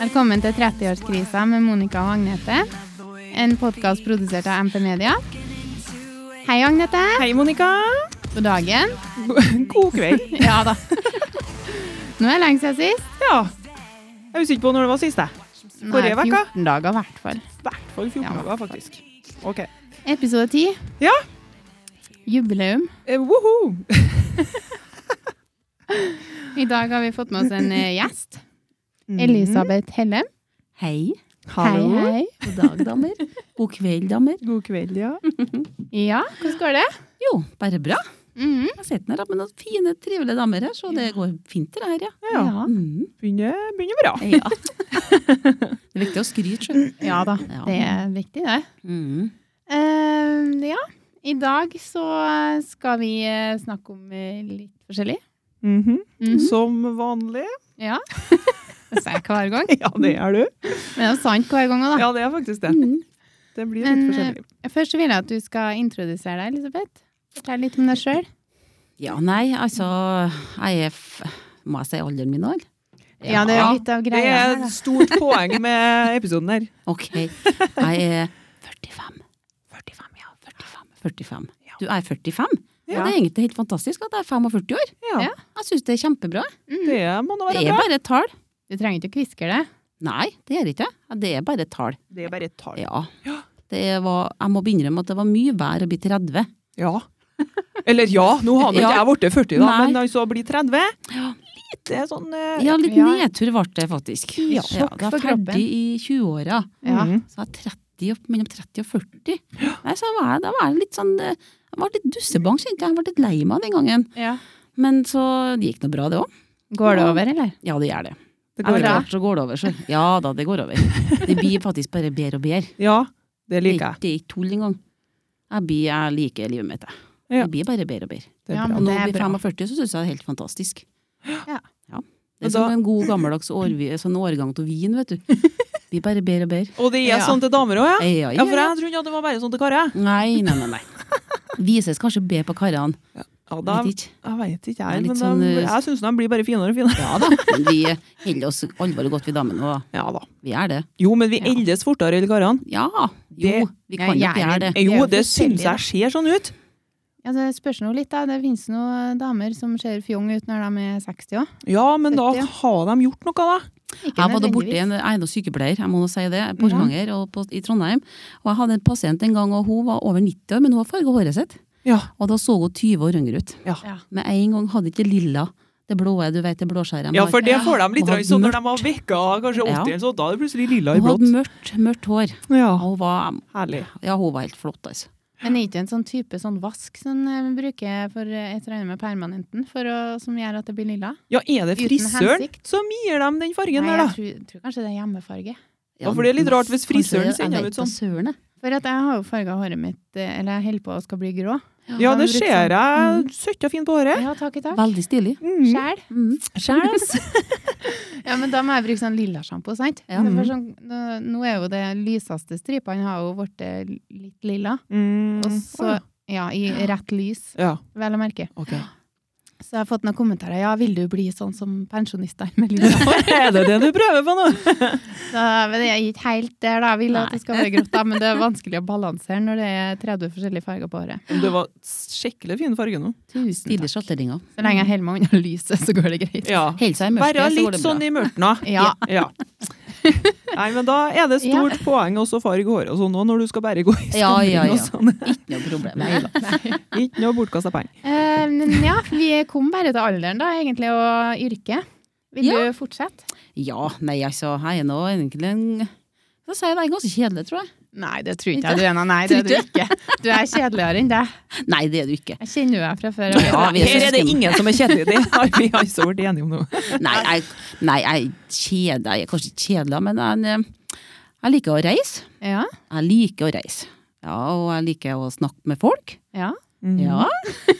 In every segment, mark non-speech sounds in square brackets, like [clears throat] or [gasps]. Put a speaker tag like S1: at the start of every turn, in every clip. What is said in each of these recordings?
S1: Velkommen til 30-årskrisa med Monica og Agnete. En podkast produsert av MP Media. Hei, Agnete.
S2: Hei, Monica.
S1: God dagen.
S2: God kveld.
S1: Ja da. Nå er det lenge siden sist.
S2: Ja. Jeg husker ikke på når det var sist, jeg.
S1: Nå
S2: Forrige
S1: er det
S2: vekka.
S1: 14 dager, i hvert fall.
S2: I hvert fall 14
S1: Ja,
S2: dager, faktisk. OK.
S1: Episode 10.
S2: Ja.
S1: Jubileum.
S2: Eh, woho!
S1: I dag har vi fått med oss en eh, gjest. Mm. Elisabeth Hellem.
S3: Hei.
S1: Hei, hei.
S3: God dag, damer. God kveld, damer.
S2: God kveld, ja.
S1: Ja, hvordan går det?
S3: Jo, bare bra.
S1: Mhm.
S3: Jeg sitter her da, med noen fine, trivelige damer her, så det går fint det her, ja.
S2: ja.
S1: Ja.
S3: Mm,
S2: Begynner, begynner bra.
S3: ja. Det er viktig å skryte, sjø.
S1: ja da.
S3: Ja.
S1: Det er viktig, det.
S3: Mm.
S1: Eh, ja. I dag så skal vi eh, snakke om eh, litt forskjellig.
S2: Mhm.
S1: Mhm.
S2: Som vanlig.
S1: Ja. Det sier jeg hver [laughs] gang.
S2: [laughs] Ja, det er du. Mhm.
S1: Men det er jo sant hver gang òg, da.
S2: Ja, det er faktisk det.
S3: Mm.
S2: Det blir litt
S1: Men,
S2: forskjellig.
S1: Først så vil jeg at du skal introdusere deg, Elisabeth. Fortell litt om deg sjøl.
S3: Ja, nei, altså, jeg er, f må jeg si alderen min òg?
S1: Ja, det er jo litt av
S2: Det
S1: greia.
S2: er
S1: her,
S2: et
S1: da.
S2: stort poeng med episoden her.
S3: Ok. Jeg er 45. 45, ja. 45. 45. Du er 45? Ja.
S2: Ja.
S3: Det er egentlig helt fantastisk at jeg er 45 år.
S1: Ja.
S2: Ja,
S3: Jeg syns det er kjempebra.
S2: det må da
S3: Det
S2: være
S3: er
S2: bra.
S3: bare et tall.
S1: Du trenger ikke å kviske det.
S3: Nei, det er det ikke. Det er bare et tall.
S2: Det er bare et tall.
S3: Ja.
S2: Ja.
S3: Det var, jeg må innrømme at det var mye vær å bli 30.
S2: Ja. Eller ja, nå har nå ikke
S3: Ja.
S2: jeg blitt 40, da,
S3: Nei.
S2: men altså bli 30 Litt eh, sånn eh,
S3: Ja, litt
S1: Ja.
S3: nedtur ble det faktisk.
S1: Ja. Sjokk
S3: jeg
S1: for
S3: var
S1: kroppen.
S3: ferdig i 20-åra.
S1: Ja.
S2: mhm.
S3: Så var jeg 30, opp- mellom 30 og 40. Nei, så var jeg, da var jeg litt sånn eh, Jeg ble litt dussebang, kjente jeg. Jeg ble litt lei meg den gangen. Men så det gikk nå bra, det òg.
S1: Går det over, eller?
S3: Ja, det gjør det.
S2: Det
S3: Etter
S2: går bra.
S3: hvert så går det over. Så. Ja da, det går over. Det blir faktisk bare bedre og bedre.
S2: Ja, det
S3: Det er
S2: liker jeg.
S3: ikke- det er ikke tull engang. Jeg, blir, jeg liker livet mitt, jeg.
S2: Ja.
S3: Det blir bare bedre og bedre.
S2: Det er
S1: Ja,
S2: bra.
S1: men-
S3: Og nå
S1: Det er
S3: blir
S1: bra.
S3: 45, så syns jeg det er helt fantastisk.
S1: Ja.
S3: Det
S2: Og
S3: er som
S2: da-
S3: en god gammeldags årvi, sånn årgang til vin, vet du. Vi bare ber og ber.
S2: Og det er
S1: Ja.
S2: sånn til damer òg, ja?
S3: Ei, ei,
S2: Ja, for
S3: ei.
S2: jeg trodde at det var bare sånn til karer. jeg.
S3: Nei, nei, nei. nei. Vises kanskje B på karene.
S2: Ja, da,
S3: Vet ikke.
S2: jeg vet ikke,
S3: Det er
S2: jeg. Men
S3: litt sånn,
S2: de,
S3: eh,
S2: jeg syns de blir bare finere og finere.
S3: Ja da. Men Vi holder oss alvorlig godt ved damene, og
S2: Ja da.
S3: vi gjør det.
S2: Jo, men vi eldes fortere enn karene.
S3: Ja. Jo,
S2: Det-
S3: vi kan
S1: Ja,
S3: nok gjøre det.
S1: gjerne. Vi er
S2: Eh, Jo,
S1: jo
S2: det
S1: forskjellige,
S2: syns jeg ser sånn ut.
S1: Ja, det spørs nå litt, da. Det finnes noen eh, damer som ser fjong ut når de er 60 òg.
S2: Ja, men da
S1: Født, ja.
S2: har de gjort noe, da.
S3: Jeg var da borti en egnet sykepleier, jeg må nå si det, på
S1: Ja.
S3: Orkanger og på, i Trondheim. Og jeg hadde en pasient en gang, og hun var over 90 år, men hun har farga håret sitt.
S2: Ja.
S3: Og da så hun 20 år yngre ut.
S2: Ja.
S1: Ja.
S3: Med en gang hadde ikke lilla det blå, du vet det blåskjæret. de
S2: ja,
S3: har.
S2: for det får de litt
S3: Og hadde
S2: rann sånn når de har vekka kanskje 80
S3: Ja.
S2: eller sånn, da er det plutselig lilla i
S3: Hun
S2: blått.
S3: hadde mørkt, mørkt hår.
S2: Ja,
S3: Og Hun var,
S2: herlig.
S3: ja, hun var helt flott, altså.
S1: Men er ikke en sånn type sånn vask som vi bruker for eh, et eller annet med permanenten, for å, som gjør at det blir lilla?
S2: Ja, er det
S1: Uten
S2: frisøren
S1: hensikt.
S2: som gir dem den fargen
S1: Nei, jeg
S2: der, da?
S1: tror, tror kanskje det er hjemmefarge.
S2: Ja, for det er litt rart hvis frisøren
S3: Kanskje- jeg
S2: sender
S3: vet
S2: ut sånn.
S3: da søren, jeg.
S1: For at jeg har jo farga håret mitt, eh, eller jeg holder på å skal bli grå.
S2: Ja, det
S1: bruker
S2: ser jeg. Søtt og fint på håret.
S1: Ja, takk i takk.
S3: Veldig stilig.
S2: Mm.
S1: Sjæl.
S3: Mm.
S1: Ja, men da må jeg bruke sånn lilla sjampo, sant?
S3: Ja.
S1: For sånn, nå- nå er jo det lyseste stripene har jo blitt eh, litt lilla.
S2: Mm.
S1: Og så, Mhm. ja, i rett lys,
S2: Ja,
S1: vel å merke.
S2: ok. [laughs]
S1: Så jeg har fått noen kommentarer. Ja, vil du bli sånn som [laughs] pensjonistene med lilla hår?
S2: Er det det du prøver på nå?
S1: Så, Men jeg er ikke helt der, da. Jeg vil at
S3: Nei.
S1: det skal være grått, da. Men det er vanskelig å balansere når det er 30 forskjellige farger på håret.
S2: Det var skikkelig fin farge nå.
S1: Tusen
S3: Stilig
S1: takk.
S3: sjatteringa.
S1: Så lenge jeg holder meg unna lyset, så går det greit.
S2: Ja.
S3: Held seg i mørket,
S2: Være
S3: så går
S2: litt
S3: det bra.
S2: sånn i
S3: [laughs]
S2: mørtna.
S1: Ja.
S2: Nei, men da er det stort poeng også farge håret og sånn nå, når du skal bare gå i skogen
S3: Ja, ja, ja.
S2: og sånn.
S3: Ikke noe problem. Nei da.
S2: Ikke noe bortkasta penger.
S1: Eh, men ja, vi kom bare til alderen da, egentlig, og yrket. Vil du fortsette?
S3: Ja, nei, altså, jeg er nå egentlig en Hva sier jeg, det er ganske kjedelig, tror jeg.
S1: Nei, det tror
S3: Ikke?
S1: jeg du er. Nei, det er du ikke. Du er kjedeligere enn deg.
S3: Nei, det er du ikke.
S1: Jeg kjenner jo deg fra før. og-
S3: Ja, vi er
S2: Her er det
S3: søsken.
S2: ingen som er kjedelig, det har vi altså vært enige om nå.
S3: Nei, jeg, nei, jeg er kjede. Jeg er kanskje ikke kjedelig, men jeg, jeg liker å reise.
S1: Ja,
S3: Jeg liker å reise. Ja, og jeg liker å snakke med folk.
S1: ja.
S2: Mm,
S3: Ja,
S1: Du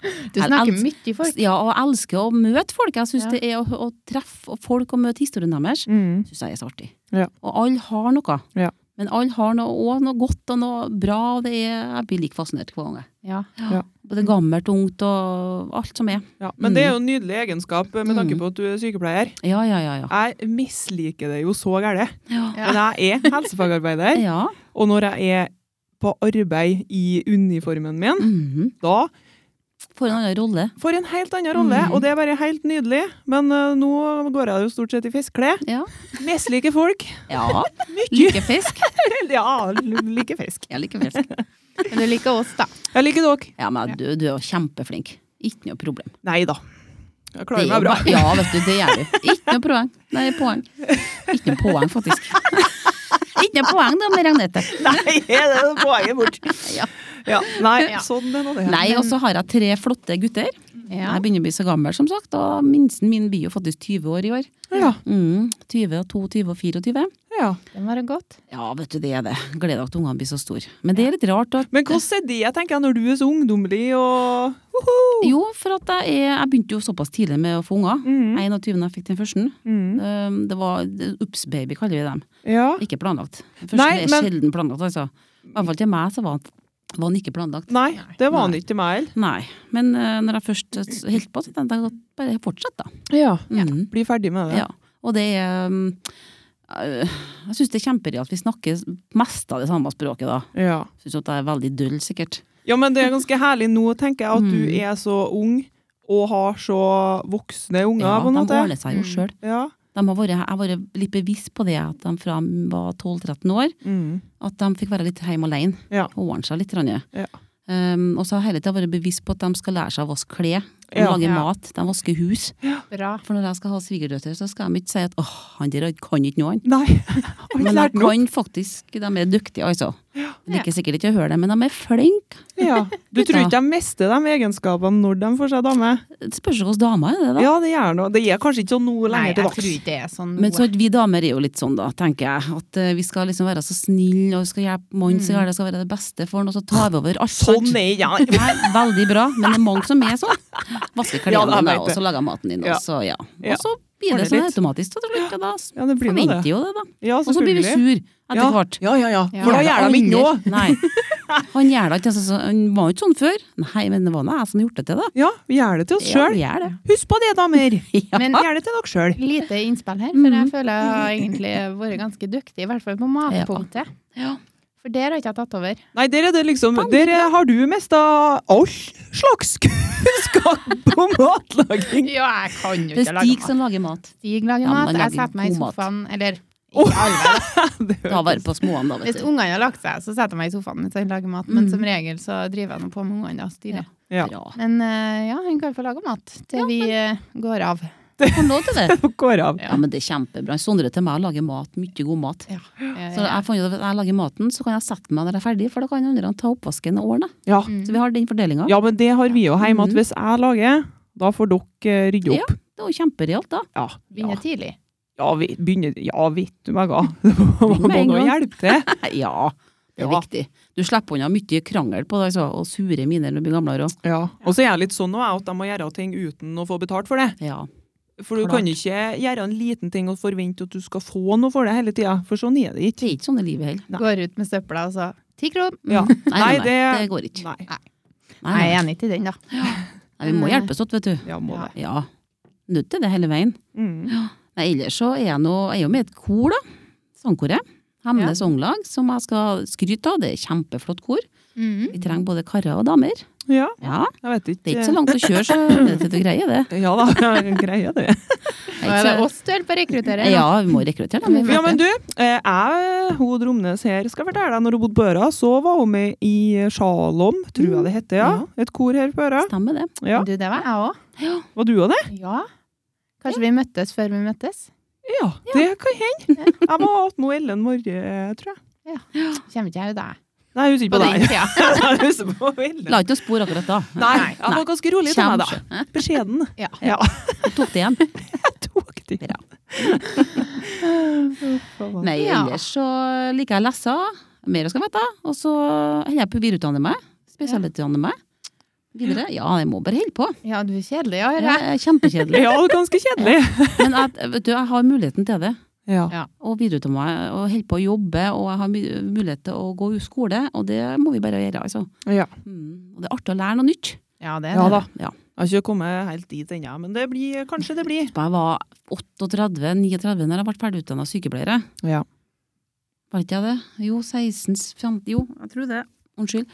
S3: Jeg
S1: snakker
S3: elsker-
S1: mye folk.
S3: ja og jeg elsker å møte folk. Jeg syns
S1: Ja.
S3: det er å, å treffe folk og møte historien deres.
S2: Mm.
S3: Syns jeg er så artig.
S2: Ja.
S3: Og alle har noe.
S2: Ja.
S3: Men alle har noe, også, noe godt og noe bra, og det er, jeg blir like fascinert hver gang. jeg.
S1: Ja.
S3: Både gammelt, ungt og alt som er.
S2: Ja, men det er jo en nydelig egenskap med
S3: Mm.
S2: tanke på at du er sykepleier.
S3: Ja, ja, ja. Ja.
S2: Jeg misliker det jo så gærent.
S3: ja.
S2: Men jeg er helsefagarbeider,
S3: [laughs] ja.
S2: og når jeg er på arbeid i uniformen min,
S3: Mhm.
S2: da
S3: Får en annen rolle.
S2: får jeg en helt annen rolle. Og det er bare helt nydelig. Men eh, nå går jeg jo stort sett i fiskeklær.
S3: Ja.
S2: Misliker folk.
S3: ja.
S1: Liker fisk.
S2: [laughs] ja, liker fisk.
S3: Jeg liker fisk.
S1: Men du liker oss, da.
S2: Jeg liker dere.
S3: Ja, men du, du er jo kjempeflink. Ikke noe problem.
S2: Nei da. Jeg
S3: Det
S2: klarer
S3: er
S2: meg bra.
S3: bare- Ja, vet du, det gjør du. Ikke noe poeng. Nei, poeng. Ikke noe poeng, faktisk. Ikke noe poeng, da, med Ragnete.
S2: [laughs] Nei, det er poenget bort.
S3: Ja.
S2: Ja, nei,
S1: Ja.
S2: sånn er nå det.
S3: Nei, og så har jeg tre flotte gutter.
S1: Ja.
S3: Jeg begynner å bli så gammel, som sagt, og minsten min blir jo faktisk 20 år i år.
S2: Ja,
S3: Mm, 20 og 22 og 24.
S2: ja.
S1: Den var godt.
S3: Ja, vet du, det er det. Gleder deg til ungene blir så store. Men det er litt rart at
S2: Men hvordan er det, jeg tenker jeg, når du er så ungdommelig og Woho!
S3: Jo, for at jeg, er, jeg begynte jo såpass tidlig med å få unger.
S2: Mhm.
S3: 21. da jeg fikk den første.
S2: Mm.
S3: Um, Det var Ups baby, kaller vi dem.
S2: Ja.
S3: Ikke planlagt. Den Første
S2: Nei,
S3: er
S2: men-
S3: sjelden planlagt, altså. I hvert fall til meg så var han, var han ikke planlagt.
S2: Nei, det var han
S3: Nei.
S2: ikke til meg heller.
S3: Nei. Men eh, når jeg først holdt på, så tenkte jeg at bare fortsett, da.
S2: Ja.
S3: Mhm.
S2: Bli ferdig med det.
S3: Ja. Og det er um, øh, Jeg syns det er kjemperart at vi snakker mest av det samme språket, da.
S2: Ja.
S3: Syns at jeg er veldig døll, sikkert.
S2: ja, men det er ganske herlig nå, tenker jeg, at du er så ung og har så voksne unger,
S3: Ja,
S2: på en
S3: de
S2: måte. Mm.
S3: ordner seg jo sjøl.
S2: Ja.
S3: Jeg har vært litt bevisst på det at de fra de var 12-13 år,
S2: Mm.
S3: at de fikk være litt hjemme alene.
S2: Ja.
S3: Ordne seg litt. Ranje.
S2: Ja.
S3: Um, og så har jeg hele tida vært bevisst på at de skal lære seg å vaske klær, de
S2: Ja.
S3: lage
S1: Ja.
S3: mat, de vasker hus.
S1: Bra.
S3: For når jeg skal ha svigerdøtre, så skal de ikke si at åh, han der kan ikke noe, han.
S2: Nei, [laughs] jeg har ikke
S3: Men de
S2: lært noe.
S3: kan faktisk, de er dyktige, altså.
S2: Ja.
S3: Jeg liker sikkert ikke å høre det, men de er flinke.
S2: Ja. Du tror
S3: Gutta.
S2: ikke de mister de egenskapene når de får seg dame?
S3: Det spørs jo hvilke damer er det, da.
S2: Ja, det gjør noe. Det er kanskje ikke sånn noe
S1: Nei,
S2: lenger
S1: jeg
S2: til
S1: tror
S2: dags.
S1: ikke det er sånn
S3: Men så
S1: noe.
S3: at vi damer er jo litt sånn, da, tenker jeg. At eh, vi skal liksom være så snille, og vi skal hjelpe mannen så gærent, det skal være det beste for han, og så tar vi over alt. sant?
S2: Mm. Sånn er jeg.
S3: Nei, veldig bra, men det er mange som er sånn. Vasker
S2: Ja,
S3: klærne
S2: da
S3: dine,
S2: vet
S3: og
S2: jeg.
S3: så lager maten din,
S2: Ja.
S3: og så ja.
S2: Ja.
S3: Og så blir
S2: Ordner
S3: det sånn
S2: litt.
S3: automatisk, og til slutt, og da
S2: Ja, det blir nå
S3: forventer
S2: det.
S3: jo det, da.
S2: [laughs] Ja,
S3: Og så blir vi
S2: selvfølgelig.
S3: sur etter
S2: Ja.
S3: hvert.
S2: Ja, ja, ja.
S1: Ja.
S2: For da gjør de ikke noe.
S3: Nei. Han gjør det ikke, altså, så- han var jo ikke sånn før. Nei, men det var nå jeg som gjorde det til, da.
S2: Ja, vi gjør det til oss
S3: Ja,
S2: sjøl.
S3: vi gjør det.
S2: Husk på det, damer!
S3: [laughs] Ja.
S1: Men-
S2: Gjør det til dere sjøl.
S1: Lite innspill her, for jeg føler jeg har egentlig vært ganske dyktig, i hvert fall på matpunktet.
S3: Mhm. Ja.
S1: For der har ikke jeg tatt
S3: [laughs]
S1: over.
S2: Nei, der er det liksom Der er- har du mista all slags [laughs] kunnskap på matlaging!
S1: Ja, jeg kan jo
S3: Det er Stig som lager
S2: [laughs]
S3: mat.
S1: Stig lager
S3: Ja, men
S1: mat.
S3: han
S1: Jeg
S3: lager
S1: setter meg i
S3: god mat.
S1: sofaen, eller
S2: Åh.
S1: ikke alle, da.
S2: Det
S3: Ta vare
S2: høres-
S3: på småene, da, vet
S1: Hvis
S3: du.
S1: ungene har lagt seg, så setter jeg meg i sofaen mens jeg lager mat. Men som regel så driver jeg nå på med ungene og styrer.
S2: Ja.
S3: [laughs] Ja.
S1: Men eh, ja, han kan få lage mat til vi eh, går av.
S3: Får lov til det.
S2: Det går av.
S3: Ja, men det er kjempebra. Sondre til meg lager mat, mye god mat.
S1: Ja. Eh,
S3: Så jeg fant ut at hvis jeg lager maten, så kan jeg sette meg når jeg er ferdig, for da kan andre ta oppvasken og ordne.
S2: Ja.
S1: mm.
S3: Så vi har den fordelinga.
S2: ja, men det har vi jo hjemme,
S3: Mhm.
S2: at hvis jeg lager, da får dere eh, rydde
S3: Ja.
S2: opp.
S3: Det var jo kjemperealt, da.
S2: Ja.
S1: Begynner tidlig.
S2: Ja, vi begynner Ja, vet du meg, ga. Det må
S3: [laughs] Begynn med en
S2: nå
S3: gang.
S2: hjelpe til.
S3: [laughs] [laughs] Ja, det er
S2: Ja.
S3: viktig. Du slipper unna mye krangel på det, altså, og sure miner når du blir gamlere òg.
S2: Ja. Og så er jeg litt sånn nå, jeg, at jeg må gjøre ting uten å få betalt for det.
S3: Ja.
S2: For du
S3: Klart.
S2: kan ikke gjøre en liten ting og forvente at du skal få noe for det hele tida, for sånn er det ikke.
S3: Det er ikke sånn i livet heller.
S2: Nei.
S1: Går ut med søpla og så ti kroner.
S2: Ja.
S3: Nei, nei, det går ikke.
S2: Nei.
S3: [laughs] Nei,
S1: Nei, jeg er
S3: nei.
S1: enig til den, da.
S3: Nei, vi må hjelpes åt, vet du.
S2: Ja, må
S1: Ja.
S2: det.
S3: Ja. Nødt til det hele veien.
S2: Mm.
S3: Nei, ellers så er jeg, nå, jeg er jo med i et kor, da. Sangkoret. Hemnes Sanglag, som jeg skal skryte av. Det er kjempeflott kor.
S1: Mhm.
S3: Vi trenger både karer og damer.
S2: Ja,
S3: Ja,
S2: jeg vet ikke.
S3: Det er ikke så langt å kjøre, så det er til du greier det.
S2: Ja da, [laughs] jeg greier
S3: [laughs]
S2: det.
S3: Det
S1: Nå er
S3: ikke
S1: det
S3: så-
S1: oss du holder på å rekruttere. nå.
S3: Ja, vi må rekruttere dem. vi vet
S2: Ja, men
S3: det.
S2: du, eh, jeg, Hod Romnes her, skal fortelle deg, når hun bodde på Øra, så var hun med i Sjalom, tror jeg det heter, ja. Et kor her på Øra.
S3: Stemmer det.
S2: Ja.
S1: Du, det var jeg òg.
S2: Var du av det?
S1: Ja. Kanskje vi møttes før vi møttes?
S2: Ja, det kan hende. Jeg var attmed Ellen Morge, tror jeg.
S1: Kommer ikke jeg jo deg?
S2: Nei, jeg husker ikke
S1: På
S2: på
S1: den
S2: deg.
S1: tida.
S2: [laughs] Jeg husker på Ellen.
S3: La ikke noe spor akkurat da.
S2: Nei, jeg var ganske rolig til meg da.
S3: Kjempe.
S2: [laughs] Beskjeden.
S1: Ja.
S2: Ja,
S3: Jeg tok det igjen.
S2: jeg tok det.
S3: Bra.
S2: Faen.
S3: Nei,
S1: Ja.
S3: ellers så liker jeg å lese. Mer jeg skal vite. Og så holder jeg på å videreutdanne meg. Spesialutdanne meg. Videre. Ja, jeg må bare holde på.
S1: Ja, du er kjedelig å
S3: Det
S1: høre.
S2: [laughs]
S3: er kjempekjedelig.
S2: Ja, ganske kjedelig.
S3: Men jeg, vet du, jeg har muligheten til det.
S2: Ja.
S1: Ja.
S3: og videreutdanne meg og holder på å jobbe, og jeg har mu- mulighet til å gå i skole, og det må vi bare gjøre, altså.
S2: ja.
S3: Mm. Og det er artig å lære noe nytt.
S1: Ja, det er
S2: Ja
S1: det.
S2: da.
S3: Ja.
S2: Jeg har ikke kommet helt dit ennå, men det blir, kanskje det blir.
S3: Jeg var 38-39 når jeg ble ferdigutdanna sykepleiere.
S2: Ja.
S3: Var ikke jeg det? Jo, 16 15, Jo, jeg tror det.
S2: [laughs]
S3: Unnskyld.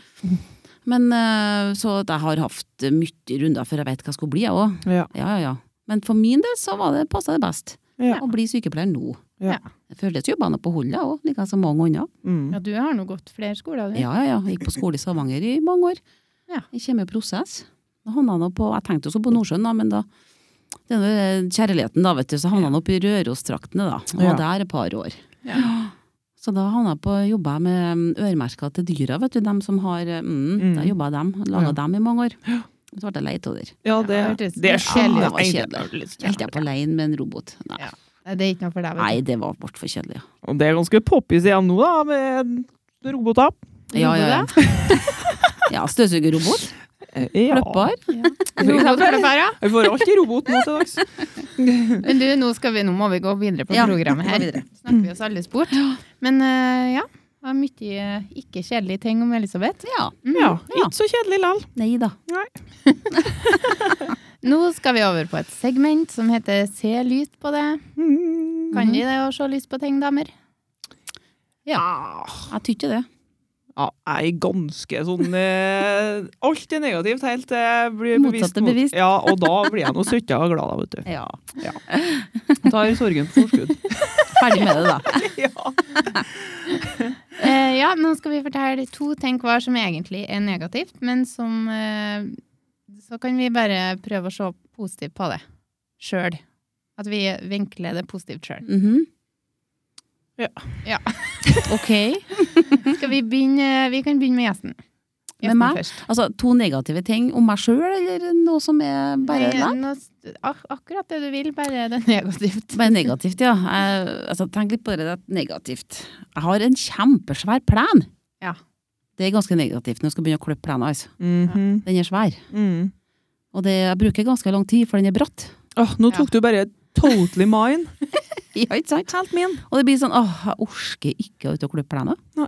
S3: Men eh, så at jeg har hatt mye runder før jeg vet hva jeg skulle bli, jeg òg.
S2: Ja.
S3: Ja, ja, ja. Men for min del så var det, passa det best
S2: Ja.
S3: å bli sykepleier nå.
S2: Ja.
S3: Jeg føltes jo bare på hullet òg, like som mange andre.
S2: Mm.
S1: Ja, du har nå gått flere skoler, du.
S3: Ja, ja, ja. Jeg Gikk på skole i Stavanger i mange år.
S1: Ja.
S3: I kjemiprosess. Da havna han opp på, Jeg tenkte også på Nordsjøen, da, men da det er noe, eh, kjærligheten, da, vet du, så havna han opp i Rørostraktene, da. Og
S2: Ja.
S3: var der et par år.
S1: Ja.
S3: Så da havna jeg på, jobba jeg med mm, øremerker til dyra, vet du. Dem som har eh, mm,
S2: Mm.
S3: Da jobba jeg dem,
S2: Ja.
S3: laga dem i mange år. Så ble jeg lei av det.
S2: ja, det,
S1: Ja, det
S2: det,
S1: hørtes litt
S2: skjønner
S3: kjedelig ut.
S2: jeg.
S3: Det var
S2: Det er litt
S3: Helt jeg på leien med en robot. Nei,
S1: Ja. Nei, Det er ikke noe for deg,
S3: Nei
S1: vet du.
S3: det var altfor kjedelig. ja.
S2: Og det er ganske poppis igjen nå, da, med roboter.
S3: Ja, ja, ja. [laughs] ja Støvsugerrobot.
S2: Eh,
S3: Kløpper.
S1: Robotkløpper,
S3: [laughs]
S1: ja.
S2: Vi får alltid robot nå til dags.
S1: Men du, nå, skal vi, nå må vi gå videre på
S3: Ja,
S1: programmet
S3: gå
S1: her.
S3: videre.
S1: Snakker vi oss alle sport. Men eh, ja, det var mye eh, ikke kjedelige ting om Elisabeth.
S3: Ja.
S1: Mm.
S2: Ja,
S3: Ja.
S2: ikke så kjedelig likevel.
S3: Nei da.
S1: Nå skal vi over på et segment som heter Se lyst på det.
S2: Mm.
S3: Mhm.
S1: Kan de det å se lyst på ting, damer?
S3: Jeg tror ikke det.
S2: Ja, jeg er ganske sånn eh, Alt er negativt helt til jeg blir bevist.
S3: Motsatte
S2: mot-
S3: bevist.
S2: Ja, og da blir jeg nå søtta og glad, da, vet du.
S3: Ja.
S2: Tar sorgen på forskudd.
S3: [laughs] Ferdig med det, da.
S2: ja.
S1: Eh, ja, nå skal vi fortelle to ting hver som egentlig er negativt, men som eh, Så kan vi bare prøve å se positivt på det sjøl. At vi vinkler det positivt sjøl.
S3: Mhm.
S2: Ja.
S1: Ja.
S3: [laughs] ok.
S1: Skal vi begynne Vi kan begynne med gjesten.
S3: Med
S1: Gjesten
S3: meg?
S1: først.
S3: Altså, to negative ting om meg sjøl, eller noe som er bare
S1: Nei, Eh, nå s- ak akkurat det du vil, bare det er
S3: [laughs]
S1: negativt.
S3: Bare negativt, ja. Jeg, altså, tenk litt på det der negativt. Jeg har en kjempesvær plen.
S1: Ja.
S3: Det er ganske negativt når jeg skal begynne å klippe plenen. Altså.
S2: Mhm.
S3: Den er svær.
S2: Mm.
S3: Og det, jeg bruker ganske lang tid, for den er bratt.
S2: Åh, nå tok du bare totally mine.
S3: [laughs] Ja, ikke sant?
S2: Helt min.
S3: Og det blir sånn åh, jeg orker ikke å ut og klippe plenen.
S2: Nei.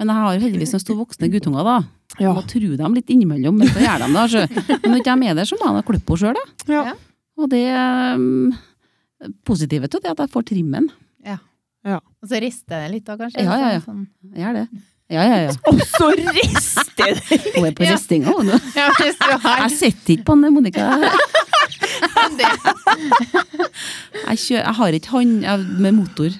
S3: Men jeg har jo heldigvis noen store voksne guttunger, da.
S2: Ja.
S3: Må true dem litt innimellom, men så gjør de det.
S2: [laughs]
S3: Altså. Men når ikke de er der, så må jeg klippe henne sjøl, da.
S2: Ja.
S1: Ja.
S3: Og det um, positive til det er at jeg får trimmen.
S1: Og så rister det litt da, kanskje?
S3: Ja, ja, ja.
S1: Sånn-
S3: Jeg gjør det. Ja, ja, ja.
S2: Og så [laughs] rister det!
S3: Hun er på
S1: Ja.
S3: ristinga, hun nå.
S1: ja hvis du har
S3: [laughs] Jeg sitter ikke på den, Monica.
S1: [laughs] det.
S3: Jeg, kjø, jeg har ikke hånd jeg- med motor.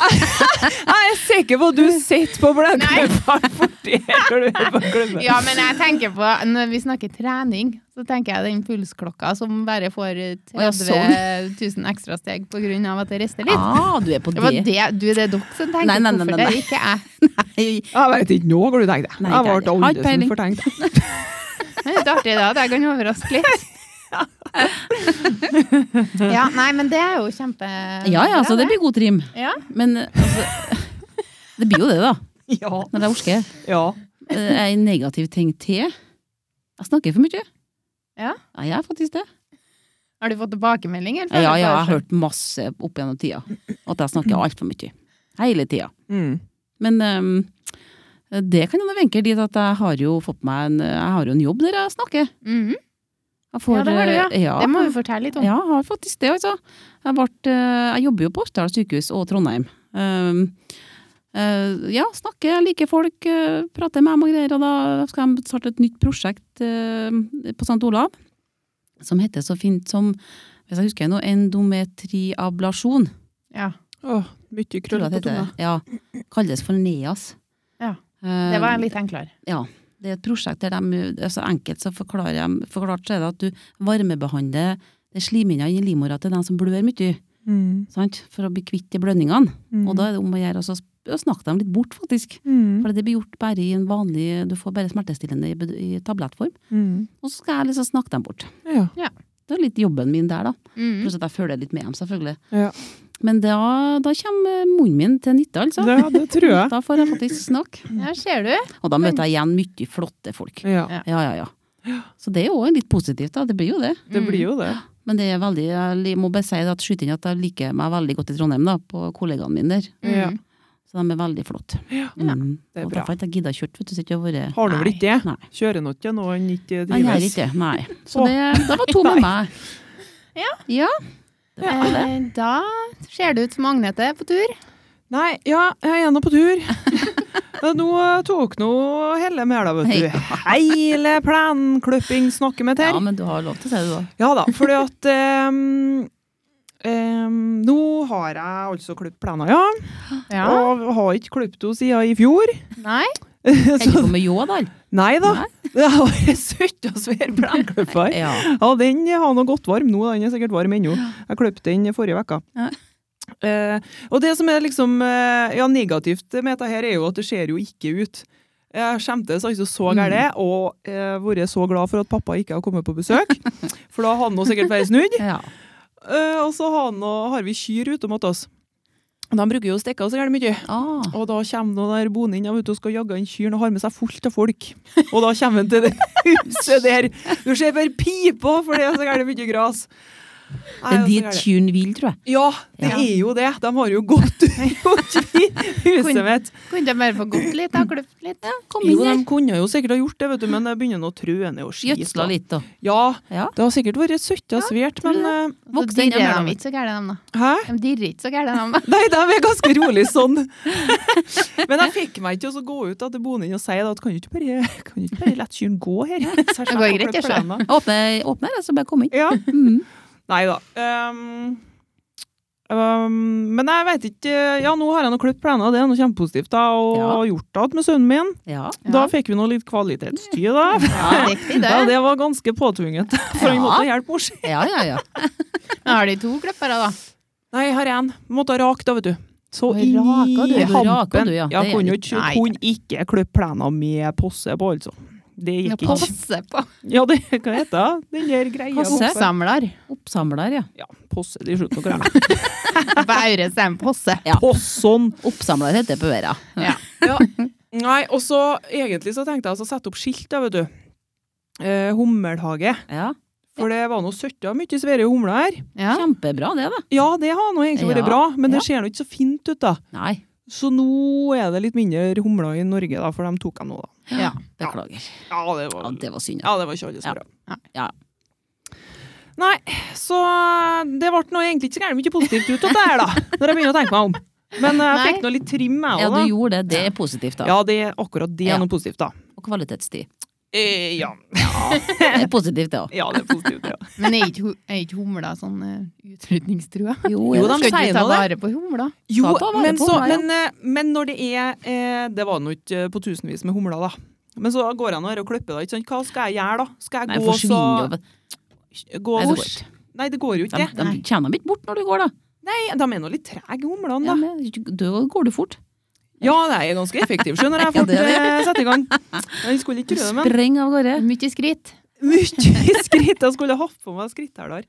S2: Jeg er sikker på at du sitter på blendekløppa for det når du er på klubben.
S1: Ja, men jeg tenker på, når vi snakker trening, så tenker jeg den pulsklokka som bare får
S3: Å, ja, sånn.
S1: 30 000 ekstra steg på grunn av at det rister litt.
S3: Ah, du er på
S1: Det var
S3: det.
S1: det, du, det er dere som tenker
S3: Nei, nei, nei,
S1: hvorfor
S3: nei, nei.
S1: det, ikke jeg.
S3: Nei,
S2: Jeg vet ikke nå hva du tenkte. Jeg
S3: Nei, det er det.
S2: ble
S3: Har ikke
S2: aldri
S3: peiling.
S2: som fortenkt.
S1: Men det er litt artig da, at jeg kan overraske litt. [laughs] Ja, nei, men det er jo kjempe...
S3: Ja ja, så det blir god trim.
S1: Ja,
S3: Men altså Det blir jo det, da. [laughs]
S2: Ja.
S3: Når jeg orker.
S2: ja.
S3: Eh, En negativ ting til. Jeg snakker for mye.
S1: Ja.
S3: Ja, jeg er faktisk det.
S1: har du fått tilbakemelding? eller?
S3: Ja, ja, jeg har hørt masse opp gjennom tida. At jeg
S1: Mm.
S3: snakker altfor mye. Hele tida.
S2: Mm.
S3: Men ehm, det kan jo vinke dit at jeg har jo fått meg en, jeg har jo en jobb der jeg snakker.
S1: Mhm.
S3: Jeg får,
S1: Ja, det har du, ja.
S3: eh, ja.
S1: Det må vi fortelle litt om.
S3: Ja, jeg har faktisk det, altså. Jeg, vart, eh, jeg jobber jo på Orkdal sykehus og Trondheim. Um, eh, ja, snakker, jeg liker folk, eh, prater med dem og greier, og da skal de starte et nytt prosjekt eh, på St. Olav, som heter så fint som, hvis jeg husker nå, endometriablasjon.
S1: Ja.
S2: Åh, mye
S3: tror
S2: krøll
S3: jeg
S2: på
S3: det
S2: tunga.
S3: heter. Ja, kalles for NEAS.
S1: Ja,
S3: Eh,
S1: Det var litt enklere.
S3: det er et prosjekt der de, altså enkelt så forklarer de, forklart så er det at du varmebehandler det slimhinna inni livmora til dem som blør mye,
S2: Mm.
S3: sant? for å bli kvitt de blødningene.
S2: Mm.
S3: Og da er det om å gjøre å så sp- å snakke dem litt bort, faktisk.
S2: Mm.
S3: For det blir gjort bare i en vanlig Du får bare smertestillende i, bed- i tablettform.
S2: Mm.
S3: Og så skal jeg liksom snakke dem bort.
S2: Ja.
S3: Det er litt jobben min der, da.
S1: Mhm.
S3: Pluss at jeg følger litt med dem, selvfølgelig.
S2: Mm. Ja.
S3: Men da, da kommer munnen min til nytte, altså.
S2: Det, ja, det tror
S3: [laughs]
S2: jeg.
S3: Da får jeg faktisk snakke.
S1: Ja, ser du?
S3: Og da møter jeg igjen mye flotte folk.
S2: Ja.
S1: Ja.
S3: Ja, ja, ja. Så det er jo også litt positivt, da. Det blir jo det.
S2: Det blir jo det.
S3: Men det er veldig, jeg li- må bare si at skyte inn at jeg liker meg veldig godt i Trondheim, da, på kollegaene mine der.
S2: Ja.
S1: Mhm.
S3: Så de er veldig flotte.
S2: Ja,
S3: Mm.
S2: det er
S3: og
S2: bra.
S3: Derfor har ikke jeg gidda kjørt, vet du. så ikke jeg har vært
S2: Har du vel
S3: Nei.
S2: ikke det?
S3: Nei.
S2: Kjører nå ikke eh, noe en ikke
S3: Jeg gjør
S2: trives?
S3: ikke det, nei. Så
S2: Å.
S3: det, det var to med meg.
S1: Ja.
S3: ja. Det var det.
S1: Eh, da ser det ut som Agnete er på tur.
S2: Nei, ja, jeg er nå på
S3: [laughs]
S2: tur. nå eh, tok nå hele mela, vet du.
S3: [laughs]
S2: Hele planklipping snakker med
S3: Ja,
S2: til.
S3: men du har lov til å si det, da.
S2: Ja da, fordi at em, em, Nå har jeg altså klippet plena, ja. Og har ikke klippet henne siden i fjor.
S1: Nei?
S3: Jeg
S2: Så
S3: gikk med ljå, da.
S2: nei da.
S3: Nei.
S2: [laughs] Jeg har søtt og svær plenklipper.
S3: Ja.
S2: Ja, den har nå gått varm nå. Den er sikkert varm ennå. Jeg kløpte den forrige vekka.
S3: Ja.
S2: Eh, og det som er liksom eh, ja, negativt med dette her, er jo at det ser jo ikke ut. Jeg skjemtes altså så gærent, og eh, vært så glad for at pappa ikke har kommet på besøk. For da hadde han nå sikkert vært snudd.
S3: ja.
S2: Eh, og så har, han nå- har vi kyr ute mot oss. De bruker jo å stikke av så gærent mye.
S3: Ah.
S2: Og da kommer noen der bonden inn og vet du, skal jage inn kyrne og har med seg fullt av folk. Og da kommer han til det huset der. Du ser bare pipa, for det er så gærent mye gras. Nei,
S3: Det er
S2: så
S3: dit
S2: gærent.
S3: kyrne vil, tror jeg.
S2: Ja, det
S3: Ja.
S2: er jo det. De har jo gått rundt i huset mitt.
S1: Kunne de bare få gått litt, da? Klipt litt?
S3: Kom
S2: Jo,
S3: inn
S2: de
S3: her.
S2: kunne jo sikkert ha gjort det, vet du, men det begynner nå å trø ned og skit.
S3: Gjødsla
S2: da.
S3: litt, da.
S2: Ja,
S3: Ja.
S2: det har sikkert vært søtt og svært, men eh,
S1: Så
S3: Vokste inn i
S1: dirrer
S3: mela
S1: de
S3: mitt.
S1: ikke så gærent, de, da.
S2: Hæ?
S1: De dirrer ikke så gærent, de, da.
S2: Nei, de er ganske rolig sånn. [laughs] Men jeg fikk meg ikke til å gå ut da, til bonden og si da, at kan du ikke bare, kan du ikke bare la kyrne gå her? Så jeg
S1: Det går
S2: slapp å
S1: greit,
S2: klippe
S1: jeg ser.
S2: plenen.
S3: Åpne, åpne her, så bare kom inn.
S2: Ja,
S3: Mm.
S2: nei da. Ehm, ehm, men jeg vet ikke Ja, nå har jeg nå klippet plenen, det er noe kjempepositivt, da, og
S3: Ja.
S2: gjort alt med sønnen min.
S3: Ja.
S2: Da
S1: Ja.
S2: fikk vi nå litt kvalitetstid, da.
S1: Ja, [laughs] riktig, det.
S2: Ja, det var ganske påtvunget, [laughs] for han
S3: Ja.
S2: måtte hjelpe mor si.
S3: ja, ja, ja.
S1: Men Har de to klippere, da?
S2: Nei, her er en. Måtte ha rakt, da, vet du. Så
S1: Oi,
S2: inn i
S1: raka du.
S3: Du raka
S2: hampen.
S3: du, ja.
S2: Ja,
S3: Det er
S2: kunne jo
S3: litt-
S2: ikke,
S1: Nei.
S2: kunne ikke klippe plena med posse på, altså. Det
S1: Nå
S2: gikk ikke.
S1: passer på.
S2: Ja, det, hva heter det? Den der greia
S3: Posse?
S2: bak-
S1: Oppsamler.
S3: Oppsamler, ja.
S2: Ja, posse. De slutter å klemme.
S1: På Aure sier de
S3: [laughs]
S1: posse.
S3: Ja.
S2: Posson.
S3: Oppsamler heter det på Vera.
S1: Ja.
S2: Ja. Nei, og så egentlig så tenkte jeg altså å sette opp skilt, da, vet du. Eh, hummelhage.
S3: Ja.
S2: For det var nå søtta mye svære humler her.
S1: Ja.
S3: Kjempebra, det, da.
S2: Ja, det har nå egentlig vært
S3: Ja.
S2: bra, men det ser
S3: Ja.
S2: nå ikke så fint ut, da.
S3: Nei,
S2: Så nå er det litt mindre humler i Norge, da, for de tok jeg nå, da.
S1: Ja.
S3: beklager.
S2: Ja, det
S3: Ja,
S2: var,
S3: det var synd, ja.
S2: ja, det var ikke alle
S3: Ja.
S2: så bra.
S3: Ja.
S2: Nei, så eh, det ble nå egentlig ikke så gærent mye positivt ut av det her, da. Når jeg begynner å tenke meg om. Men eh, jeg
S1: Nei.
S2: fikk nå litt trim, jeg
S3: Ja,
S2: òg,
S3: du
S2: da.
S3: gjorde det. Det er positivt, da.
S2: Ja, det, akkurat det
S3: Ja.
S2: er noe positivt, da.
S3: Og kvalitetstid.
S2: Eh, ja.
S3: Det er positivt, det òg.
S2: ja, det er positivt,
S3: [laughs]
S2: det. Ja.
S1: Men er ikke, hu- er ikke humla sånn uh, utrydningstrua?
S2: [laughs] Jo,
S3: Jo, er det
S1: Skal
S2: de
S1: ikke
S2: sier
S1: vi ta
S2: nå det.
S1: vare på humla?
S2: Jo,
S3: Ta på vare
S2: men,
S3: på
S2: så,
S3: humla, ja.
S2: men, eh, men når det er eh, Det var nå ikke på tusenvis med humler, da. Men så går jeg nå her og klipper, da. Ikke sant? Hva skal jeg gjøre, da? Skal
S3: Nei,
S2: jeg gå og så
S3: forsvinner jo.
S2: gå
S3: Nei, det
S2: bort? Nei, det går jo
S3: De,
S2: ikke.
S3: de kjenner dem ikke bort når du går, da.
S2: Nei, de er nå litt trege, humlene, da.
S3: Ja, men, da går du fort.
S2: Ja, nei, jeg er ganske effektiv, skjønner jeg.
S3: Ja,
S2: Fort
S3: det er det.
S2: eh, sette i gang. Jeg skulle ikke tro det,
S3: [laughs]
S2: men
S3: Spreng av gårde.
S1: Mye skritt.
S2: mye [laughs] skritt. Jeg skulle hatt på meg skritthæler.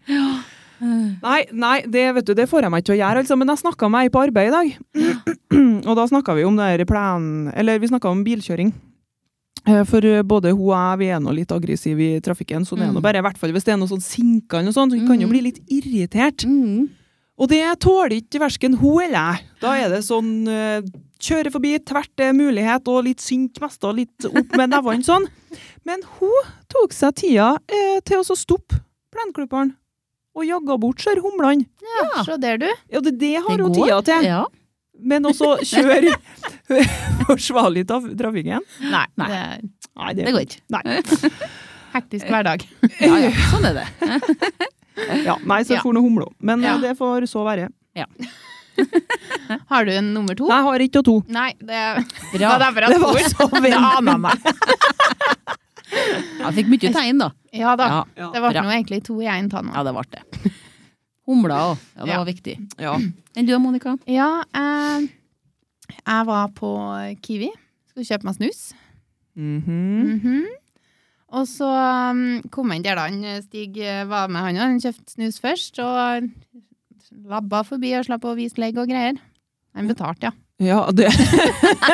S2: Nei, nei det, vet du, det får jeg meg ikke til å gjøre, altså. Men jeg snakka med ei på arbeid i dag. [clears throat] og da snakka vi om det her plan... Eller vi snakka om bilkjøring. Eh, For eh, både hun og jeg vi er nå litt aggressive i trafikken, så det er nå
S3: Mm.
S2: bare, i hvert fall hvis det er noe sånn sinkende og sånn, så vi kan jo
S3: Mhm.
S2: bli litt irritert.
S3: Mm.
S2: Og det tåler ikke verken hun eller jeg. Da er det sånn eh, kjøre forbi, tvert er mulighet, og litt sint mest, og litt opp med nevene sånn. Men hun tok seg tida eh, til å så stoppe plenklipperen og jaga bort skjør humlene.
S1: Ja, Se der, du.
S2: Ja, det, det har
S3: Det
S2: hun
S3: går.
S2: tida til.
S3: Ja.
S2: Men også kjøre [laughs] forsvarlig i traf- trafikken.
S1: Nei.
S3: Nei.
S1: Det er
S2: Nei,
S3: Det går ikke.
S2: Nei.
S1: hektisk hverdag.
S3: Ja, ja. Sånn er det.
S2: Ja, nei, så
S1: Ja.
S2: får hun humle. Men eh,
S1: Ja.
S2: det får så være.
S1: Har du en nummer to?
S2: Nei, jeg har ikke og to.
S1: Nei, det, det
S3: Bra.
S1: var derfor
S2: Det
S1: jeg
S2: var
S1: spurte.
S2: så
S1: [laughs] Det
S2: veldig
S1: aner meg.
S3: Jeg fikk mye tegn, da.
S1: Ja da.
S3: Ja,
S2: Ja.
S1: Det ble
S3: Bra.
S1: nå egentlig to i én tann.
S3: ja det ble det. Humla òg. Ja, det
S1: Ja.
S3: var viktig.
S2: Ja.
S3: Enn du, Monica?
S1: Ja, eh, jeg var på Kiwi. Skulle kjøpe meg snus.
S3: Mm.
S2: Mhm.
S1: Mhm. Og så um, kom jeg inn der da han eh, Stig eh, var med han, og han kjøpte snus først, og labba forbi og slapp å vise legg og greier. Han betalte, ja.
S2: ja, det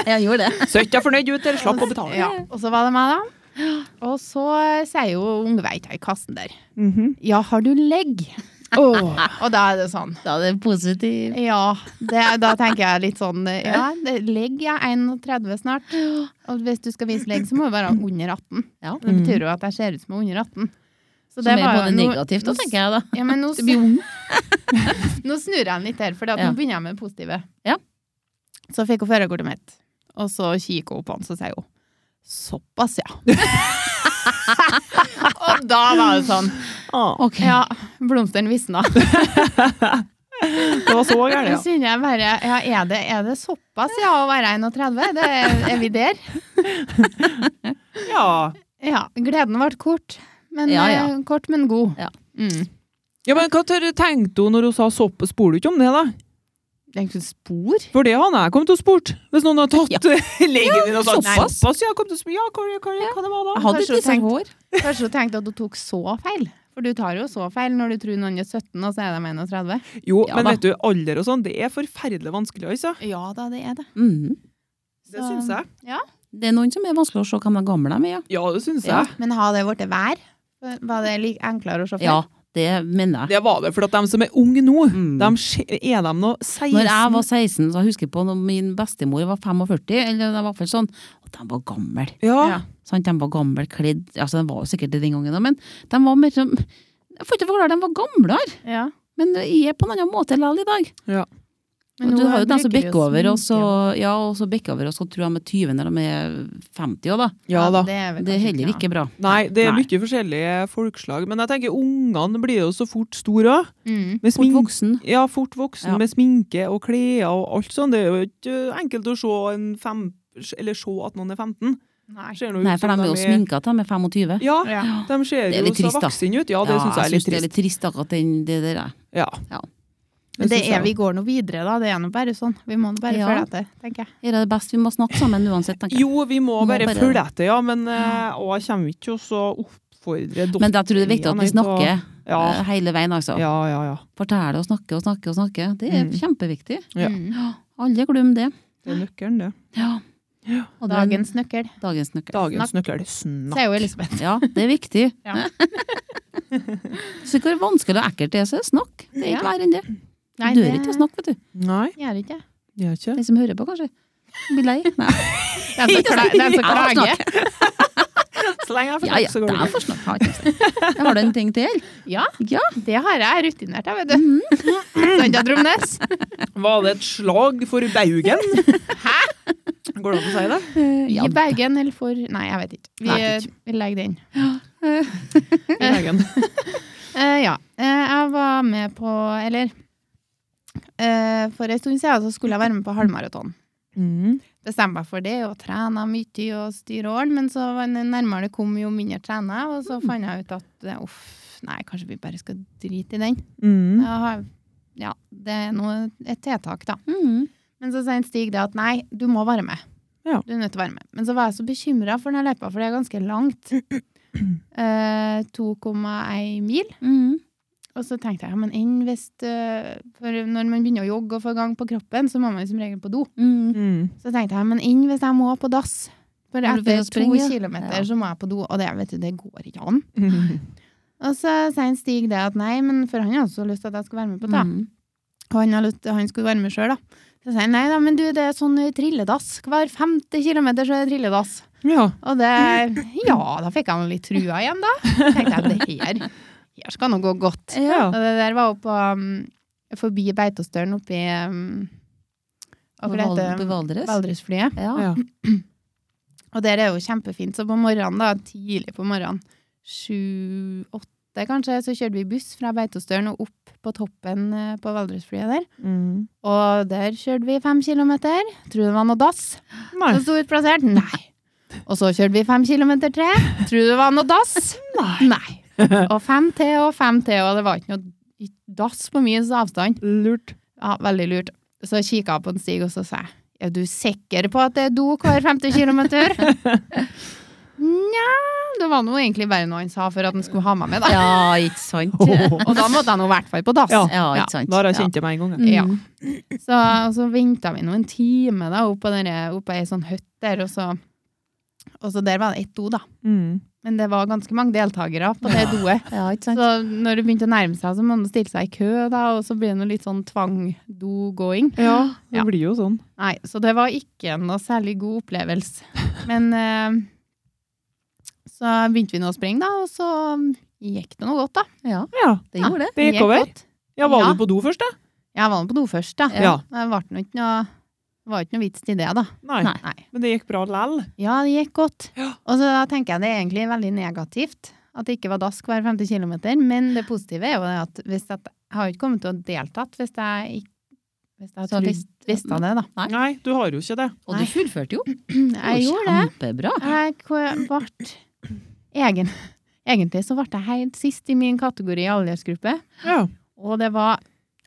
S3: Jeg gjorde det.
S2: Så ikke jeg fornøyd ut, eller slapp å betale.
S1: ja. Og så var det meg, da. Og så eh, sier jo ungveita i kassen der
S2: Mhm.
S1: Ja, har du legg?
S2: Åh.
S1: [laughs] Og da er det sånn.
S3: Da er det positivt.
S1: Ja, det, da tenker jeg litt sånn Ja, det, legg jeg er 31 snart. Og hvis du skal vise legg, så må jeg være under 18.
S3: Ja. Mm.
S1: Det betyr jo at jeg ser ut som jeg er under 18. Så
S3: Som er både
S1: noe-
S3: negativt, da,
S1: noe-
S3: tenker jeg da.
S1: Ja, men nå,
S3: ung.
S1: [laughs] nå snur jeg den litt her, for
S3: Ja.
S1: nå begynner jeg med det positive.
S3: Ja.
S1: Så fikk hun førerkortet mitt, og så kikker hun på han, så sier hun Såpass, ja.
S3: [laughs]
S1: og da var det sånn.
S2: Åh.
S3: Ok.
S1: Ja, blomstene
S3: [laughs]
S1: visna.
S2: Det var så gærent,
S1: Da
S2: ja.
S1: kjenner jeg bare Ja, er det, er det såpass, ja, å være 31? Det er, er vi der?
S2: ja.
S1: Ja. Gleden ble kort, men,
S3: Ja, ja.
S1: eh, kort, men god.
S3: Ja.
S1: Mm.
S2: Ja, men Hva tør- tenkte hun når hun sa sopp? Spor du ikke om det, da?
S1: Det er ikke spor.
S2: For det hadde jeg kommet til å spurt. Hvis noen hadde [laughs] tatt legen din og sagt
S3: såpass.
S2: "Nei, såpass, ja, kom til å spørre, ja, hva, hva, hva, det var da?
S3: Jeg hadde
S1: Kanskje
S3: ikke
S1: hun
S3: så
S1: tenkte-
S3: hår.
S1: Kanskje hun tenkte at hun tok så feil. For du tar jo så feil når du tror noen er 17, og så er de 31.
S2: Jo,
S3: Ja
S2: men
S3: da.
S2: vet du, alder og sånn, det er forferdelig vanskelig, altså.
S1: Ja da, det er det.
S3: Mhm.
S2: Det
S1: Så-
S2: syns jeg.
S3: Det er noen som er vanskelig å se hvem de gamle de er.
S2: Ja, det syns
S1: Ja.
S2: jeg.
S1: Men har det blitt vær? Var det like enklere å se
S3: Ja.
S1: feil?
S3: ja, det mener jeg.
S2: Det var det, for at de som er unge nå,
S3: Mm.
S2: de, skje- er de nå 16?
S3: Når jeg var 16, så husker jeg på når min bestemor var 45, eller det var i hvert fall sånn, og de var gamle.
S2: Ja.
S1: Ja.
S3: Sant? De var gammel kledd, altså de var jo sikkert det den gangen, da, men de var mer som Jeg får ikke forklare, de var gamlere,
S1: Ja.
S3: men jeg er på en annen måte likevel i dag.
S1: Men
S3: og du
S1: nå
S3: har jo den som
S1: bruker vi
S3: bikker over, og så,
S1: sminke,
S3: ja, og så bikker over, og så tror de er 20 når de er 50 òg, da.
S2: ja da.
S1: Det er, vel
S3: Det er
S1: kanskje
S3: heller ikke bra.
S2: Nei, det er
S3: Nei.
S2: mye forskjellige folkeslag. Men jeg tenker ungene blir jo så fort store òg.
S1: Mm.
S2: Med
S3: Fort
S2: sminke.
S3: voksen.
S2: Ja, fort voksen
S3: Ja.
S2: med sminke og klær og alt sånn. Det er jo ikke enkelt å se, en fem, eller se at noen er 15.
S1: Nei.
S2: Ser nå ut
S3: Nei, for
S2: som
S3: de er jo sminka til de er 25.
S2: Ja,
S1: Ja.
S2: de ser
S3: Det er
S2: jo
S3: litt
S2: så
S3: trist, da.
S2: vaksne ut. Ja, det syns jeg er
S3: synes
S2: litt
S3: det er
S2: trist.
S3: litt trist, akkurat den, det der. jeg.
S2: Ja.
S3: Ja.
S1: Men det
S2: synes jeg
S1: er vi går nå videre, da. Det er nå bare sånn. Vi må nå bare
S3: Ja.
S1: følge etter, tenker jeg.
S3: Her er det best vi må snakke sammen uansett, tenker jeg.
S2: Jo, vi må
S3: Må
S2: bare
S3: bare-
S2: følge etter, ja. Men eh, og jeg kommer ikke til å oppfordre dere.
S3: Men jeg tror det er viktig at vi snakker
S2: Ja,
S3: eh, hele veien, altså.
S2: ja, ja. ja.
S3: Fortelle og snakke og snakke og snakke. Det er
S2: Mm.
S3: kjempeviktig.
S2: Ja.
S1: Mm.
S3: Alle glemmer det.
S2: Det er nøkkelen, det.
S3: Ja.
S2: Ja.
S3: Og det er en-
S1: Dagens nøkkel,
S3: dagens nøkkel.
S2: Dagens nøkkel. Snakk.
S1: sier jo Elisabeth.
S3: Ja, det er [laughs] viktig.
S1: Ja.
S3: Så hvor vanskelig og ekkelt det er, så snakk. Det er
S1: Ja.
S3: ikke verre enn det. Du
S1: Nei,
S3: dør
S1: det-
S3: ikke å snakke, vet du.
S2: Nei,
S1: Gjør ikke
S3: [laughs]
S1: det.
S2: det er ikke
S3: De som hører på, kanskje. Blir lei. Nei.
S1: Den som kla- den som
S3: Jeg får
S1: klager.
S3: snakke.
S2: Så lenge jeg
S3: [laughs] Ja, ja, det er for snakk. Har ikke snakk. Har du en ting til?
S1: Ja,
S3: Ja. Mm.
S1: det har jeg rutinert, jeg, vet [laughs] du. Sånn, Sant, ja, Dromnes?
S2: Var det et slag for Baugen? [laughs] Hæ? Går det an å si det?
S1: I
S3: ja.
S1: Bergen eller for Nei, jeg vet ikke. Vi,
S2: Nei, jeg vet
S1: vi legger det inn.
S3: [laughs]
S2: I Bergen.
S1: Eh, ja. Eh, jeg var med på Eller eh, for en stund siden så skulle jeg være med på halvmaraton.
S2: Mm.
S1: Bestemte meg for det og trena mye og styre åren, men så var det nærmere det kom, jo mindre trena jeg, og så
S2: Mm.
S1: fant jeg ut at eh, uff, nei, kanskje vi bare skal drite i den.
S2: Mm.
S1: Jeg har- Ja, det er nå et tiltak, da.
S3: Mm.
S1: Men så sier Stig det at nei, du må være med.
S2: Ja.
S1: Du er nødt til å være med. Men så var jeg så bekymra for den løypa, for det er ganske langt.
S3: [clears throat]
S1: Eh, 2,1 mil.
S3: Mm.
S1: Og så tenkte jeg, ja, men enn hvis eh, For når man begynner å jogge og få gang på kroppen, så må man jo som regel på do.
S3: Mm.
S2: Mm.
S1: Så tenkte jeg, men enn hvis jeg må på dass? For
S3: Når du
S1: etter
S3: begynner å
S1: to
S3: springe, ja.
S1: kilometer
S3: Ja.
S1: så må jeg på do, og det, vet du, det går ikke an.
S2: Mm.
S1: Og så sier Stig det at nei, men for han har også lyst til at jeg skal være med på det.
S3: Mm.
S1: Og han, har lyst, han skulle være med sjøl, da. Så sier han nei da, men du, det er sånn trilledass. Hver femte kilometer så er det trilledass.
S2: Ja.
S1: Og det Ja, da fikk jeg nå litt trua igjen, da. Tenkte jeg, det her, her skal nå gå godt.
S2: ja.
S1: Og det der var jo på um, forbi Beitostølen oppi um, hva
S3: På
S1: heter
S3: Val-
S1: det?
S3: på Valdres.
S1: Valdresflyet.
S3: Ja.
S2: ja.
S1: Og der er jo kjempefint. Så på morgenen, da, tidlig på morgenen, sju-åtte kanskje, så kjørte vi buss fra Beitostølen og opp på toppen eh, på Valdresflyet der.
S2: Mm.
S1: Og der kjørte vi fem kilometer. Tror det var noe dass.
S2: Nei.
S1: Så sto utplassert. Nei. Og så kjørte vi fem kilometer til. Tror det var noe dass.
S2: Nei.
S1: Nei. Og fem til og fem til, og det var ikke noe dass på mye avstand.
S2: Lurt.
S1: Ja, veldig lurt. Så kikket jeg på en stig, og så sa jeg, er du sikker på at det er do hver femte kilometer? Nja, det var noe egentlig bare noe han sa for at han skulle ha meg med, da.
S3: Ja, ikke sant.
S2: Åh.
S1: Og da måtte jeg nå i hvert fall på dass.
S2: Ja.
S3: [laughs] Ja,
S1: Ja,
S3: ikke sant.
S2: Da har jeg kjent det med en gang. jeg.
S1: Ja.
S3: Mm.
S1: Så, og så ventet vi nå en time da, opp på, denne, opp på ei sånn høtt der, og så Og så der var det ett do, da.
S2: Mm.
S1: Men det var ganske mange deltakere på det doet.
S4: Ja, ikke sant?
S1: Så når det begynte å nærme seg, så må man stille seg i kø, da, og så blir det noe litt sånn tvang-do-going.
S2: Ja, det
S1: Ja.
S2: blir jo sånn.
S1: Nei, så det var ikke noe særlig god opplevelse. Men eh, så begynte vi nå å springe, da, og så gikk det noe godt, da.
S4: Ja,
S2: Ja,
S4: det gjorde det.
S2: det gikk over.
S1: godt.
S2: Ja, var
S1: Ja.
S2: du på do først, da?
S1: Jeg var nå på do først, da.
S2: Ja.
S1: Det var ikke noe, det var ikke noe vits i det, da.
S2: Nei.
S4: Nei.
S1: Nei.
S2: Men det gikk bra lell.
S1: Ja, det gikk godt.
S2: Ja.
S1: Og så da tenker jeg det er egentlig veldig negativt at det ikke var dask hver 50 km, men det positive er jo det at hvis at, jeg har jo ikke kommet til å deltatt hvis jeg ikke hvis jeg
S4: Så
S1: hadde
S4: hvis-
S1: visst- visst av det, da.
S4: Nei.
S2: Nei, du har jo ikke det.
S4: Og du fullførte jo.
S2: Mm.
S1: Jeg gjorde det.
S4: Kjempebra.
S1: Jeg k- ble egen, [laughs] Egentlig så ble jeg helt sist i min kategori i aldersgruppe.
S2: Ja.
S1: Og det var,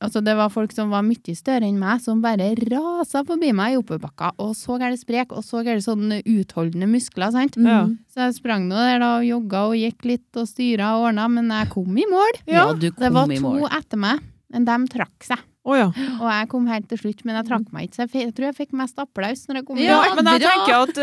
S1: altså det var folk som var mye større enn meg, som bare rasa forbi meg i oppoverbakka. Og så er det sprek, og så er det sånne utholdende muskler. sant?
S2: Ja.
S4: Mm.
S1: Så jeg sprang nå der da, og jogga og gikk litt og styra og ordna, men jeg kom i mål.
S4: Ja, du
S1: Det var
S4: kom i
S1: to
S4: mål.
S1: etter meg, men de trakk seg.
S2: Å ja.
S1: Og jeg kom helt til slutt, men jeg trakk meg ikke. Så jeg, f- jeg tror jeg fikk mest applaus når jeg kom i
S4: Ja,
S2: ja. Men jeg
S4: bra.
S2: tenker at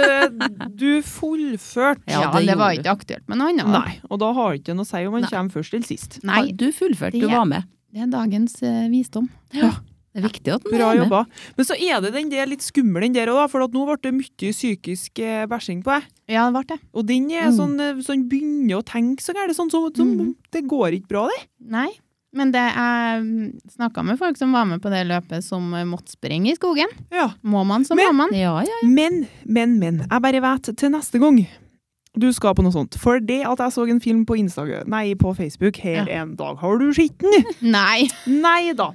S2: eh, du fullførte.
S1: [laughs] Ja,
S4: Ja,
S1: det,
S4: det
S1: var
S4: gjorde
S1: ikke aktuelt med noe annet. da.
S2: Nei, og da har det ikke noe å si om man
S4: Nei.
S2: kommer først eller sist.
S1: Nei,
S4: Du fullførte,
S1: Det-
S4: du var med.
S1: det er dagens eh, visdom.
S4: Det er viktig at den
S2: Bra
S4: er med.
S2: jobba. Men så er det den der litt skummel, den der òg, for at nå ble det mye psykisk eh, bæsjing på deg.
S1: Ja, det ble det.
S2: Og den er
S4: Mm.
S2: sånn, eh, sånn begynner å tenke så gærent. Sånn, så, så,
S1: Mhm.
S2: Det går ikke bra, det.
S1: Nei. Men det, jeg snakka med folk som var med på det løpet, som eh, måtte springe i skogen.
S2: Ja.
S1: Må man, så må
S2: Men-
S1: man.
S4: Ja, ja.
S2: Men, men, men. Jeg bare vet til neste gang du skal på noe sånt. For det at jeg så en film på Instagram, nei, på Facebook her en dag Har du
S4: [laughs]
S2: skitten?
S1: Nei.
S2: nei da.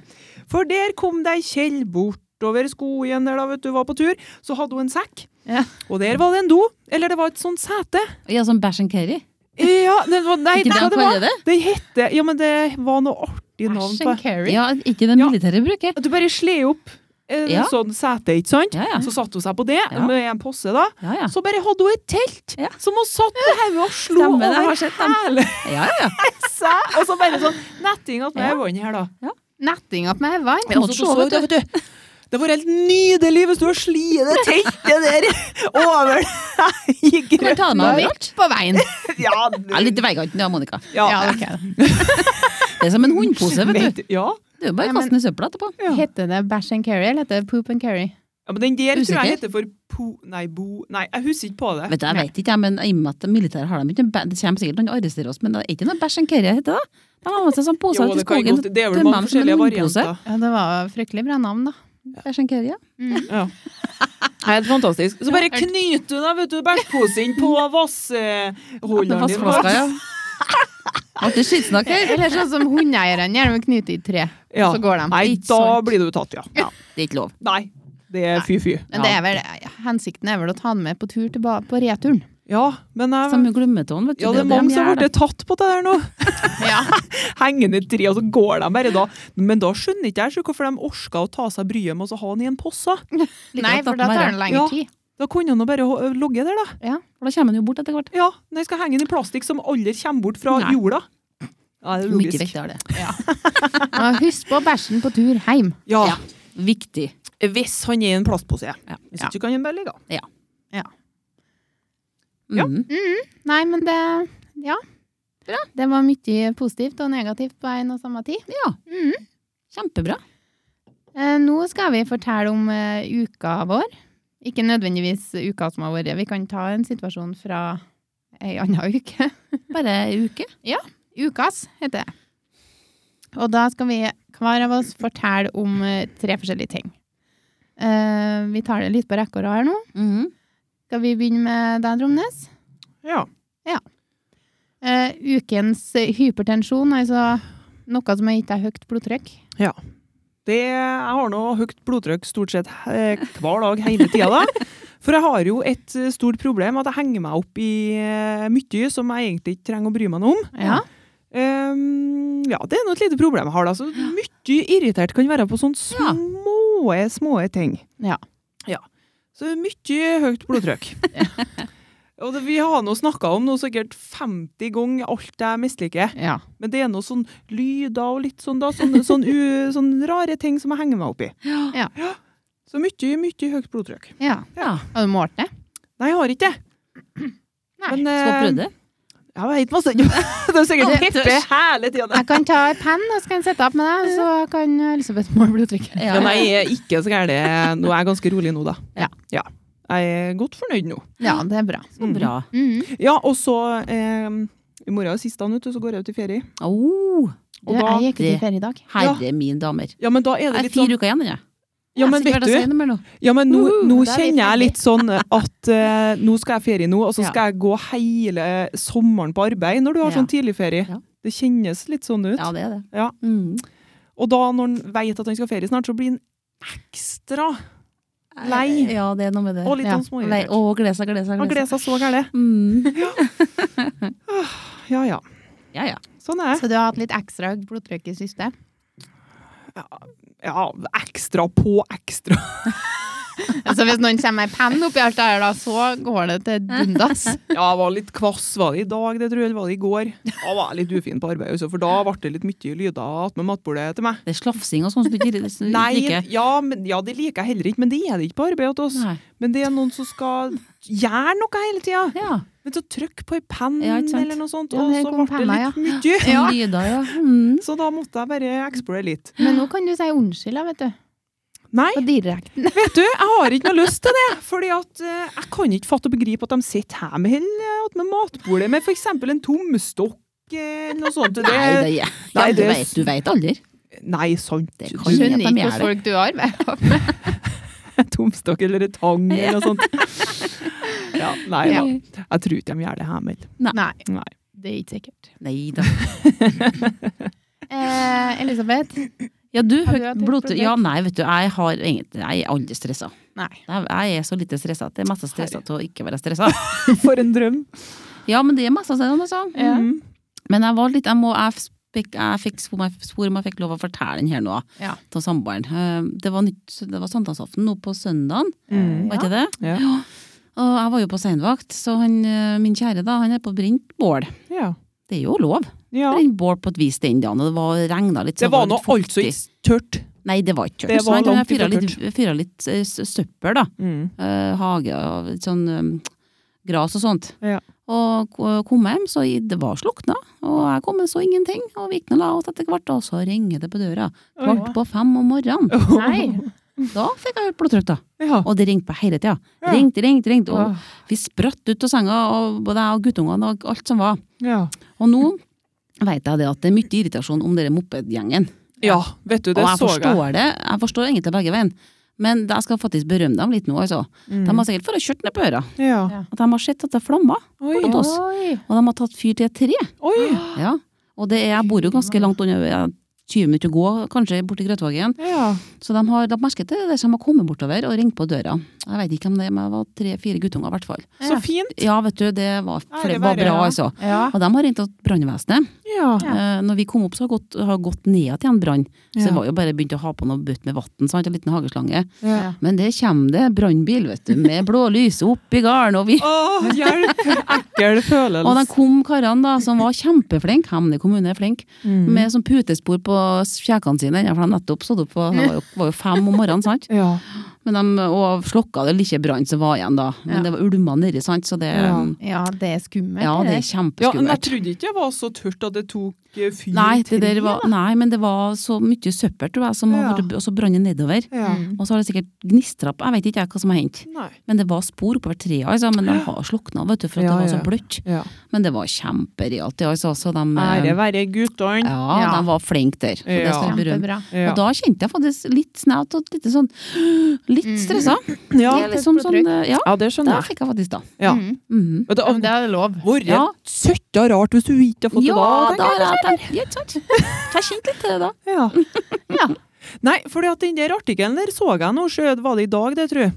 S2: For der kom deg Kjell bortover skogen der da, vet du, var på tur. Så hadde hun en sekk.
S1: Ja.
S2: Og der var det en do. Eller det var et
S4: [laughs]
S2: sånt sete.
S4: Ja, som Bæsj and Kerry.
S2: Ja, det var, nei,
S4: Ikke det
S2: hva
S4: han
S2: det var.
S4: kaller det?
S2: Det hette Ja, men det var noe artig navn
S1: Ash
S2: på
S1: and Carrie.
S4: Ja, ikke det
S2: Ja.
S4: militære bruker.
S2: Du bare sler opp en
S4: Ja.
S2: sånn sete, ikke sant?
S4: Ja, ja.
S2: Så satte hun seg på det
S4: Ja.
S2: med en posse, da.
S4: Ja, ja.
S2: Så bare hadde hun et telt
S4: Ja.
S2: som hun satt på hodet og slo
S4: Stemmer, det har
S2: over
S4: jeg sett dem.
S2: hele
S4: ja, ja, ja.
S2: seg. Og så bare sånn netting at med øynene her, da.
S1: Netting opp med vann.
S4: Ja, og så så
S2: du, vet du. Det var helt nydelig hvis du har sliet det teltet der over deg [laughs] i
S4: Du kan ta det med
S1: Og
S4: overalt.
S1: vilt på veien.
S2: Ja,
S4: Ja, litt i veikanten, ja, Monica.
S1: Ja,
S2: ja.
S1: ok.
S4: Det er som en hundpose, vet du.
S2: Vet- ja.
S4: Det er jo bare
S1: Ja,
S4: å kaste den
S1: men-
S4: i søpla etterpå.
S2: Ja.
S1: Heter det Bæsj and Carry, eller heter det Poop and Carry?
S2: ja, men den der tror jeg
S4: Usikker?
S2: heter for po... Nei, bo... Nei, jeg husker ikke på det.
S4: Vet du, jeg vet ikke, jeg, men i og med at militæret har dem ikke, en bæ- det kommer sikkert noen og arresterer oss, men det er ikke noe bæsj enn kerry heter det? De har med seg sånn pose
S2: Jo,
S4: ut i
S2: det, kan
S4: skogen.
S2: godt, det er vel
S4: tømmer dem som
S2: mange
S4: en
S2: forskjellige
S4: hundpose.
S2: varianter.
S1: Ja, det var jo fryktelig bra navn, da.
S4: Bæsj enn kerry, ja.
S2: Ja. Helt fantastisk. Så bare knyter du deg, vet du, bæsjposen
S4: [laughs]
S2: på vassholderen din.
S4: Vassflaska, ja.
S3: [laughs]
S4: Artig skittsnakk her.
S1: [laughs] Eller sånn som hundeeierne gjør, de knyter i tre,
S2: Ja.
S1: og så går de.
S2: Nei,
S4: Ikke
S2: da
S4: sant.
S2: blir du tatt, ja.
S4: Ja, det er ikke lov.
S2: Nei, det er fy-fy.
S1: Men det er vel, hensikten er vel å ta den med på tur tilba- på returen.
S2: Ja, men jeg,
S4: Samme glemmetåen, vet du.
S2: ja, det
S4: jo
S2: er mange
S4: de
S2: som
S4: gjør,
S2: har
S4: da.
S2: blitt tatt på det der nå.
S1: Ja.
S2: Hengende i et tre, og så går de bare da. Men da skjønner ikke jeg så hvorfor de orka å ta seg bryet med å ha den i en posse.
S4: Litt
S1: [laughs] Nei,
S4: rart
S1: for
S4: at
S1: da
S4: de
S1: tar
S4: er
S1: den
S4: det.
S1: lengre
S2: Ja.
S1: tid.
S2: Da kunne han jo bare ho- ligge der, da.
S4: For da kommer den jo bort etter hvert.
S2: Ja, Nei, skal henge den i plastikk som aldri kommer bort fra
S4: Nei.
S2: jorda. Ja, det er
S4: Mye
S2: logisk.
S4: viktigere det.
S1: Og husk på bæsjen på tur hjem.
S2: Ja,
S4: Ja. Viktig.
S2: Hvis han er i en plastpose.
S4: Ja.
S2: Hvis ikke kan han bare ligge. Ja.
S4: Mm.
S1: Nei, men det Ja. Det var mye positivt og negativt på en og samme tid.
S4: Ja. Kjempebra.
S1: Eh, Nå skal vi fortelle om eh, uka vår. Ikke nødvendigvis uka som har vært. Vi kan ta en situasjon fra ei anna [laughs] uke.
S4: Bare ei uke.
S1: Ukas heter det. Og da skal vi hver av oss fortelle om eh, tre forskjellige ting. Eh, Vi tar det litt på rekke og rad her nå.
S3: Mm.
S4: Mhm.
S1: Skal vi begynne med deg, Tromnes?
S2: Ja.
S1: Eh, ukens hypertensjon, altså noe som har gitt deg høyt blodtrykk.
S2: Det, jeg har nå høyt blodtrykk stort sett eh, hver dag hele tida, da. For jeg har jo et eh, stort problem at jeg henger meg opp i eh, mye som jeg egentlig ikke trenger å bry meg noe om.
S1: Ja.
S2: Ehm, ja, det er nå et lite problem jeg har, da. Så mye irritert kan være på sånne
S4: Ja.
S2: små, små ting.
S1: Ja.
S2: ja. Så mye høyt blodtrykk. Og det, vi har nå snakka om noe sikkert 50 ganger alt jeg misliker.
S1: ja.
S2: Men det er noe sånn lyder og litt sånn da, sånne, sånn u, sånn rare ting som jeg henger meg opp i.
S1: Ja.
S2: Så mye, mye høyt blodtrykk.
S1: ja.
S4: Ja.
S1: Har du målt det?
S2: Nei, jeg har ikke det.
S1: Nei.
S2: Men,
S3: Skal
S2: eh,
S3: prøve det?
S2: Jeg vet masse. [laughs] Det er sikkert
S1: Ja,
S2: Peppe
S1: tørs.
S2: hele tida.
S1: Jeg kan ta en penn og så kan jeg sette opp med deg, så kan Elisabeth måle blodtrykket.
S3: Ja.
S2: Men jeg er ikke så gæren. Nå er jeg ganske rolig nå, da.
S1: Ja.
S2: Jeg er godt fornøyd nå.
S1: Ja, det er bra.
S3: Så bra.
S1: Mm.
S2: Ja, og så eh, I morgen er siste dagen, vet du, så går jeg ut i ferie.
S3: Oh,
S1: Du,
S2: Og da,
S1: jeg gikk ut i ferie i dag.
S3: herre min damer.
S2: ja, men da er det
S3: Jeg er
S2: litt sånn
S3: fire uker igjen, jeg.
S2: Ja, men
S3: Jeg har
S2: vet
S3: sikkert vært å si
S2: du,
S3: noe mer nå.
S2: ja, men nå,
S1: Uhu,
S2: nå
S1: da er vi
S2: kjenner jeg
S1: ferdig.
S2: litt sånn at eh, nå skal jeg ferie nå, og så
S3: Ja.
S2: skal jeg gå hele eh, sommeren på arbeid når du har
S3: Ja.
S2: sånn tidligferie.
S3: Ja.
S2: Det kjennes litt sånn ut.
S3: Ja, det er det.
S2: Ja.
S3: Mm.
S2: Og da, når han vet at han skal ferie snart, så blir han ekstra Lei.
S3: Ja, det er noe med det.
S2: og litt
S1: Ja,
S2: sånn
S3: Lei.
S2: småirritert.
S3: Å, glede seg, glede seg,
S2: Han
S3: glede
S2: gleder
S3: seg.
S2: seg så gærent.
S3: Mm.
S2: Ja, ja.
S3: Ja, ja.
S2: Sånn er det.
S1: Så du har hatt litt ekstra høyt blodtrykk i siste?
S2: Ja, ekstra på ekstra. [laughs]
S1: Altså hvis noen kommer med en penn oppi alt det her, da, så går det til dundas.
S2: Ja, jeg var litt kvass var det i dag, det tror jeg, eller var det i går. Da var jeg litt ufin på arbeid, også, for da ble det litt mye lyder attmed matbordet til meg.
S3: Det er slafsing og sånn som du
S2: [laughs]
S3: ikke som du ikke
S2: Nei,
S3: liker.
S2: ja, men, ja, det liker jeg heller ikke, men det er det ikke på arbeid hos oss.
S3: Nei.
S2: Men det er noen som skal gjøre noe hele tida.
S3: Ja.
S2: Men så trykk på ei penn
S3: Ja, ikke sant.
S2: eller noe sånt,
S1: Ja,
S2: og
S1: det
S2: så
S1: kom
S2: ble det
S1: penna,
S2: litt mye.
S3: Sånn Lyder, [laughs] ja. Mm.
S2: Så da måtte jeg bare explore litt.
S1: Men nå kan du si unnskyld, da, vet du.
S2: Nei,
S1: På direkten.
S2: vet du, jeg har ikke noe lyst til det. Fordi at eh, jeg kan ikke fatte og begripe at de sitter her med hell med matbordet med f.eks. en tomstokk eh, eller noe sånt. Det,
S3: [laughs] Nei, det er, ja,
S2: Nei,
S3: du,
S2: det-
S3: vet, du vet aldri.
S2: Nei, sant.
S3: Det
S2: Du-
S3: kan jeg.
S1: Skjønner ikke hvordan folk du arbeider med.
S2: Tomstokk eller en tang eller noe sånt.
S3: [laughs]
S2: Ja, nei da. Jeg tror ikke de gjør det her, men
S1: [laughs] Nei,
S2: nei.
S1: det er ikke sikkert.
S3: Nei da.
S1: Eh, Elisabeth?
S3: Ja, du,
S1: Har du
S3: høyt
S1: hatt et
S3: blodtrykk
S1: problem?
S3: Ja, nei, vet du, jeg har egentlig Jeg er aldri stressa.
S1: Nei.
S3: Jeg jeg er så lite stressa at det er mest stressa til å ikke være stressa.
S2: For en drøm.
S3: Ja, men det er mest stressa, altså.
S1: Ja.
S2: Mm.
S3: Men jeg var litt Jeg, må, jeg, fikk, jeg fikk spor, jeg spor om jeg fikk lov å fortelle den her nå,
S1: Ja.
S3: til samboeren. Eh, Det var, nytt, det var sankthansaften nå på søndagen,
S2: Mm.
S3: var ikke det?
S2: Ja.
S3: Og jeg var jo på seinvakt, så han, eh, min kjære da, han er på brent bål.
S2: Ja.
S3: Det er jo lov.
S2: ja.
S3: Brent bål på et vis den dagen, og det var regna litt. så
S2: Det var nå
S3: litt
S2: altså
S3: fuktig.
S2: ikke tørt.
S3: Nei, det var ikke
S2: Det
S3: tørt.
S2: var
S3: Så han
S2: langt ifra
S3: fyra litt, fyra litt eh, s- søppel, da.
S2: Mm.
S3: Eh, hage og litt sånn um, gras og sånt.
S2: Ja.
S3: Og k- kom hjem, så i- det var slukna. Og jeg kom og så ingenting. Og vi gikk nå og la oss etter hvert, og så ringer det på døra. Kvart på fem om morgenen.
S1: Nei.
S3: Da fikk jeg høyt blodtrykk, da.
S2: Ja.
S3: Og det ringte på hele tida.
S2: Ja. Ah,
S3: Ringte, ringte, ringte. Og
S2: Åh.
S3: vi spratt ut av senga, og både jeg og guttungene og alt som var.
S2: Ja.
S3: Og nå veit jeg det at det er mye irritasjon om denne mopedgjengen.
S2: ja, vet du, det
S3: Og jeg
S2: så jeg.
S3: forstår det. Jeg forstår egentlig begge veien. Men jeg skal faktisk berømme dem litt nå, altså. De har sikkert fått kjørt ned på øra.
S2: Mm. Ja.
S3: At de har sett at det flammer.
S2: Oi.
S3: Rundt oss.
S1: Oi.
S3: Og de har tatt fyr til et tre.
S2: Oi.
S3: Ja. Og det er, jeg bor jo ganske langt unna, jeg har 20 minutter å gå kanskje bort til Grøtvågen.
S2: Ja.
S3: Så de har lagt merke til det der som har kommet bortover og ringt på døra. Jeg vet ikke om det men det var tre-fire guttunger i hvert fall.
S2: Så
S1: Ja.
S2: fint.
S3: Ja, vet du, det var,
S2: Ære
S3: for det var
S2: være,
S3: bra,
S2: ja.
S3: altså.
S1: Ja.
S3: Og de har ringt til brannvesenet.
S2: Ja.
S1: Ja.
S3: Eh, Når vi kom opp, så har gått, har gått ned igjen brann. Så
S2: Ja.
S3: det var jo bare begynt å ha på noe bøtt med vann, sant, en liten hageslange.
S2: Ja.
S3: Men der kommer det brannbil, vet du, med blålys opp i garn, og vi
S2: Å, hjelp! Ekkel
S3: Og de
S2: følelse.
S3: kom karene da, som var kjempeflinke, Hemne kommune er flink,
S2: Mm.
S3: med sånn putespor på kjekene sine, for de hadde nettopp stod opp, og det var jo, var jo fem om morgenen, sant?
S2: Ja.
S3: Men de, og slokka det lille brann som var igjen da, men
S1: Ja.
S3: det var ulma nedi, sant? Så det,
S2: Ja.
S3: ja,
S1: ja, det er skummelt.
S3: det
S1: det
S3: er
S2: ja, men jeg
S3: kjempeskummelt.
S2: trodde ikke det var så tørt at det tok eh, fyr
S3: Nei, det
S2: til
S3: der var, nei, men det var så mye søppel, tror jeg, som har
S2: Ja.
S3: vært- og så brann det nedover.
S2: ja.
S1: Mm.
S3: Og så har det sikkert gnistra på, jeg vet ikke jeg hva som har hendt.
S2: Nei.
S3: Men det var spor oppover treet, altså, men de har slokna, vet du, for at
S2: Ja,
S3: det var
S2: ja.
S3: så bløtt.
S2: Ja.
S3: Men det var kjemperealt, det, altså, så de... eh,
S2: Ære være guttene.
S3: Ja,
S1: Ja.
S3: de var flinke der. Så
S2: Ja.
S3: det skal jeg berømme.
S1: Kjempebra.
S2: Ja.
S3: Og da kjente jeg faktisk litt snaut og litt sånn [gasps] Litt
S1: Mm.
S3: stressa.
S2: Ja.
S3: Det er liksom sånn, eh, ja,
S2: ja, det
S3: det
S2: skjønner jeg.
S3: fikk jeg faktisk da.
S2: Ja.
S1: Mm.
S3: Mhm.
S2: Men det
S1: Ja, men det
S2: har
S1: er det lov.
S2: vært
S3: Ja.
S2: søtta rart hvis du ikke har fått
S3: Ja,
S2: det
S3: da
S2: da. tenker jeg.
S3: har jeg tenkt Ja, ikke sant? Så Jeg kjente litt til det da.
S2: [laughs] Ja.
S1: Ja.
S2: Nei, fordi at den der artikkelen der så jeg nå, sjø- var det i dag, det, tror jeg.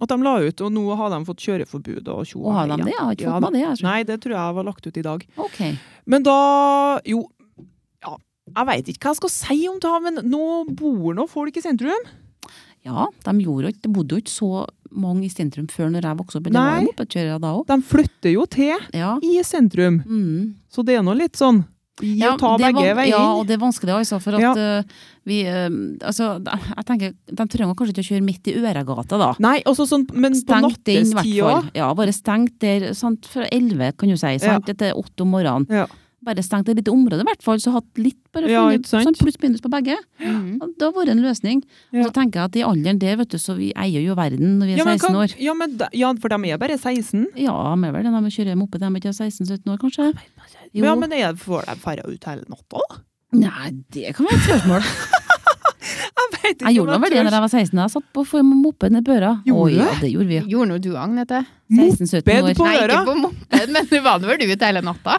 S2: At de la ut, og nå har de fått kjøreforbud og tjo.
S3: Og har de det? Jeg har ikke fått med det. Jeg. tror.
S2: Nei, det tror jeg var lagt ut i dag.
S3: Ok.
S2: Men da Jo, ja, jeg veit ikke hva jeg skal si om det, men nå bor nå folk i sentrum.
S3: Ja, de gjorde jo ikke Det bodde jo ikke så mange i sentrum før når jeg vokste opp. men Det var
S2: Nei.
S3: jo mopedkjørere da òg.
S2: De flytter jo til
S3: Ja.
S2: i sentrum,
S3: Mhm.
S2: så det er nå litt sånn I å ta
S3: det er
S2: begge
S3: van-
S2: veier.
S3: Ja, og det er vanskelig, altså. For at
S2: Ja.
S3: eh, vi eh, Altså, jeg tenker, de trenger kanskje ikke å kjøre midt i Øregata, da.
S2: Nei, også sånn, men på
S3: Stengt den, i hvert
S2: nattestid
S3: fall.
S2: òg.
S3: Ja, bare stengt der sant, fra elleve, kan du si. Sant? Etter åtte om morgenen.
S2: Ja.
S3: Bare stengt et lite område, i hvert fall. Så hatt litt bare
S2: Ja,
S3: funnet
S2: ikke sant?
S3: sånn pluss-minus på begge.
S1: Mm.
S3: Ja, Det har vært en løsning.
S2: Ja.
S3: Og så tenker jeg at i alderen der, vet du, så vi eier jo verden når vi er
S2: Ja, men
S3: 16
S2: kan-
S3: år.
S2: ja, men da- ja, for de er bare 16.
S3: Ja, vi er vel det når vi kjører moped, de er ikke 16-17 år, kanskje? Jo.
S2: Ja, men er, får de ferde ut hele natta?
S3: Nei, det kan være et
S2: [laughs]
S3: spørsmål.
S2: Jeg vet ikke
S3: Jeg
S2: om
S3: gjorde nå vel det
S2: tør.
S3: da jeg var 16, da jeg satt på for mopeden i Børa.
S2: Gjorde
S3: Å,
S2: du
S3: ja, det gjorde vi.
S1: Gjorde nå du, Agnete?
S3: 16-17
S2: Moped
S3: år.
S2: på-
S1: Nei, ikke
S2: øra?
S1: på moped, [laughs] men du var nå vel ute hele natta?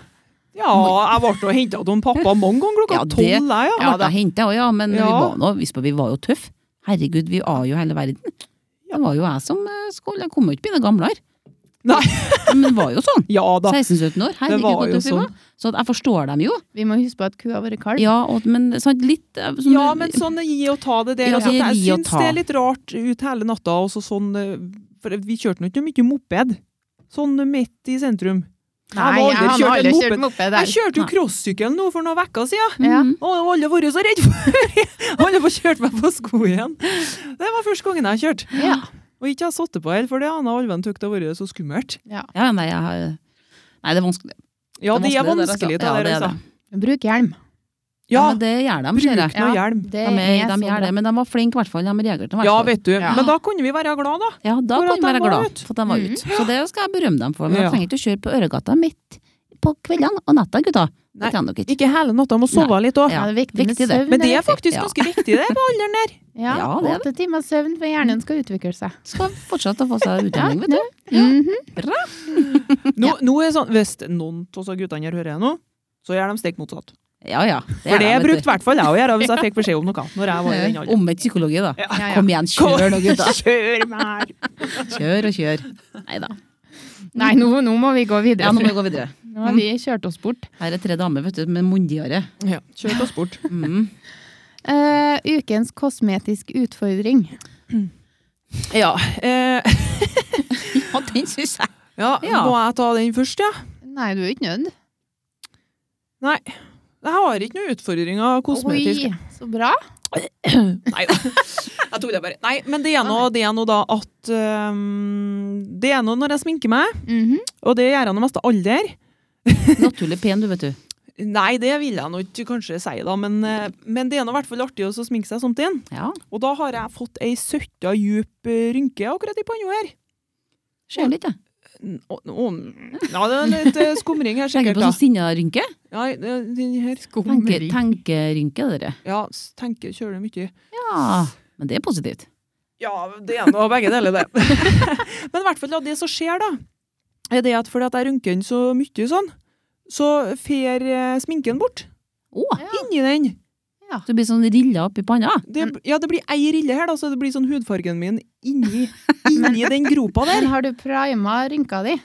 S2: Ja, jeg ble jo henta av pappa mange ganger klokka
S3: Ja, det-
S2: tolv, jeg, ja.
S3: Ja, da hentet jeg også, ja, men vi,
S2: Ja.
S3: var nå, visst, vi var jo tøff. Herregud, vi var jo hele verden. Det var jo jeg som eh, skulle, jeg kom jo ikke mine gamlere.
S2: Nei.
S3: [laughs] Men det var jo sånn.
S2: Ja da.
S3: 16-17 år, herregud,
S2: var
S3: hvor
S2: jo
S3: tøff vi
S2: sånn.
S3: var. Så at jeg forstår dem jo.
S1: Vi må huske på at kua har vært kalv.
S3: Ja, og, men sant, litt eh, som-
S2: Ja, men sånn gi og ta det der.
S3: Ja,
S2: altså,
S3: det er gi
S2: jeg
S3: og
S2: syns
S3: ta.
S2: det er litt rart ut hele natta, og så sånn eh, For vi kjørte nå ikke mye moped. Sånn midt i sentrum.
S1: Nei,
S2: må
S1: jeg har nå aldri kjørt moped.
S2: Jeg
S1: der.
S2: kjørte jo
S3: Nei.
S2: crosssykkel nå for noen uker siden.
S1: Ja.
S3: Mhm.
S2: Og jeg har aldri vært så redd for [laughs] Jeg har aldri fått kjørt meg på sko igjen. Det var første gangen jeg kjørte.
S1: Ja.
S2: Og ikke har satt det på heller, for det andre alven tykte det hadde vært så skummelt.
S3: Ja, nei, jeg har Nei, det er vanskelig.
S2: Ja, det er
S3: vanskelig,
S2: vanskelig,
S3: det der, altså.
S2: det
S3: Ja,
S2: der,
S3: det er
S2: altså.
S3: det.
S1: Bruk hjelm.
S3: Ja,
S2: Ja,
S3: men det gjør de,
S2: bruk
S3: ser jeg.
S2: nå hjelm.
S1: Det
S3: De, er,
S1: er så
S3: de gjør
S1: bra.
S3: det, men de var flinke, i hvert fall. De reagerte i hvert
S2: Ja,
S3: fall.
S2: vet du.
S1: Ja.
S2: Men da kunne vi være glad da.
S3: Ja, da
S2: For
S3: kan
S2: at
S3: vi
S2: de
S3: være
S2: var
S3: glad
S2: ut. Mm.
S3: for at de var
S1: Mhm.
S3: ute. Så det skal jeg berømme dem for.
S2: Ja.
S3: Men de trenger ikke å kjøre på Øregata midt på kveldene og natta, gutta.
S2: Nei,
S3: Det kan dere ikke.
S2: Ikke hele natta, må sove litt òg.
S1: Ja, det er viktig,
S3: Viktig det.
S1: med søvn.
S2: Men det
S1: er
S2: er faktisk
S3: Ja.
S2: ganske viktig, det, på alderen der.
S1: viktig. Ja,
S3: Ja, det Mm. er
S1: Åtte timer søvn for hjernen skal utvikle seg.
S3: Skal fortsette å få seg utdanning, vet du.
S1: Mhm.
S2: Nå, nå er det sånn, Hvis noen av disse guttene her hører jeg nå, så gjør de stikk motsatt.
S3: Ja, ja.
S2: For det
S3: gjør de,
S2: brukte i
S3: vet
S2: hvert fall jeg å gjøre hvis jeg fikk beskjed om noe. Når jeg var i den
S3: du.
S2: alderen.
S3: Omvendt psykologi, da.
S1: Ja, ja.
S3: Kom igjen, kjør nå, gutta.
S2: [laughs] Kjør mer!
S3: Kjør og kjør. Nei da.
S1: Nei, nå, nå må vi gå videre.
S3: Ja, nå må vi gå videre.
S1: Nå har vi kjørt oss bort.
S3: Her er tre damer, vet du, med munndiaré.
S2: Ja, kjør oss bort.
S3: Mm.
S1: Eh, ukens kosmetisk utfordring.
S2: Ja, [laughs] eh,
S3: Ja, den
S2: [laughs]
S3: syns jeg.
S2: ja,
S3: Ja.
S2: Må jeg ta den først, ja?
S1: Nei, du er ikke nødt.
S2: Jeg har ikke noen utfordringer kosmetisk.
S1: Oi, så bra.
S2: Nei da. [laughs] Jeg tok det bare. Nei, men det er nå det er nå da at øhm, Det er nå når jeg sminker meg,
S1: Mhm.
S2: og det gjør jeg nå mest alder.
S3: Naturlig pen, du, vet du.
S2: Nei, det vil jeg nå ikke kanskje si, da, men, eh, men det er nå i hvert fall artig også å sminke seg sånt igjen.
S3: Ja,
S2: Og da har jeg fått ei søtta djup eh, rynke akkurat i panna her.
S3: ser litt, jeg.
S2: N- å- å- Ja, det er litt eh, skumring her,
S3: Tenker
S2: sikkert.
S3: på
S2: da.
S3: sånn sinnarynke.
S2: Ja, det- den her
S3: Tenke, tenkerynke, det der.
S2: Ja, s- tenker kjøler mye.
S3: Ja, men det er positivt.
S2: Ja, det er nå begge deler, det. [laughs] Men i hvert fall da, det som skjer, da, er det at fordi at jeg rynker den så mye sånn, så fer eh, sminken bort.
S3: Å,
S2: Inni den.
S3: du blir sånn rilla opp i panna.
S2: Det, ja, det blir ei rille her, da, så det blir sånn hudfargen min inni, [laughs] inni den gropa der.
S1: Men har du prima rynka di?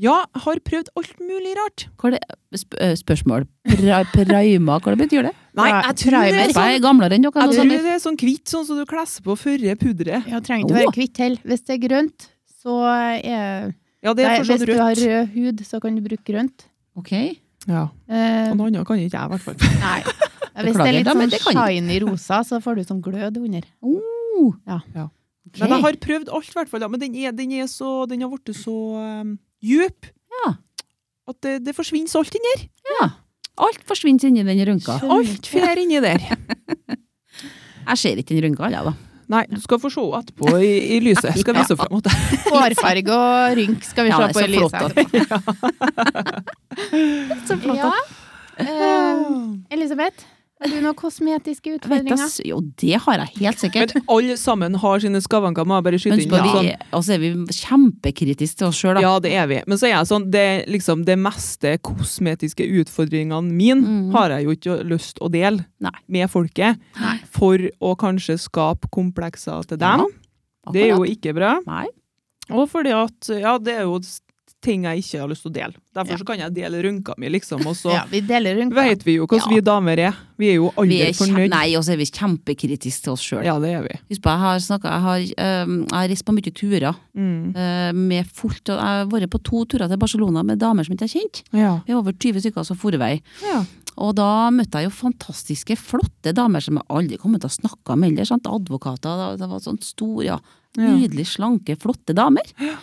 S2: Ja, har prøvd alt mulig rart.
S3: Hva er det, sp ø, spørsmål. Pra, prima, hva det betyr det?
S2: Nei,
S1: Ja,
S2: jeg tror det er
S1: primer.
S2: sånn
S3: Jeg er gamlere enn dere.
S2: Jeg
S3: alle
S2: tror
S3: sammen.
S2: det er sånn hvitt, sånn som du klesser på førre pudret.
S1: Jeg trenger ikke være kvitt heller. Hvis det er grønt, så er
S2: Ja, det
S1: Nei,
S2: er
S1: Hvis
S2: fortsatt
S1: du har
S2: rødt.
S1: rød hud, så kan du bruke grønt.
S3: Ok.
S2: Ja,
S1: Eh,
S2: og noe annet kan ikke jeg, i hvert fall.
S1: [laughs] nei. Hvis det er
S3: Beklager,
S1: litt
S3: da, men
S1: sånn
S3: det kan du.
S1: shiny rosa, så får du sånn glød
S3: [laughs]
S1: under.
S3: Oh,
S2: Men jeg har prøvd alt, i hvert fall. da. Men den, er, den, er så, den har blitt så um, djup
S3: Ja.
S2: at det, det forsvinner så alt inni der.
S3: Alt forsvinner inni den rynka.
S2: Alt fer inni der.
S3: [laughs] Jeg ser ikke den rynka, jeg, da.
S2: Nei, du skal få se etterpå i, i lyset. Skal vise frem at jeg-
S1: Hårfarge og rynk skal vi
S3: Ja,
S1: se
S3: det er
S1: på
S3: så
S1: i lyset.
S3: flott [laughs]
S1: etterpå. [laughs]
S3: Så
S1: Ja. Eh, Elisabeth, har du noen kosmetiske
S3: Vet jeg,
S1: utfordringer?
S3: s- jo, det har jeg helt sikkert.
S2: Men alle sammen har sine skavanker, må jeg bare
S3: Men
S2: skyte inn.
S3: husk på,
S2: sånn.
S3: vi er, altså er vi kjempekritiske til oss sjøl, da.
S2: Ja, det er vi. Men så er jeg sånn, det, er liksom, det meste kosmetiske utfordringene mine
S3: Mhm.
S2: har jeg jo ikke lyst å dele
S3: Nei.
S2: med folket.
S3: Nei.
S2: For å kanskje skape komplekser til
S3: Ja,
S2: dem. det er jo ikke bra.
S3: Nei.
S2: Og fordi at, ja, det er jo s- ting jeg ikke har lyst til å dele. Derfor
S3: Ja.
S2: så kan jeg dele rynka mi, liksom. Og så
S1: Ja, vi deler rynka.
S2: vet vi jo hvordan
S3: Ja.
S2: vi damer er. Vi er jo
S3: Vi
S2: aldri
S3: er kjem,
S2: fornøyd.
S3: nei, og så er vi kjempekritiske til oss sjøl.
S2: Ja, det er vi.
S3: Husk på, jeg har snakket, jeg har, øhm, jeg har reist på mye turer.
S2: Mm.
S3: øh, med fullt, og Jeg har vært på to turer til Barcelona med damer som ikke jeg kjente.
S2: Ja.
S3: Vi er over 20 stykker som for vei.
S2: Ja.
S3: Og da møtte jeg jo fantastiske, flotte damer som jeg aldri kommer til å snakke med ellers. sant? Advokater, da- det var sånn store, ja.
S2: Ja.
S3: nydelig slanke, flotte damer. Men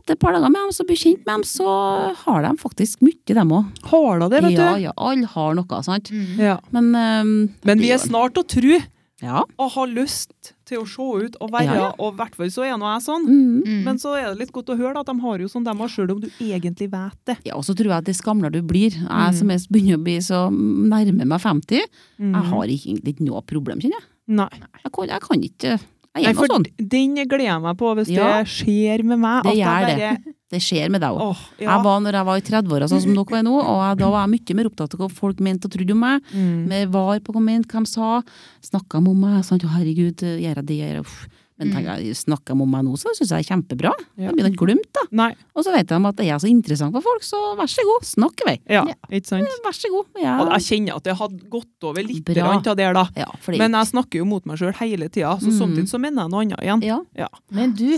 S3: etter et par dager med dem, så blir jeg kjent med dem, så har de faktisk mye, dem òg.
S2: Har da det, vet
S3: Ja,
S2: du. Mm.
S3: ja, alle har noe, sant.
S2: Ja.
S3: Men, ehm,
S2: Men vi
S3: det
S2: er snart å tro
S3: Ja.
S2: og har lyst til å se ut og være,
S3: Ja, ja.
S2: og i hvert fall så er nå jeg sånn.
S3: Mm.
S1: Mm.
S2: Men så er det litt godt å høre da, at de har jo sånn de har, sjøl om du egentlig vet det.
S3: ja, og så tror jeg at dess gamlere du blir,
S2: Mm.
S3: jeg som er begynner å bli så nærmer meg 50, jeg har ikke- egentlig ikke noe problem, kjenner jeg.
S2: Nei.
S3: Jeg kan, jeg kan ikke Jeg
S2: Nei,
S3: er nå
S2: for
S3: sånn.
S2: den gleder jeg meg på hvis
S3: Ja.
S2: det skjer med meg.
S3: Det
S2: at
S3: gjør
S2: jeg bare, det.
S3: Det skjer med deg òg.
S2: Åh, ja.
S3: Jeg var, når jeg var i 30-åra, sånn som dere er nå, og jeg, da var jeg mye mer opptatt av hva folk mente og trodde om meg.
S2: mm.
S3: Med var på hva de mente, hva de sa. Snakka de om meg? Sant? Å, herregud, gjør jeg det? Gjør jeg uff. Men tenker jeg, snakker de om meg nå, så syns jeg det er kjempebra.
S2: Mm. Ja.
S3: Da blir det ikke glemt, da.
S2: Nei.
S3: Og så vet de at er jeg så interessant for folk, så vær så god, snakk i vei.
S2: Ja,
S1: Ja.
S2: ikke sant?
S3: Vær så god.
S2: Og
S3: Jeg,
S2: jeg kjenner at jeg hadde gått over litt
S3: Bra.
S2: grann av det, da.
S3: ja, fordi,
S2: Men jeg snakker jo mot meg sjøl hele tida, så
S3: Mm.
S2: samtidig så mener jeg noe annet igjen.
S3: ja,
S1: Men du,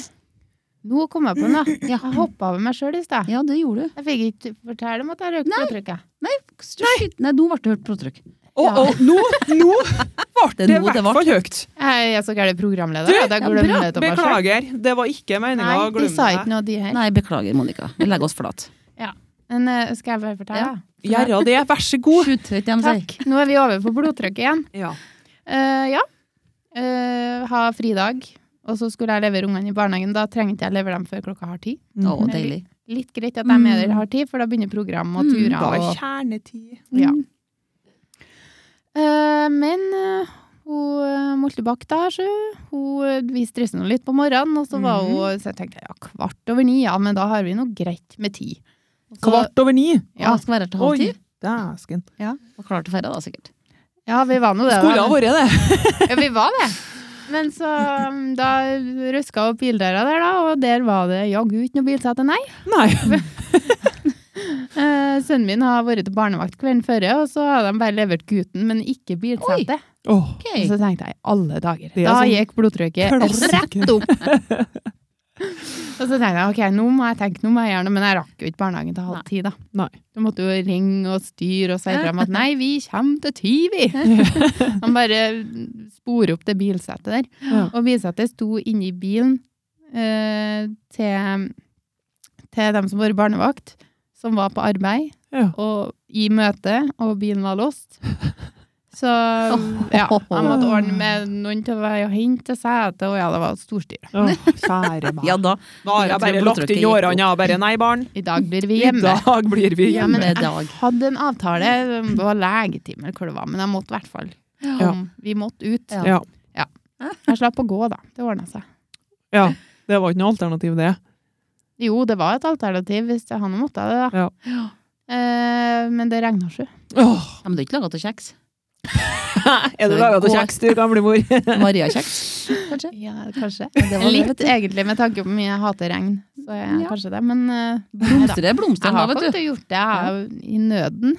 S1: nå kom jeg på
S3: [clears throat]
S1: noe. Jeg hoppa over meg sjøl i stad.
S3: ja, det gjorde du.
S1: Jeg fikk ikke fortelle om at jeg røyk på trykket.
S3: Shit, Nei, nå ble det hørt blodtrykk.
S2: Og,
S1: Ja.
S2: og nå, nå ble det i
S3: nå det
S2: hvert
S3: ble.
S2: fall høyt.
S1: Jeg er så gæren programleder
S2: Du,
S1: at jeg
S3: ja,
S1: glemmer
S3: bra.
S1: det til meg sjøl.
S2: Beklager, det var ikke meninga
S1: Nei,
S2: å
S1: de sa
S2: glemme
S1: ikke
S2: det.
S1: noe, de her.
S3: Nei, beklager, Monica. Vi legger oss flat.
S1: Men eh, skal jeg bare fortelle?
S3: Ja.
S2: Gjerra det, vær så god.
S3: Shoot, vet jeg,
S1: Takk. Nå er vi over på blodtrykket igjen.
S2: Ja.
S1: Eh, ja. Eh, ha fridag. Og så skulle jeg levere ungene i barnehagen. Da trengte jeg levere dem før klokka har ti.
S3: Å,
S2: Mm,
S3: deilig.
S1: Litt greit at de er der har tid, for da begynner program og turer.
S2: Da er
S1: og,
S2: kjernetid.
S1: ja. Eh, men eh, hun eh, Moltebakk da, så hun eh, vi stresset nå litt på morgenen, og så var
S2: Mm.
S1: hun Så jeg tenkte ja, kvart over ni, ja, men da har vi noe greit med ti. Og så-
S2: Kvart over ni.
S1: Ja,
S3: Ja, skal være til halv
S2: Oi,
S3: ti.
S2: dæsken.
S3: Og klar til å feire, da, sikkert.
S1: ja, vi var nå det.
S2: Skulle
S1: da.
S2: ha vært det.
S1: Ja, vi var det. Men så um, da røska opp bildøra der, da, og der var det jaggu ikke noe bilsete, nei.
S2: Nei.
S1: Eh, sønnen min har vært til barnevakt kvelden før, og så har de bare levert gutten, men ikke bilsete.
S2: Åh,
S1: Og
S3: Ok.
S1: så tenkte jeg, alle dager.
S2: Det er
S1: Da
S2: sånn
S1: gikk blodtrykket
S2: klassiker.
S1: rett opp.
S2: [laughs]
S1: og så tenkte jeg ok, nå må jeg tenke, nå må jeg gjøre noe, men jeg rakk jo ikke barnehagen til halv ti, da.
S2: Nei.
S1: Du måtte jo ringe og styre og si frem
S2: [laughs]
S1: at nei, vi kommer til ti, vi. Han bare sporer opp det bilsetet der.
S2: Ja.
S1: Og bilsetet sto inni bilen eh, til, til dem som var i barnevakt, som var på arbeid
S2: Ja.
S1: og i møte, og bilen var låst. Så ja, jeg måtte ordne med noen til å være og hente setet, og ja, det var storstyr.
S2: Åh, kjære meg.
S3: Ja da.
S2: Da har jeg bare lagt inn årene, jeg har bare nei, barn.
S1: I dag blir vi
S2: I
S1: hjemme.
S2: dag blir vi
S1: Ja, men
S2: hjemme.
S1: jeg
S3: Med dag.
S1: hadde en avtale, um, det var legetime eller hva det var, men jeg måtte i hvert fall.
S2: Ja.
S1: Om Vi måtte ut.
S3: Ja.
S2: Ja.
S1: Jeg slapp å gå, da. Det ordna seg.
S2: Ja, det var ikke noe alternativ, det.
S1: Jo, det var et alternativ hvis det- han måtte det, da.
S2: Ja.
S1: Eh, men det regna sju.
S2: Åh,
S3: Ja, men det er ikke laga til kjeks.
S2: er du laga til kjeks, du, [laughs] gamlemor?
S3: Maria-kjeks, kanskje.
S1: Ja, kanskje.
S3: Det var
S1: [laughs] Litt,
S3: Litt
S1: egentlig, med tanke på hvor mye jeg hater regn. Så jeg,
S3: Ja.
S1: kanskje det, men eh,
S3: blomster, det er blomster
S1: jeg
S3: da,
S1: har
S3: vet
S1: fått
S3: du.
S1: gjort det jeg er jo i nøden.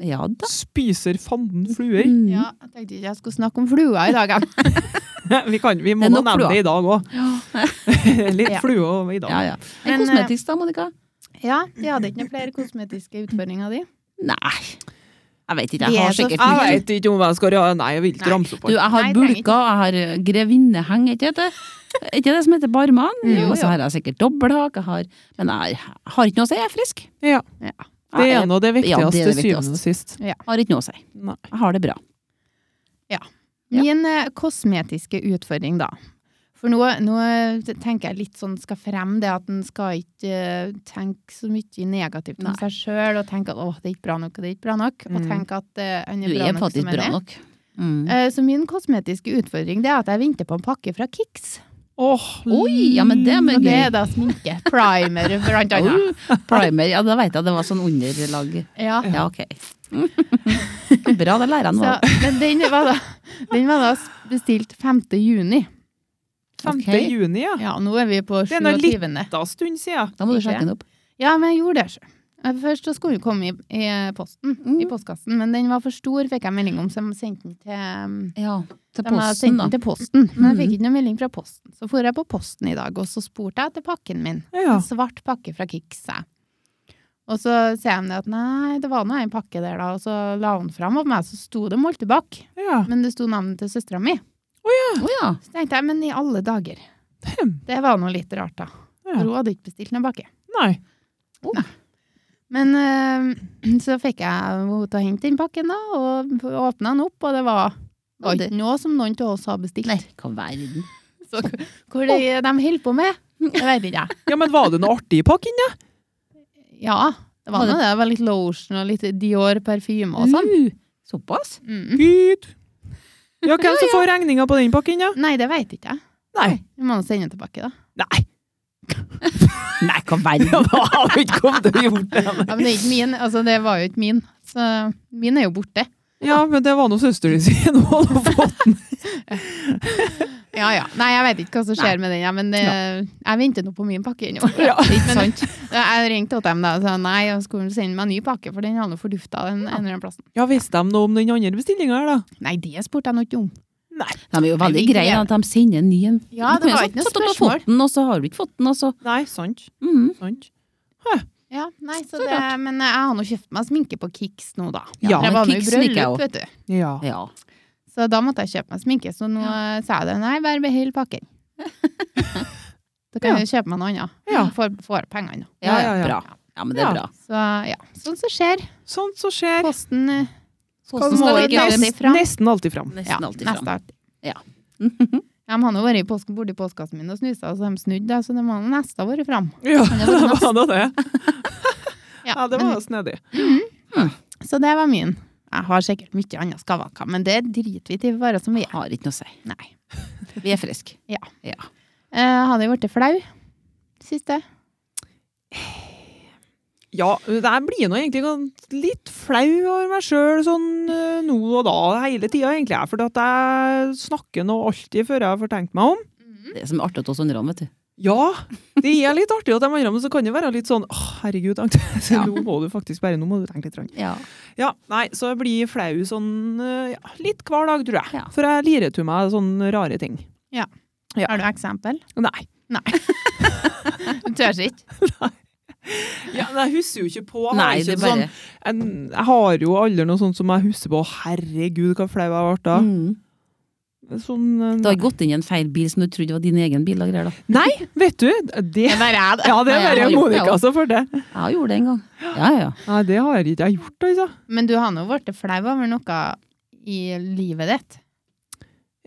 S3: Ja da.
S2: Spiser fanden fluer?
S3: Mm.
S1: Ja, jeg tenkte ikke jeg skulle snakke om flua i dag. jeg.
S2: [laughs] Vi, kan, vi må
S3: Mm. Det er
S2: nå
S3: nok
S2: nevne
S3: fluer.
S2: det i dag òg. [laughs] Litt
S1: Ja.
S2: flue også i dag.
S3: Ja, ja. En
S1: Men, eh,
S3: kosmetisk da, Monica?
S1: [laughs] Ja, de hadde ikke noen flere kosmetiske utfordringer, de.
S3: Nei. Jeg vet ikke,
S1: Vi
S3: jeg
S1: er
S3: har
S1: så
S3: sikkert
S2: Jeg
S3: mye.
S2: veit ikke om Ah, jeg skal ja, Nei, jeg vil ikke
S1: Nei.
S2: ramse opp
S3: Du, jeg har
S1: Nei, trenger ikke.
S3: bulka, jeg har eh, grevinneheng, er ikke det? Er ikke det som heter barman?
S1: Jo,
S3: Og
S1: jo.
S3: så har jeg sikkert dobbelthak, jeg har Men jeg har- har ikke noe å si, jeg er frisk.
S2: Ja.
S1: Ja.
S2: Det er
S3: Jeg
S2: nå det viktigste
S3: Ja, det
S2: til
S3: er det
S2: syvende
S3: viktigste.
S2: og sist.
S3: har ikke noe å si.
S2: Nei.
S3: Jeg har det bra. Ja.
S1: Min eh, kosmetiske utfordring, da. For nå, nå tenker jeg litt sånn skal frem det at en skal ikke eh, tenke så mye negativt om
S3: Nei.
S1: seg sjøl og tenke at åh, det er ikke bra nok, og det er ikke bra nok, og
S2: Mm.
S1: tenke at eh, en
S3: Du
S1: er
S3: er
S1: bra nok
S3: faktisk
S1: som en
S3: bra
S1: er.
S3: nok. Mm.
S1: Eh, Så min kosmetiske utfordring det er at jeg venter på en pakke fra Kix.
S2: Åh,
S3: Oi, ja, men det er
S1: Og det
S3: gøy.
S1: er da sminke. Primer, [laughs] blant annet.
S3: Oh, primer, ja, da veit jeg det var sånn underlag.
S1: Ja.
S3: Ja, ok. Bra, det lærer jeg
S1: Så,
S3: noe av.
S1: [laughs] men den var, da, den var da bestilt 5. juni.
S2: 5.
S3: Ok.
S2: juni, ja.
S1: Ja, nå er vi på
S2: Det er nå litt-
S1: 27.
S2: Da stund siden.
S3: Da må du
S1: Ikke?
S3: sjekke den opp.
S1: Ja, men jeg gjorde det sjøl. Først så skulle den komme i, i posten,
S2: Mm.
S1: i postkassen, men den var for stor, fikk jeg melding om, så jeg sendte den til um,
S3: Ja, til
S1: de har
S3: posten,
S1: sendt
S3: da.
S1: den til posten, men jeg
S2: Mm.
S1: fikk ikke noen melding fra posten. Så for jeg på posten i dag, og så spurte jeg etter pakken min.
S2: Ja.
S1: En svart pakke fra Kix. jeg. Og så ser de det at nei, det var nå en pakke der, da. Og så la hun fram, og på meg så sto det Moltebakk.
S2: Ja.
S1: Men det sto navnet til søstera mi.
S4: Å ja.
S1: Så tenkte jeg, men i alle dager.
S2: Hm.
S1: Det var nå litt rart, da.
S2: Ja.
S1: For hun hadde ikke bestilt noen bakke.
S2: Nei.
S1: Men eh, [clears throat] så fikk jeg henne til å hente den pakken, da, og åpna den opp, og det var det var ikke noe som noen av oss har bestilt.
S4: Nei, hva verden.
S1: Så hva- hvor de, de holder på med, det vet ikke jeg.
S2: Ja, men var det noe artig i pakken, da?
S1: Ja, det var
S4: Var det-
S1: nå det. Det var litt lotion og litt Dior-parfyme og sånn.
S4: Uh, såpass?
S1: Mm.
S2: Gud. Ja, hvem som får regninga på den pakken, da?
S1: Nei, det vet ikke jeg.
S2: Nei.
S1: Vi må nå sende den tilbake, da.
S2: Nei.
S4: Nei, hva verden.
S2: Hva har vi ikke kommet til å gjort det?
S1: Ja, men det er ikke min. Altså, det var jo ikke min. Så min er jo borte.
S2: Ja, men det var nå søsteren sin. Hun hadde fått den.
S1: Ja, ja. Nei, jeg vet ikke hva som skjer med den, ja, men det, jeg venter nå på min pakke [laughs] ennå.
S2: Ja.
S1: Ikke sant? Jeg ringte til dem da og sa nei, jeg skulle sende meg en ny pakke, for den har nå fordufta den en eller annen plassen.
S2: Ja, visste de noe om den andre bestillinga her, da?
S1: Nei, det spurte jeg nå ikke om.
S4: De er jo veldig
S1: Nei,
S4: greie
S1: men-
S4: at de sender en ny en.
S1: Ja,
S4: Du kan
S1: det
S4: jo
S1: var
S4: sagt-
S1: ikke noe
S4: sagt at du har
S1: spørsmål.
S4: fått den, og så har du ikke fått den, og så
S2: Nei, sant.
S4: mm.
S2: sant.
S1: Ja, nei, så
S4: Så
S1: det, Men jeg har nå kjøpt meg sminke på Kix nå, da.
S2: Ja.
S1: For jeg var nå i
S4: Kix liker jeg
S1: bryllup,
S4: også.
S1: vet du.
S2: Ja.
S4: Ja.
S1: Så da måtte jeg kjøpe meg sminke, så nå eh, sa jeg det. Nei, bare behold [laughs] pakken. Da kan
S2: Ja.
S1: jeg kjøpe meg noe annet.
S2: Ja.
S1: Får, får pengene.
S4: Ja,
S2: Ja,
S4: ja,
S2: ja, ja.
S4: bra. Ja, men det
S2: Ja.
S4: er bra.
S1: Så ja, sånn som skjer.
S2: Sånt som skjer.
S1: Posten eh,
S4: Posten
S1: må
S4: skal
S1: vi
S4: ikke
S1: ta
S4: alltid
S1: oss-
S2: Nest,
S1: alltid fram.
S2: nesten alltid fram.
S4: Nesten alltid
S1: nesten
S4: fram.
S1: alltid.
S4: Ja.
S1: Ja, men han har vært i påsken, borte i postkassen min og snusa, så de snudde, så det må han nesten ha vært fram.
S2: Ja,
S1: Men det
S2: [laughs] det
S1: var natt.
S2: var nå det.
S1: Ja,
S2: Ja, det
S1: men-
S2: var snedig.
S1: Så det var min. Jeg har sikkert mye annet skavanker, men det driter vi til bare som vi er.
S4: Har ikke noe å si.
S1: Nei.
S4: Vi er friske.
S1: Eh, hadde jeg blitt flau? Siste?
S2: Ja, jeg blir nå egentlig gans- litt flau over meg sjøl sånn eh, nå og da hele tida, egentlig. jeg, Fordi at jeg snakker nå alltid før jeg får tenkt meg om.
S4: Det som er artig hos oss andre, vet du.
S2: Ja, det er litt artig at de andre, men så kan det være litt sånn åh, herregud, Agnete, så [laughs] nå må du faktisk bare nå må du tenke litt. Rann.
S4: Ja.
S2: Ja, nei, så jeg blir flau sånn eh, ja, litt hver dag, tror jeg.
S4: Ja.
S2: For jeg lirer til meg sånne rare ting. Ja.
S1: Har du eksempel?
S2: Nei.
S1: Du tør [laughs] ikke?
S2: Ja, men jeg husker jo ikke på. jeg har
S4: Nei,
S2: ikke
S4: det er
S2: sånn-
S4: bare
S2: jeg, jeg har jo aldri noe sånt som jeg husker på. Herregud, hva flau jeg ble da.
S4: mm.
S2: Sånn, eh,
S4: Du har gått inn i en feil bil som du trodde var din egen bil og greier, da.
S2: Nei, [laughs] vet du. Det,
S1: Det er bare jeg, det.
S2: ja, det
S4: Nei,
S2: er
S4: jeg
S2: bare
S4: har gjort det
S2: Monica som får det.
S4: Jeg gjorde det en gang. Ja, ja.
S2: Nei, det har jeg ikke jeg har gjort, altså.
S1: Men du har nå blitt flau over noe i livet ditt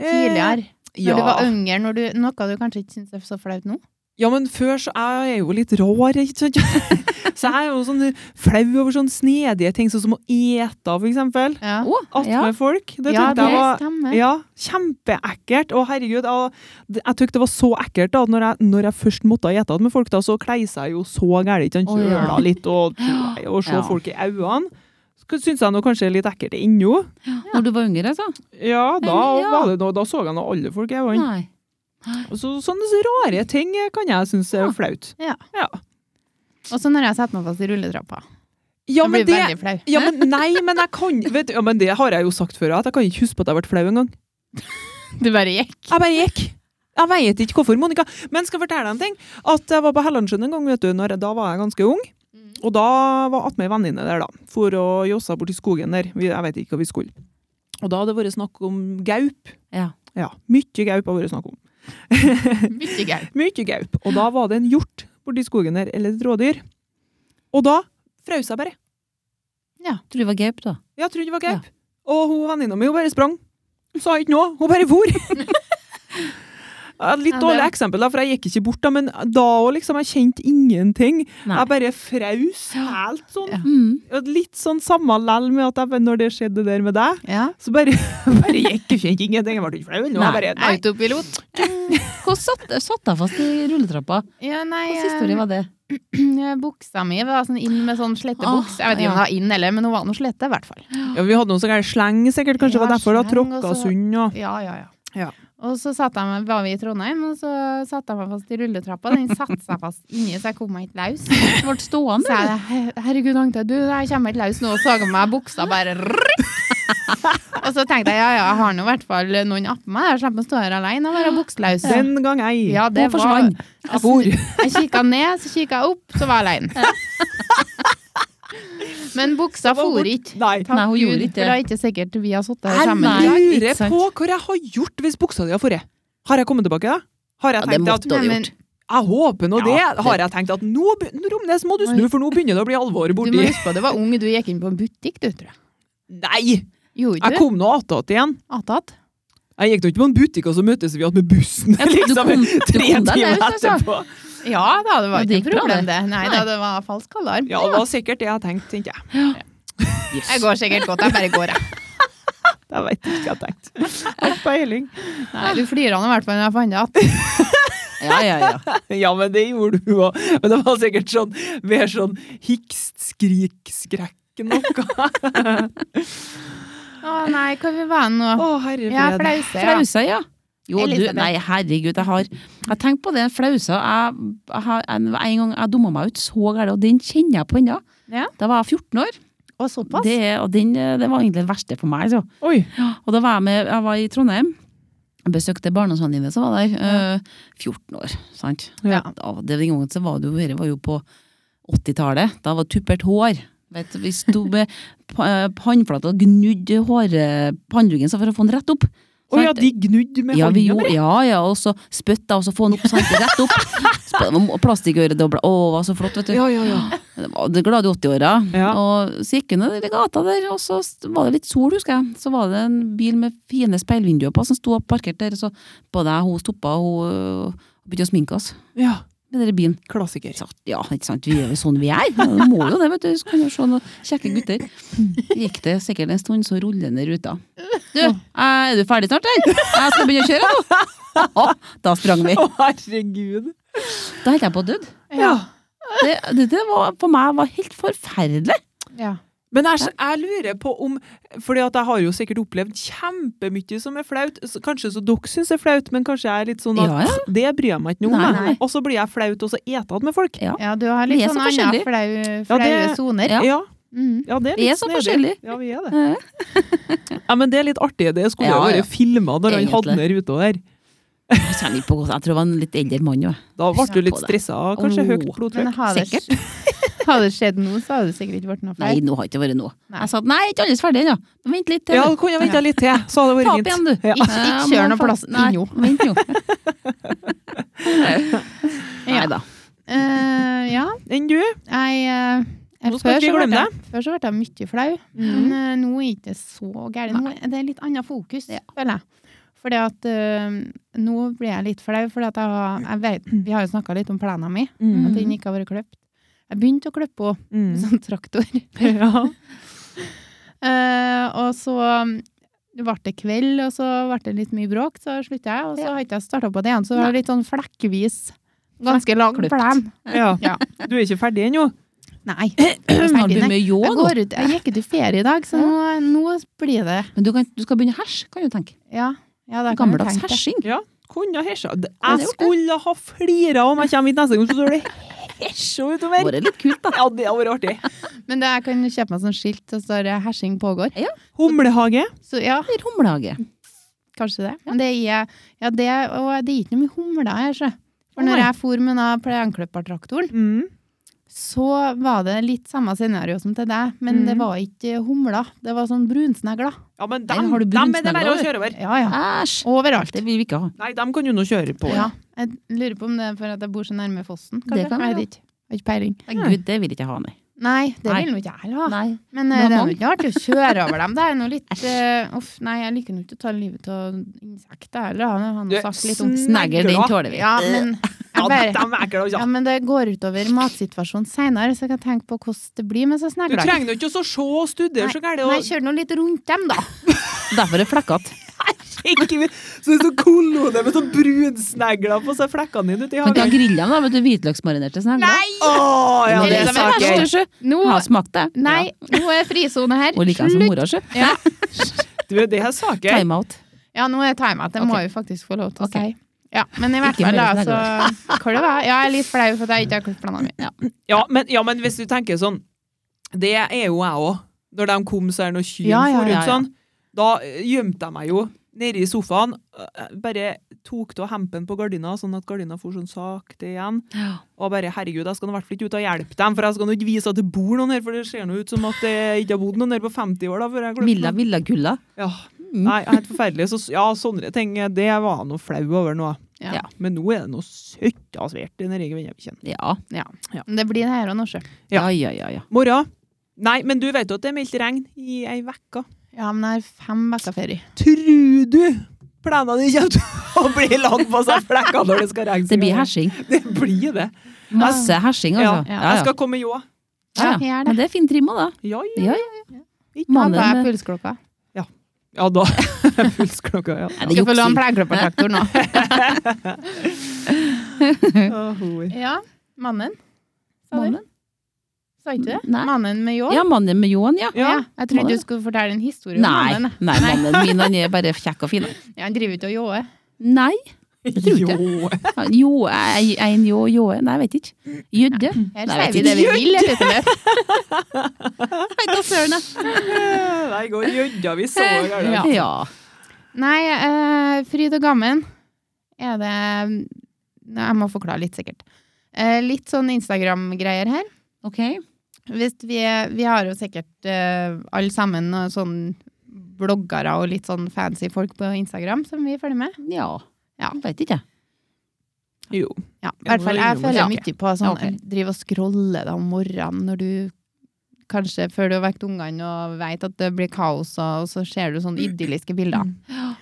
S2: Eh,
S1: tidligere. Når
S2: Ja.
S1: du var yngre, når du, noe du kanskje ikke syns er så flaut nå.
S2: ja, men før så er jeg jo litt rar, ikke sant? [laughs] Så jeg er jo sånn flau over sånne snedige ting, sånn som å ete, for eksempel.
S1: Ja,
S4: Å, ja.
S3: [gasps]
S2: Attmed folk. Det
S1: ja
S2: tykte
S1: det
S2: jeg var
S1: stemmer.
S2: Ja, kjempeekkelt. Å, herregud. Jeg, jeg tykte det var så ekkelt da, at når jeg, når jeg først måtte ete med folk, da, så kleisa jeg jo så gærent. ikke sant?
S4: Å, ja.
S2: Kjøla litt
S1: [gasps]
S2: og, og
S4: Ja.
S2: se folk i øynene. Så syns jeg nå kanskje er litt ekkelt ennå.
S4: Når du var yngre, altså?
S2: Ja, da,
S4: Ja.
S2: var det noe, da så jeg nå alle folk i øynene.
S4: Nei.
S2: Og Så, sånne rare ting kan jeg synes er flaut.
S1: Ja.
S2: Ja.
S1: Og så når jeg setter meg fast i rulletrappa.
S2: Ja,
S1: jeg blir
S2: men det,
S1: veldig flau.
S2: ja, men nei, men jeg kan vet, du, ja, men Det har jeg jo sagt før, at jeg kan ikke huske på at jeg ble flau engang.
S1: Du bare gikk.
S2: Jeg bare gikk. Jeg vet ikke hvorfor, Monica. Men skal jeg fortelle deg en ting. At jeg var på Hellandsjøen en gang, vet du, når jeg, da var jeg ganske ung. Og da var attmed ei venninne der, da. For å jossa borti skogen der. Vi, jeg vet ikke hva vi skulle. Og da hadde det vært snakk om gaup.
S4: Ja.
S2: Ja, Mye gaup har vært snakk om.
S1: [laughs] Mye gøy.
S2: Mye gaup. Og da var det en hjort borti skogen der, eller et rådyr. Og da frøs jeg bare.
S4: Tror du det var gaup, da?
S2: Jeg trodde det var gaup. Og hun venninna mi hun bare sprang. Hun sa ikke noe, hun bare
S1: [laughs]
S2: for. Ja, Litt
S1: Ja, det-
S2: dårlig eksempel, da, for jeg gikk ikke bort, da, men da òg, liksom. Jeg kjente ingenting.
S4: Nei.
S2: Jeg bare fraus helt sånn.
S1: Ja.
S4: Mm.
S2: Og Litt sånn samme lell med at jeg, når det skjedde det der med deg,
S1: Ja.
S2: så bare, [laughs] bare gikk jeg kjente ingenting. Jeg ble ikke flau eller noe. Jeg bare nei.
S1: Autopilot.
S4: Hvordan satt, satt jeg fast i rulletrappa?
S1: Ja, nei,
S4: Hvilken historie var det?
S1: eh, [clears throat] buksa mi var sånn inn med sånn slette
S4: Åh,
S1: buks. Jeg vet ikke om
S4: ja.
S1: det var inn eller, men hun var noe slette i hvert fall.
S2: Ja, vi hadde noen sånne sleng, sikkert. Kanskje det var
S1: Ja, altså.
S2: derfor da
S1: sleng, og
S2: tråkka
S1: så-
S2: sund og
S1: Ja, ja, ja.
S2: Ja.
S1: Og så satt jeg, meg- var vi i Trondheim, og så satte jeg meg fast i rulletrappa. Den satte seg fast inni, så jeg kom meg ikke løs.
S4: Du ble
S1: Så
S4: stående?
S1: jeg, "Her- herregud, Agnete, du, jeg kommer ikke løs nå. Og så jeg meg buksa bare rrrr. Og så tenkte jeg, ja, ja, jeg har nå i hvert fall noen oppå meg. Jeg slipper å stå her alene og være bukseløs.
S2: Den gang ei.
S1: Ja, det
S4: Hun
S1: var... Altså,
S4: forsvant.
S2: Jeg bor.
S1: Jeg kikka ned, så kikka jeg opp, så var jeg alene. [laughs] Men buksa
S2: Det var
S1: for
S2: bort-
S1: ikke.
S2: [laughs] Nei.
S1: Takk
S3: Nei, hun
S1: Gud,
S3: gjorde ikke det.
S1: For det er ikke sikkert vi har sittet her
S2: Jeg
S1: sammen.
S3: Nei, ikke
S2: lurer
S3: sant.
S2: på hva jeg har gjort hvis buksa di har forret. Har jeg kommet tilbake da? Har jeg
S3: Ja, det
S2: tenkt at
S3: måtte hun
S1: Nei, men-
S3: gjort.
S2: Jeg håper nå det.
S3: Ja,
S2: Har jeg tenkt at nå, be- Romnes, må du snu, for nå begynner det å bli alvor
S1: Du må
S2: borti
S1: huske på, det var ung, du gikk inn på en butikk, du, tror jeg.
S2: Nei!
S1: Gjorde
S2: Jeg
S1: du?
S2: kom nå attåt igjen.
S1: Attåt?
S2: Jeg gikk nå ikke på en butikk, og så møttes vi igjen med bussen
S3: du
S2: liksom,
S3: kom- du
S2: tre
S3: kom deg
S2: timer
S3: ned, altså.
S2: etterpå.
S1: Ja da, det var
S3: Ja,
S1: ikke noe
S3: det gikk bra,
S1: problem,
S3: det.
S1: det. Nei da, det var falsk alarm.
S2: Ja, det var sikkert det jeg tenkte, tenkte jeg.
S1: Jeg går sikkert godt, jeg bare går, jeg.
S2: Jeg vet ikke hva jeg tenkte. Har ikke peiling.
S1: Nei, du flirer nå i hvert fall når jeg fant det igjen.
S3: Ja,
S1: [laughs]
S3: ja, ja.
S2: [laughs] Ja, men det gjorde du òg. Men det var sikkert sånn mer sånn hikst, skrik, skrekk
S3: [laughs]
S2: noe.
S1: Å nei, hva vi var nå?
S2: Å, herre
S1: Ja,
S2: fred.
S1: flause, ja.
S3: Flausa, ja. Jo, du,
S1: Elisabeth.
S3: nei, herregud, jeg har Jeg tenker på det, flausa. Jeg, jeg, har- en, en gang jeg dumma meg ut så gærent, og den kjenner jeg på ennå.
S1: Ja.
S3: Da var jeg 14 år.
S1: Og såpass?
S3: Det, er- og den, eh, det var egentlig det verste for meg. Så.
S2: Oi.
S3: Og da var jeg med, jeg var i Trondheim, besøkte barndomsvennen dine som var der, eh, 14 år, sant?
S1: Ja.
S3: Da, det, den gangen så var det jo, dette var jo på 80-tallet, da var det tuppert hår. Vet, du, vi sto med [laughs] pa- håndflata og gnudde håret- pannduken så for å få den rett opp.
S2: Å ja,
S3: Sant?
S2: de gnudde med
S3: ja, vi
S2: hånda.
S3: gjorde, ja, ja, og så spytta, og så få den opp, sant, rett
S2: [laughs]
S3: opp. Sp- og Plastikkøredobla, å, det var så flott, vet du.
S2: Ja, ja, ja.
S3: Det var det glade 80-åra.
S2: Ja.
S3: Og så gikk vi ned i gata der, og så var det litt sol, husker jeg. Så var det en bil med fine speilvinduer på som sto og parkert der. Så både jeg og hun stoppa, og hun øh, begynte å sminke oss
S2: [laughs] ja.
S3: med den bilen.
S2: Klassiker.
S3: Så, ja, ikke sant, vi er jo sånn vi er. Vi må jo det, vet du. Så kan vi se noen kjekke gutter. Gikk det sikkert en stund, så ruller den i ruta. Du, er du ferdig snart, eller? Jeg skal begynne å kjøre nå. Ja, Da sprang vi.
S2: Å, herregud.
S3: Da holdt jeg på å dø.
S2: Ja.
S3: Det, det, det var, for meg var helt forferdelig.
S1: Ja.
S2: Men jeg, jeg lurer på om Fordi at jeg har jo sikkert opplevd kjempemye som er flaut. Så- Kanskje så dere syns er flaut, men kanskje jeg er litt sånn at
S3: Ja, ja.
S2: det bryr jeg meg ikke noe
S3: Nei,
S2: om.
S3: nei.
S2: jeg. Og så blir jeg flaut, og så eter jeg med folk.
S3: Ja.
S1: ja, du har
S3: Vi
S1: litt
S3: er
S1: sånn andre
S3: så forskjellige.
S1: flau,
S2: Ja,
S1: flaue
S2: det-
S1: soner.
S3: Ja.
S2: Ja,
S1: Mm.
S2: ja, det er
S3: Vi
S2: litt
S3: er så
S2: snedig.
S3: forskjellige.
S2: Ja, vi er det.
S3: Ja.
S2: [laughs] Ja, men det er litt artig. Det skulle jo
S3: Ja, ja.
S2: vært filma når han hadde
S3: Egentlig.
S2: ned ruta der.
S3: Jeg kjenner ikke på godt. Jeg tror det var en litt eldre mann òg.
S2: Da ble
S3: Husker
S2: du
S3: jeg
S2: litt
S3: på det.
S2: stressa, kanskje
S3: Åh.
S2: høyt
S1: Men
S2: blodtrykk.
S1: hadde det, [laughs] hadde det skjedd nå, så hadde det sikkert ikke blitt noe
S3: Nei,
S1: feil.
S3: nå har det ikke vært noe.
S1: Nei.
S3: Jeg sa nei, jeg er ikke alles ferdig ennå. Vent litt til.
S2: Ja,
S3: du.
S2: da kunne jeg venta litt til, så hadde det
S3: Ta
S2: vært
S3: opp
S2: fint.
S3: igjen, du.
S2: Ja.
S1: Ikke, ikke kjør noe plass
S3: Nei,
S1: inno. [laughs]
S3: Vent nå. Nei
S1: Ja.
S3: da.
S1: Eh, ja,
S2: Enn du?
S1: jeg, eh, jeg
S2: Nå skal ikke vi
S1: så ble
S2: glemme Mm.
S1: jeg- Før så ble jeg mye flau, men eh, nå er ikke det så gærent. Nå er Det er litt annet fokus, føler jeg. Fordi at eh, nå blir jeg litt flau, fordi at jeg, har- jeg vet, vi har jo snakka litt om plena mi,
S2: Mm.
S1: at den ikke har vært kløpt. Jeg begynte å klippe henne med
S2: Mm.
S1: sånn traktor.
S2: Ja.
S1: Eh, og så um, ble det kveld, og så ble det litt mye bråk, så slutta jeg. Og så har ikke jeg starta på det igjen, så det var litt sånn flekkvis. Ganske lang
S3: Klipt.
S1: plen.
S2: ja.
S1: Ja.
S2: Du er ikke ferdig ennå?
S1: Nei.
S3: Snart blir det
S1: Jeg
S3: med ljå nå.
S1: går ut, jeg gikk ut i ferie i dag, så nå, nå blir det
S3: Men du, kan, du skal begynne å herse, kan du tenke.
S1: Ja. ja det kan jeg
S3: Gammeldags
S1: tenke.
S3: hersing.
S2: Ja. Kunne ha hesja. D-
S3: Kunne
S2: Jeg
S3: gjort
S2: skulle ha flira om jeg kommer hit neste gang, så står det hesja
S3: Det
S2: utover.
S3: var litt kult, da.
S2: Ja, det hadde vært artig.
S1: Men det, jeg kan kjøpe meg sånn skilt som står eh, 'hersing pågår'.
S2: Humlehage.
S1: Så ja,
S3: Eller humlehage.
S1: [laughs] kanskje det. Men det er, ja, det, og det er ikke noe mye humler her, sjø. For
S2: Å,
S1: når
S2: nei.
S1: jeg for med den plenklippertraktoren,
S2: Mm.
S1: så var det litt samme scenario som til deg, men
S2: Mhm.
S3: Mm.
S1: det var ikke humler. Det var sånn brunsnegler.
S2: Ja, men
S3: Nei,
S2: dem,
S3: har du
S2: dem er det bare å
S3: brunsnegler?
S2: kjøre over.
S1: Ja, ja.
S3: Æsj!
S1: Overalt.
S3: Det vil vi ikke ha.
S2: Nei, dem kan du nå kjøre på.
S1: Ja. Jeg lurer på om det er for at jeg bor så nærme fossen.
S3: Det kan
S1: jeg
S3: være.
S1: vet ikke. Har ikke peiling.
S3: Nei, Gud, det vil ikke jeg ha, nei.
S1: Nei, det
S3: Nei.
S1: vil nå ikke jeg heller ha.
S3: Nei.
S1: Men
S3: Nå
S1: eh, det er
S3: må
S1: jo ikke artig å kjøre over dem. Det er noe litt eh, Uff, nei, jeg liker nå ikke å ta livet av insekter heller. Han har
S2: Du,
S1: nå sagt litt om
S3: Snegl, den tåler vi.
S1: Ja, men
S2: Ja,
S1: jeg bare
S2: dem er ekle,
S1: ja,
S2: altså.
S1: men det går utover matsituasjonen seinere, så jeg kan tenke på hvordan det blir med så
S2: Du
S1: snegler.
S2: trenger nå ikke å så se og studere så gærent.
S1: Nei,
S2: og-
S1: kjør nå litt rundt dem, da.
S3: [laughs] Derfor er det flekkete.
S2: Ikke- Så det er så kolone med sånn brunsnegler på seg flekkene dine ute i
S3: Kan ikke ha
S2: hagen.
S3: grilla dem, da, vet du. Hvitløksmarinerte snegler.
S2: Å, ja, det
S1: Eller de
S2: er
S1: er
S2: saker.
S1: verste. Nå,
S3: Jeg har smakt det.
S1: nei, nå er frisone her.
S3: Ja. [laughs] Og liker jeg som mora, sjø.
S2: Du, det er saker.
S3: Time out.
S1: Ja, nå er timet. Det må
S3: Ok.
S1: vi faktisk få lov til å
S3: Ok.
S1: si. Ja, men i hvert
S3: Ikke
S1: fall,
S3: mer
S1: da,
S3: enn det
S1: så [laughs] Hva det var? Ja, jeg er litt flau for at jeg ikke har klippet plenen min.
S2: Ja men, ja, men hvis du tenker sånn Det er jo jeg òg. Når de kom, så er det noe kyr
S1: Ja, ja,
S2: for
S1: ja,
S2: rundt
S1: ja.
S2: sånn. Da eh, gjemte jeg meg jo nede i sofaen, øh, bare tok av hempen på gardina, sånn at gardina for sånn sakte igjen.
S3: Ja.
S2: Og bare, herregud, jeg skal nå i hvert fall ikke ut og hjelpe dem, for jeg skal nå ikke vise at det bor noen her, for det ser nå ut som at det ikke har bodd noen her på 50 år da, før jeg glemte
S3: Milla
S2: dem.
S3: Villa Gulla.
S2: Ja,
S1: Mm.
S2: nei, helt forferdelig. Så, ja, sånne ting, det var jeg noe flau over nå.
S1: Ja.
S3: Ja.
S2: Men nå er det noe søtt altså, og svært i den egen vennekjen.
S3: Ja.
S1: Men Det blir det her og nå, sjø.
S2: Ja.
S3: Ja, ja, ja. ja.
S2: Morgen? Nei, men du vet jo at det er meldt regn i ei vekka.
S1: Ja, men jeg har fem uker ferie.
S2: Tror du planene dine kommer til å [laughs] bli lagt på seg flekker når det skal regne?
S3: Det blir hersing.
S2: Det blir det.
S3: Masse hersing,
S1: Ja,
S3: altså.
S1: ja.
S2: Jeg skal komme ljå.
S3: Ja, ja.
S1: gjør
S3: Men det er fin trim òg, da.
S2: Ja, ja.
S3: Ja,
S2: Ikke
S1: Da
S3: Mann,
S2: noe.
S1: tar jeg
S3: den-
S1: pulsklokka.
S2: Ja da. [laughs] Pulsklokka, ja.
S3: Nei, det
S1: Skal få låne
S3: jukser.
S1: pleieklippertraktor nå.
S3: [laughs] Mm.
S2: Åh, hoi.
S1: Ja. Mannen, sa du?
S3: Mannen.
S1: Sa ikke du det?
S3: Nei.
S1: Mannen med ljå?
S3: Ja, mannen med ljåen, ja.
S1: Ja, jeg trodde
S3: Mannen.
S1: du skulle fortelle en historie om
S3: Nei,
S1: mannen.
S3: nei, mannen min han er bare kjekk og fin.
S1: Ja, han driver ikke og ljåer.
S3: Nei. tror ikke.
S2: Jo.
S3: han- Jo, jeg- jeg- en jo, jo, nei, jeg vet ikke. Jødde.
S1: Her
S3: Nei,
S1: sier
S3: jeg
S1: vi
S3: vet
S1: det vi
S3: ikke.
S1: vil, rett og slett.
S3: Nei, da søren,
S2: [laughs]
S3: jeg.
S2: Nei, i går gjødda vi så gærent.
S1: Ja.
S3: Ja.
S1: Nei, eh, fryd og gammen er det Nei, Jeg må forklare litt, sikkert. Eh, litt sånn Instagram-greier her.
S3: Ok.
S1: Hvis vi, er- vi har jo sikkert eh, alle sammen noen sånn bloggere og litt sånn fancy folk på Instagram som vi følger med.
S3: Ja.
S1: Ja.
S3: Jeg Vet ikke.
S2: Jo.
S1: Ja, i
S2: Ja,
S1: hvert fall, jeg
S2: det er
S1: følger
S2: jo-
S1: mye på sånn,
S3: Ja, ok.
S1: driver og scroller da om morgenen når du Kanskje før du har vekt ungene og vet at det blir kaos, og og så ser du sånne idylliske bilder.
S3: Mm.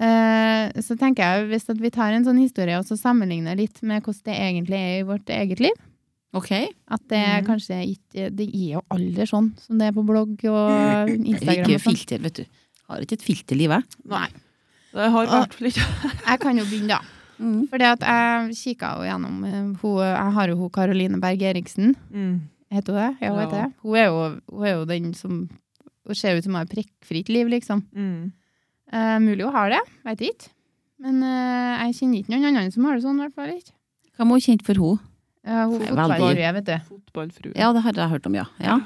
S1: Eh, så tenker jeg hvis at vi tar en sånn historie og så sammenligner litt med hvordan det egentlig er i vårt eget liv
S3: Ok.
S1: At det
S3: Mm.
S1: er kanskje ikke Det er jo aldri sånn som det er på blogg og Instagram.
S3: Ikke
S1: Og sånn.
S3: filter, vet du. Har ikke et filterliv, jeg.
S1: Nei.
S2: Det har
S1: Ah.
S2: vært litt
S1: Jeg kan jo begynne, da.
S3: Mm.
S1: Fordi at jeg kikka jo gjennom eh, hun, Jeg har jo hun Karoline Berg Eriksen.
S2: Mm,
S1: Heter hun det? Ja, hun
S2: Ja.
S1: heter det. Hun er jo, hun er jo den som Hun ser ut som hun har prikkfritt liv, liksom.
S2: mm.
S1: Eh, mulig hun har det, veit ikke. Men eh, jeg kjenner ikke noen andre som har det sånn, i hvert fall ikke.
S3: Hva må hun kjente for henne?
S1: Eh, hun
S3: Veldig.
S1: fotballfrue, vet du.
S2: Fotballfrue.
S3: Ja, det har jeg hørt om, ja. ja.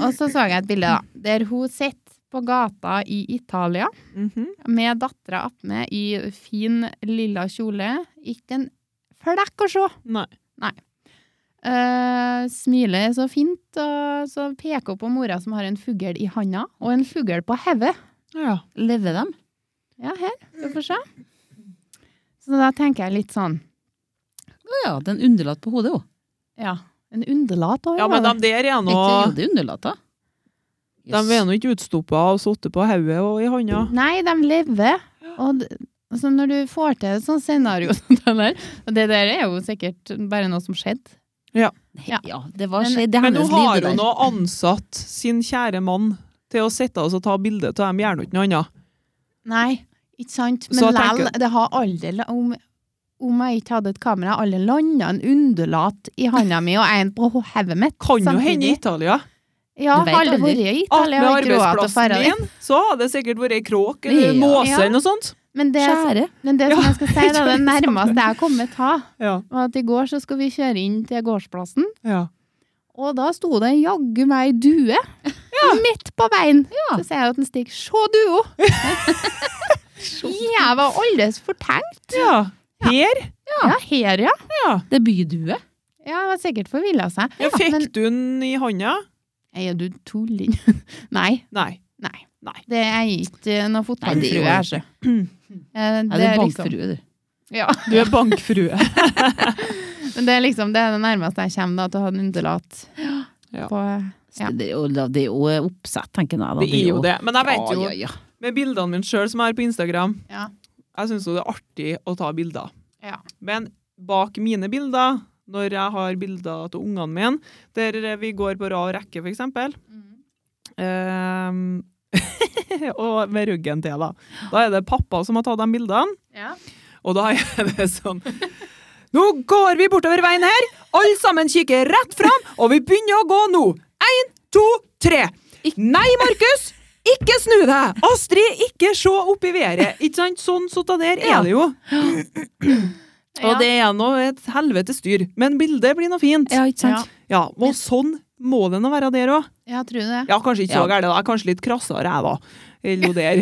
S1: Og så så jeg et bilde, da, der hun sitter på gata i Italia
S2: Mhm.
S1: med dattera attmed i fin, lilla kjole. Ikke en flekk å se!
S2: Nei.
S1: Eh, smiler så fint, og så peker hun på mora som har en fugl i handa, og en fugl på hodet.
S2: Ja.
S3: Lever dem?
S1: Ja, her. Du får se. Så da tenker jeg litt sånn
S3: Å ja, den underlatt på hodet òg.
S1: Ja, en underlat òg.
S2: ja, men de der er
S3: Ikke
S2: nå
S3: hodet underlatt, da.
S2: De er nå ikke utstoppa og sittet på hodet og i hånda.
S1: Nei, de lever. Og d- altså, når du får til et sånt scenario [laughs] som det der Og det der er jo sikkert bare noe som skjedde.
S3: Ja. ja, det var
S1: Men-
S3: skjedd. Det er
S2: Men nå
S3: hennes
S2: har
S3: liv, det
S2: hun
S3: der.
S2: nå ansatt sin kjære mann til å sitte oss og ta bilde av dem, gjør nå ikke noe annet.
S1: Nei, ikke sant? Men
S2: Så tenker-
S1: lell, det har aldri la- om, om jeg ikke hadde et kamera, alle landa en underlat i handa mi og en på hodet mitt.
S2: Kan jo
S1: samtidig.
S2: hende i Italia.
S1: Ja,
S3: Du vet
S1: har det
S3: aldri.
S1: vært i
S2: At
S1: Italia?
S2: med
S1: Jeg har ikke råd til å fære
S2: arbeidsplassen
S1: dit.
S2: din, så hadde det sikkert vært ei kråk eller en
S3: Ja.
S2: måse
S1: Ja.
S2: eller noe sånt.
S1: Men det,
S3: Skjære.
S1: men det
S2: Ja,
S1: som jeg skal si, da, det
S2: det er sant.
S1: nærmeste jeg har kommet ta,
S2: Ja.
S1: var at i går så skulle vi kjøre inn til gårdsplassen,
S2: Ja.
S1: og da sto det jaggu meg ei due midt på veien. Så sier jeg til Stig, se duo! jeg var alles fortenkt.
S2: ja. Her?
S1: Ja, her, ja.
S3: Det er bydue.
S1: Ja, jeg var sikkert forvilla seg.
S2: Ja, fikk
S1: men-
S2: du den i hånda?
S1: Er du tulling? [laughs] Nei.
S2: Nei.
S1: Nei.
S2: Nei.
S1: Det er ikke eh, noe
S3: Nei, det
S1: fotballfrue
S3: gjør
S1: her, så. altså- Eh,
S3: Nei, det er
S1: liksom-
S3: bankfrue, du.
S1: Ja.
S2: Du er [laughs] bankfrue.
S1: Men det er liksom det, er det nærmeste jeg kommer da, til å ha en underlat
S2: Ja.
S1: på
S3: Så Det er jo- det er jo eh, oppsett, tenker jeg. Da.
S2: Det er jo det. Men jeg
S3: Ja,
S2: vet jo,
S3: ja, ja.
S2: med bildene mine sjøl som jeg har på Instagram,
S1: Ja.
S2: jeg syns jo det er artig å ta bilder.
S1: Ja.
S2: Men bak mine bilder, når jeg har bilder av ungene mine, der vi går på rad rekke, for eksempel, ehm, [laughs] og med ryggen til, da. Da er det pappa som har tatt de bildene,
S1: Ja.
S2: og da er [laughs] det sånn Nå går vi bortover veien her! Alle sammen kikker rett fram, og vi begynner å gå nå! Én, to, tre! Nei, Markus! Ikke snu deg! Astrid, ikke se opp i været! Ikke sant? Sånn sånn der er det jo. Og det er nå et helvetes styr. Men bildet blir nå fint.
S3: Ja, ikke sant?
S2: Ja, og sånn må det nå være der òg.
S1: Ja, tror du det?
S2: Ja, kanskje ikke så
S3: Ja.
S2: gærent. da. Jeg er Kanskje litt krassere, jeg, da. Eller hun der.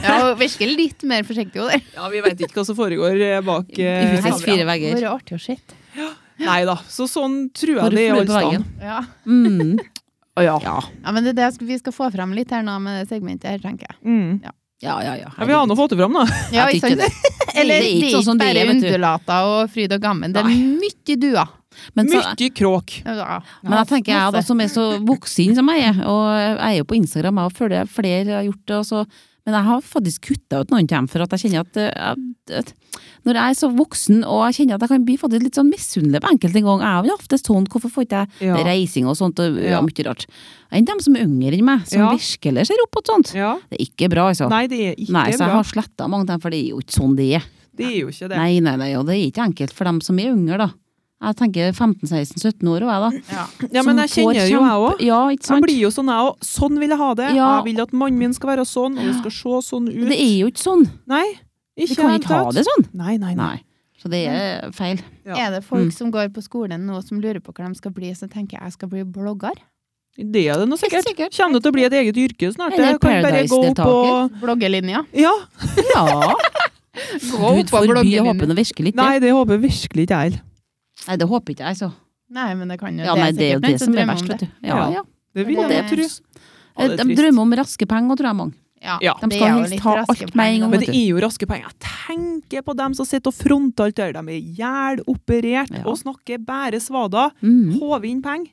S3: [laughs]
S1: Ja, og virker litt mer forsiktig hun der.
S2: Ja, vi vet ikke hva som foregår eh, bak eh,
S3: Husets
S2: kamera.
S3: fire vegger.
S1: Bare artig å se.
S2: Nei da. Så sånn tror jeg
S3: Bare
S2: det er i
S3: flue
S2: alle
S3: på veggen.
S2: stand.
S1: Ja.
S3: Mm.
S2: Å, Ja.
S3: Ja.
S1: ja, men det er det jeg skal- vi skal få frem litt her nå med det segmentet her, tenker jeg.
S2: Mm.
S3: ja, ja, ja.
S2: ja. Vi har nå fått det fram, da.
S1: Ja,
S3: Jeg
S1: ikke
S3: tykker
S1: sant? Eller
S3: Det
S1: det
S3: er ikke
S1: er
S3: sånn
S1: ikke
S3: som det
S1: bare
S3: er, vet du.
S1: undulater og fryd og gammen. Det er mye duer.
S3: [laughs] Men, så,
S2: Mye kråk.
S1: Ja.
S3: men jeg tenker jeg da, som er så voksen som jeg er, og jeg er jo på Instagram jeg følger flere har gjort det, og så, men jeg har faktisk kutta ut noen av dem, for at jeg kjenner at, eh, jeg- at når jeg er så voksen og jeg kjenner at jeg kan bli faktisk litt sånn misunnelig på enkelte ganger, jeg er jo ofte sånn, hvorfor får ikke jeg
S2: Ja.
S3: reising og sånt, og ja,
S2: Ja.
S3: mye rart. Enn dem som er yngre enn meg, som
S2: Ja.
S3: virkelig ser opp mot sånt.
S2: Ja.
S3: Det er ikke bra, altså.
S2: Nei, det er ikke
S3: Nei, så jeg
S2: bra.
S3: har sletta mange av dem, for det er jo ikke sånn det er.
S2: Det er jo ikke det.
S3: Nei, nei, nei, og det er ikke enkelt for dem som er yngre, da. Jeg tenker 15-16-17 år og jeg, da.
S2: Ja, men jeg
S3: Som får
S2: kjenner jo jeg
S3: kjempe-
S2: òg.
S3: Ja, ikke
S2: Jeg
S3: sant?
S2: blir jo sånn, jeg òg. Sånn vil jeg ha det.
S3: Ja.
S2: Jeg vil at mannen min skal være sånn, og det skal se sånn ut.
S3: Det er jo ikke sånn.
S2: Nei,
S3: Vi
S2: ikke
S3: kan ikke ha det sånn.
S2: Nei, nei, nei.
S3: Nei. Så det er feil.
S2: Ja.
S1: Er det
S3: Mm.
S1: folk som går på skolen nå som lurer på hva de skal bli, så tenker jeg jeg skal bli blogger?
S2: Det er det nå sikkert.
S3: sikkert.
S2: Kommer det til å bli et eget yrke snart?
S3: Eller
S2: Jeg kan bare gå opp
S3: Paradise-deltaker.
S2: og
S1: Bloggelinja.
S2: [laughs] Ja.
S3: Ja. Gud forby å håpe noe virkelig ikke.
S2: Nei, det håper jeg virkelig ikke jeg heller.
S3: Nei, det håper ikke jeg, så.
S1: Nei, men det kan jo
S3: Ja, nei, det er jo
S1: sikkert
S3: det
S1: noen
S3: som er
S1: drømmer om
S3: verst, vet
S1: det.
S3: du. Ja,
S2: Ja.
S3: ja.
S2: Det vil
S1: Og
S2: jeg
S1: det-
S2: tro. Ja, det er
S3: De
S2: trist.
S3: drømmer om raske penger, tror jeg mange.
S1: Ja,
S2: Ja.
S3: De
S1: det
S3: skal
S1: er jo
S3: helst
S1: litt
S3: ha
S1: raske
S3: alt med en
S1: penger.
S3: gang.
S2: Men det er jo raske penger. Jeg tenker på dem som sitter og fronter alt det der. De er jæloperert
S3: Ja.
S2: og snakker bare svada.
S3: Mhm.
S2: Håver inn penger.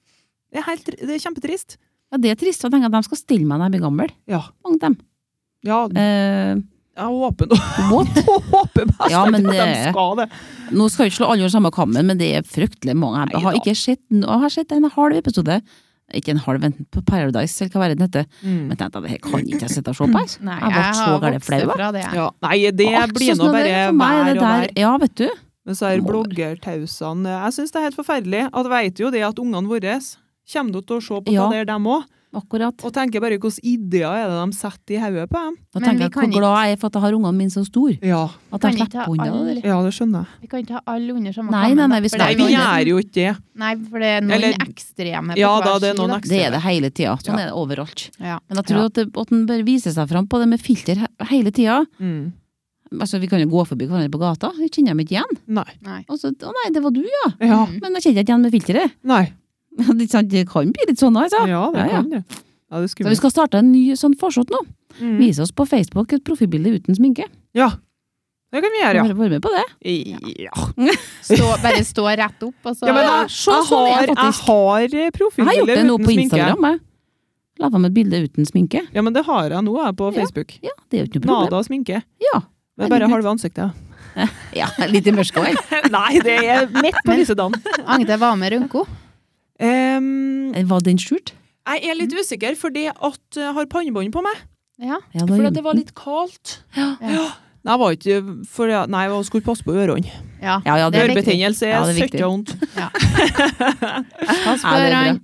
S2: Det, er helt- det er kjempetrist.
S3: Ja, det er trist å tenke at de skal stille meg når jeg blir gammel.
S2: Ja.
S3: Mange av dem.
S2: ja
S3: Eh,
S2: jeg håper nå [laughs]
S3: what?
S2: Jeg håper best
S3: Ja, men eh,
S2: at de
S3: det-
S2: skal det.
S3: Nå skal vi ikke slå alle over samme kammen, men det er fryktelig mange. Jeg har
S2: Neida.
S3: ikke sett, jeg har sett en halv episode. Ikke en halv, men på Paradise, eller hva er det den heter.
S2: Mm.
S3: Men tenkte jeg, det her kan ikke jeg sitte og se på. altså.
S1: Nei,
S3: Jeg ble
S1: jeg
S3: så
S1: har
S3: gærent
S1: vokst
S3: flau, jeg.
S1: fra det. jeg.
S2: Ja. Nei, det
S3: Og alt
S2: blir
S3: sånn
S2: nå
S3: som det
S2: bare
S3: er for meg,
S2: vær
S3: det
S2: og vær.
S3: der- Ja, vet du.
S2: Men så er
S3: Må vel.
S2: bloggertausene Jeg syns det er helt forferdelig. At vet jo det at ungene våre kommer til å se på
S3: Ja.
S2: det der, dem òg.
S3: Akkurat.
S2: Og tenker bare hvilke ideer er det de setter i hodet på dem.
S3: Da
S1: Men vi
S3: tenker jeg
S1: kan
S3: hvor glad jeg er for at jeg har ungene mine så store.
S2: Ja.
S3: At
S1: Kan
S3: jeg
S1: ikke ha
S3: slipper unna det
S1: alle-
S3: der.
S2: ja, det skjønner jeg.
S1: Vi kan ikke ha alle under samme kammen,
S3: Nei, nei,
S1: da,
S3: nei, vi
S1: for
S3: skal
S1: det er
S2: Vi
S1: noen-
S2: gjør jo ikke det.
S1: Nei, for det er noen
S2: Eller-
S1: ekstreme på
S2: Ja
S1: hver
S2: da, det
S1: side,
S2: er noen
S3: Det er
S2: ekstreme.
S3: det hele tida.
S2: Ja.
S3: Sånn er det overalt.
S1: Ja.
S3: Men jeg tror at, det- at en bør vise seg fram på det med filter he- hele tida.
S2: Mm.
S3: Altså, vi kan jo gå forbi hverandre på gata, jeg kjenner dem ikke igjen.
S2: Nei.
S1: Nei.
S3: Og så, å nei, det var du, ja.
S2: Ja.
S1: Mm.
S3: Men jeg kjenner ikke igjen med filteret. [laughs]
S2: Nei.
S3: Ikke sant? Det kan bli litt sånn, altså.
S2: Ja, det
S3: Ja, ja.
S2: kan det. Ja, det er
S3: Så vi
S2: skummelt.
S3: skal starte en ny sånn forsått nå.
S2: Mm.
S3: Vise oss på Facebook et profilbilde uten sminke.
S2: Ja. Det kan vi gjøre, ja.
S3: Bare være med på det.
S2: Ja,
S1: Stå, bare stå rett opp, og så
S2: ja men
S3: Ja,
S2: jeg,
S3: så
S2: jeg
S3: sånn er
S2: har,
S3: jeg
S2: jeg
S3: faktisk.
S2: har
S3: Jeg har gjort
S2: profilbilde
S3: det nå
S2: uten
S3: på
S2: sminke.
S3: Instagram. jeg. Laga meg et bilde uten sminke.
S2: Ja, men det har jeg nå jeg, på
S3: Ja.
S2: Facebook.
S3: Ja, det er jo ikke noe problem.
S2: Nada og sminke.
S3: Ja.
S2: Men bare halve ansiktet.
S3: Ja, litt i mørket også.
S2: [laughs] Nei, det er midt på lysedagen.
S1: Agnete var med Runko.
S2: Em,
S3: Eh, Var den skjult?
S2: jeg er litt usikker fordi at jeg har pannebånd på meg.
S1: Ja.
S3: Ja, da
S2: Fordi
S3: gjemte
S2: at det var
S3: den.
S2: litt kaldt.
S1: Ja.
S2: Nei, jeg var ikke for, jeg- Nei, jeg skulle passe på ørene.
S1: Ja.
S3: Ja, ja, det er viktig.
S2: Ørebetennelse
S3: Ja,
S2: er
S3: det er viktig.
S2: søkka vondt.
S1: Pass på
S3: Ja, det er bra.
S1: ørene.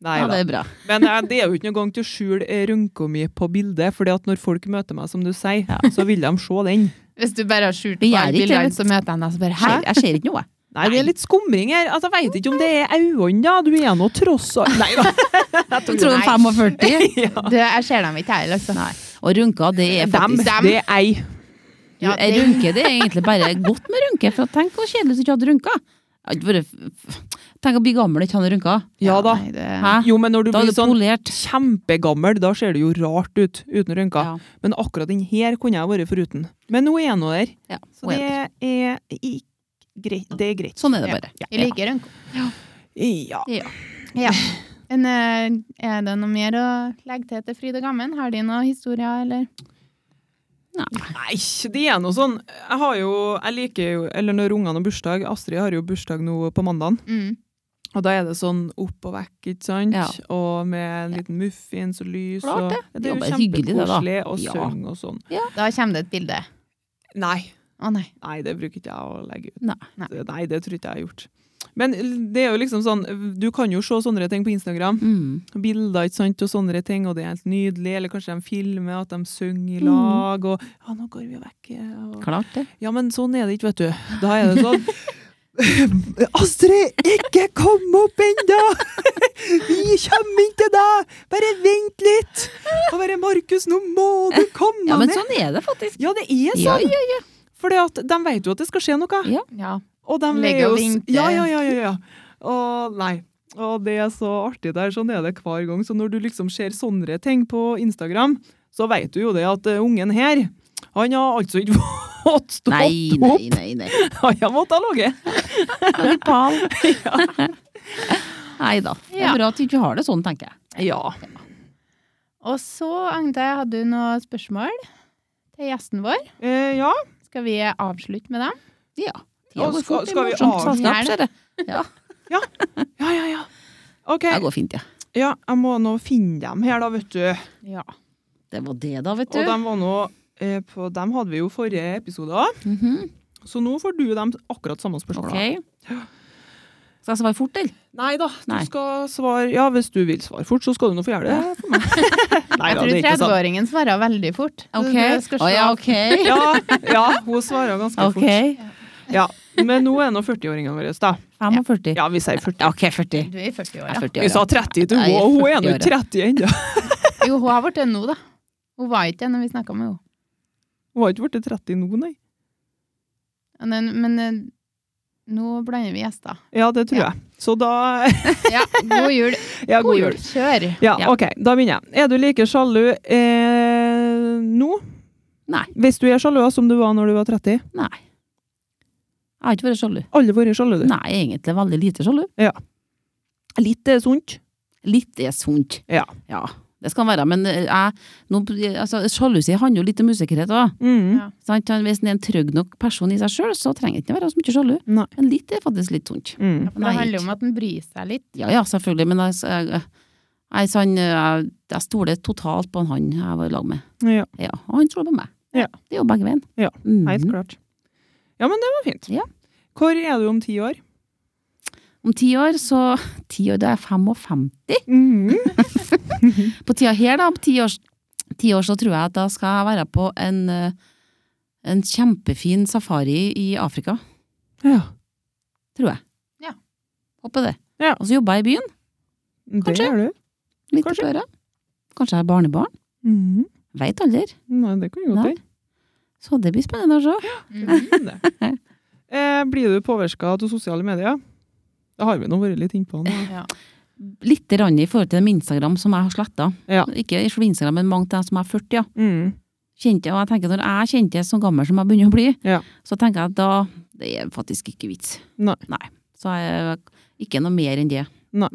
S2: Nei
S3: Ja,
S2: da.
S3: det er bra.
S2: Men eh, det er jo ikke noen gang til å skjule eh, rynka mi på bildet, fordi at når folk møter meg, som du sier, så vil de se den.
S1: Hvis du bare har skjult
S3: Vi
S1: på
S3: gjør
S1: alle
S3: ikke det,
S1: bildene,
S3: vet
S1: så møter jeg deg så bare Hæ?
S3: Her, jeg ser ikke
S2: [laughs]
S3: noe, jeg.
S2: Nei, det er litt skumring her. Altså, jeg veit ikke om det er øynene, da. Du er nå tross alt Nei
S3: [laughs]
S2: da.
S3: Jeg tror det er
S2: [laughs]
S3: 45.
S1: Du, jeg ser dem ikke, jeg. Altså.
S3: Og rynker, det er
S2: Dem,
S3: faktisk
S1: Dem.
S2: det er ei.
S1: Ja,
S3: En
S1: det-
S3: Rynke, det er egentlig bare godt med rynke. For tenk hvor kjedelig hvis du ikke hadde rynka. Jeg hadde vært- Tenk å bli gammel og ikke ha noen rynker.
S2: Ja da.
S1: Nei, det...
S3: Hæ?
S2: Jo, men når du
S3: Da er
S2: blir
S3: du
S2: sånn
S3: polert.
S2: kjempegammel, da ser det jo rart ut uten rynker.
S3: Ja.
S2: Men akkurat den her kunne jeg vært foruten. Men nå er jeg nå der.
S3: Ja,
S2: Så det er i- greit. Det er greit.
S3: Sånn er det bare.
S1: Jeg liker Runko.
S2: Ja.
S1: Ja. [laughs] Men, eh, er det noe mer å legge til til Fryd og Gammen? Har de noen historier, eller?
S2: Nei, det er noe sånn Jeg har jo Jeg liker jo Eller når ungene har bursdag Astrid har jo bursdag nå på mandagen.
S1: Mm.
S2: Og da er det sånn opp og vekk, ikke sant?
S3: Ja.
S2: Og med en liten muffins og lys.
S3: Klart det.
S2: Og, ja, det er
S3: Ja,
S2: jo
S3: det er hyggelig det da.
S2: kjempekoselig å
S3: Ja.
S2: synge og sånn.
S1: Da kommer det et bilde.
S2: Nei,
S1: Å nei.
S2: nei, det bruker ikke jeg å legge ut.
S3: Nei.
S2: Det- nei, det tror ikke jeg har gjort. Men det er jo liksom sånn, du kan jo se sånne ting på Instagram.
S3: Mm.
S2: Bilder ikke sant, og sånne ting, og det er helt nydelig. Eller kanskje de filmer at de
S3: Mm.
S2: synger i lag. Og ja, nå går vi vekk. Og,
S3: Klart det.
S2: Ja, men sånn er det ikke, vet du. Da er det sånn
S3: [laughs]
S2: Astrid, ikke kom opp ennå! Vi kommer ikke til deg! Bare vent litt! Og bare Markus, nå må du
S3: er det faktisk.
S2: Ja, det er sånn!
S3: sånn. Ja, ja,
S2: Fordi at de vet jo at det skal skje noe.
S3: Ja.
S1: Ja.
S2: Og de
S1: Ligger
S2: er jo
S1: og vinker.
S2: Ja, ja, ja. ja, ja. Og nei. Og det er så artig der, sånn er det hver gang. Så når du liksom ser sånne ting på Instagram, så vet du jo det at eh, ungen her, han har altså ikke [laughs] fått stått
S3: Nei,
S2: opp.
S3: nei, nei. nei.
S2: Han har måttet ha ligget.
S3: Nei da. Det
S1: Ja.
S3: er bra at vi ikke har det sånn, tenker jeg.
S2: Ja.
S1: Og så, Agnete, hadde du noen spørsmål til gjesten vår?
S2: Eh, ja.
S1: Skal vi avslutte med dem?
S3: Ja.
S2: Ja,
S3: Det går
S2: skal-
S3: fort i
S2: skal vi
S3: morsomt
S2: avslutte?
S3: selskap, ser jeg.
S2: Ja, ja, ja. OK.
S3: Det går fint, ja.
S2: Ja, jeg må nå finne dem her, da, vet du.
S1: Ja.
S3: Det var det, da, vet
S2: Og
S3: du.
S2: dem var nå eh, på Dem hadde vi jo forrige episode òg,
S3: Mhm.
S2: så nå får du dem akkurat samme spørsmål.
S3: Ok. Skal jeg svare fort, eller?
S2: Nei da, du
S3: Nei.
S2: skal svare Ja, hvis du vil svare fort, så skal du nå få gjøre det for [laughs] meg. Nei
S1: Jeg
S2: da,
S1: tror
S2: det er ikke sant.
S1: 30-åringen svarer veldig fort.
S3: Ok.
S1: Det skal
S3: Å, ja,
S1: slå-
S3: [laughs] ok.
S2: Ja, ja, hun svarer ganske
S3: Ok.
S2: fort. Ja. Men nå er nå 40-åringene våre, da.
S3: 45.
S2: Ja, vi sier 40.
S3: Ok, 40.
S1: Du er i 40-åra.
S3: Jeg er 40
S2: Vi
S3: år,
S2: sa
S3: ja.
S2: 30 til
S3: Nei,
S2: henne, og hun er nå
S3: 40
S2: ikke 30 ennå.
S1: Jo, hun har blitt det nå, da. Hun var ikke det når vi snakka med henne.
S2: Hun har ikke blitt 30 nå, nei.
S1: Men, men eh, nå blander vi gjester.
S2: Ja, det tror jeg. Så da [laughs]
S1: Ja, [laughs] god jul.
S2: Ja, god jul.
S1: Kjør.
S2: Ja,
S3: Ja.
S2: OK, da begynner jeg. Er du like sjalu eh, nå?
S3: Nei.
S2: Hvis du er sjalu som du var når du var 30?
S3: Nei. Jeg har ikke vært sjalu.
S2: Alle vært sjalu, du.
S3: Nei, egentlig veldig lite sjalu.
S2: Litt er sunt.
S3: Litt er sunt.
S2: Ja.
S3: Ja, det skal være, men eh, jeg, nå, altså, sjalusi handler jo litt om usikkerhet òg.
S2: Mm.
S1: Ja.
S3: Hvis en er en trygg nok person i seg sjøl, så trenger en ikke være så mye sjalu.
S2: Nei.
S3: Men litt er faktisk litt sunt.
S2: Mm.
S1: For det
S3: Nei,
S1: handler
S3: ikke.
S1: om at den bryr seg litt.
S3: Ja, ja, selvfølgelig, men jeg, jeg, jeg, sånn, jeg, jeg stoler totalt på en han jeg var i lag med.
S2: Ja,
S3: Ja, og han stoler på meg.
S2: Ja.
S3: Det er jo begge veien.
S2: Ja,
S3: Mhm.
S2: helt klart. Ja, men det var fint.
S3: Ja.
S2: Hvor er du om ti år?
S3: Om ti år, så Ti år, da er jeg 55.
S2: Mhm.
S3: På tida her, da, om ti år, ti år, så tror jeg at da skal jeg være på en, eh, en kjempefin safari i Afrika.
S2: Ja.
S3: tror jeg.
S1: Ja.
S3: Håper det.
S2: Ja.
S3: Og så jobber jeg i byen,
S2: Det
S3: Kanskje.
S2: er du.
S3: litt
S2: Kanskje.
S3: Kanskje. på øra. Kanskje jeg har barnebarn.
S2: Mhm.
S3: Veit aldri.
S2: Nei, det kan jo godt
S3: Nei.
S2: hende.
S3: Så det blir spennende å se.
S1: Mhm.
S2: Det. Eh, blir du påvirka av sosiale medier? Det har vi nå vært litt innpå.
S1: [laughs]
S2: nå.
S1: Ja.
S3: Litt rann i forhold til dem Instagram som jeg har sletta.
S2: Ja.
S3: Ikke for Instagram, men mange av dem som er 40, ja.
S2: Mm.
S3: Kjente, og jeg tenker Når jeg kjente så gammel som jeg begynner å bli,
S2: Ja.
S3: så tenker jeg at da det er faktisk ikke vits.
S2: Nei.
S3: Så jeg, ikke noe mer enn det.
S2: Nei.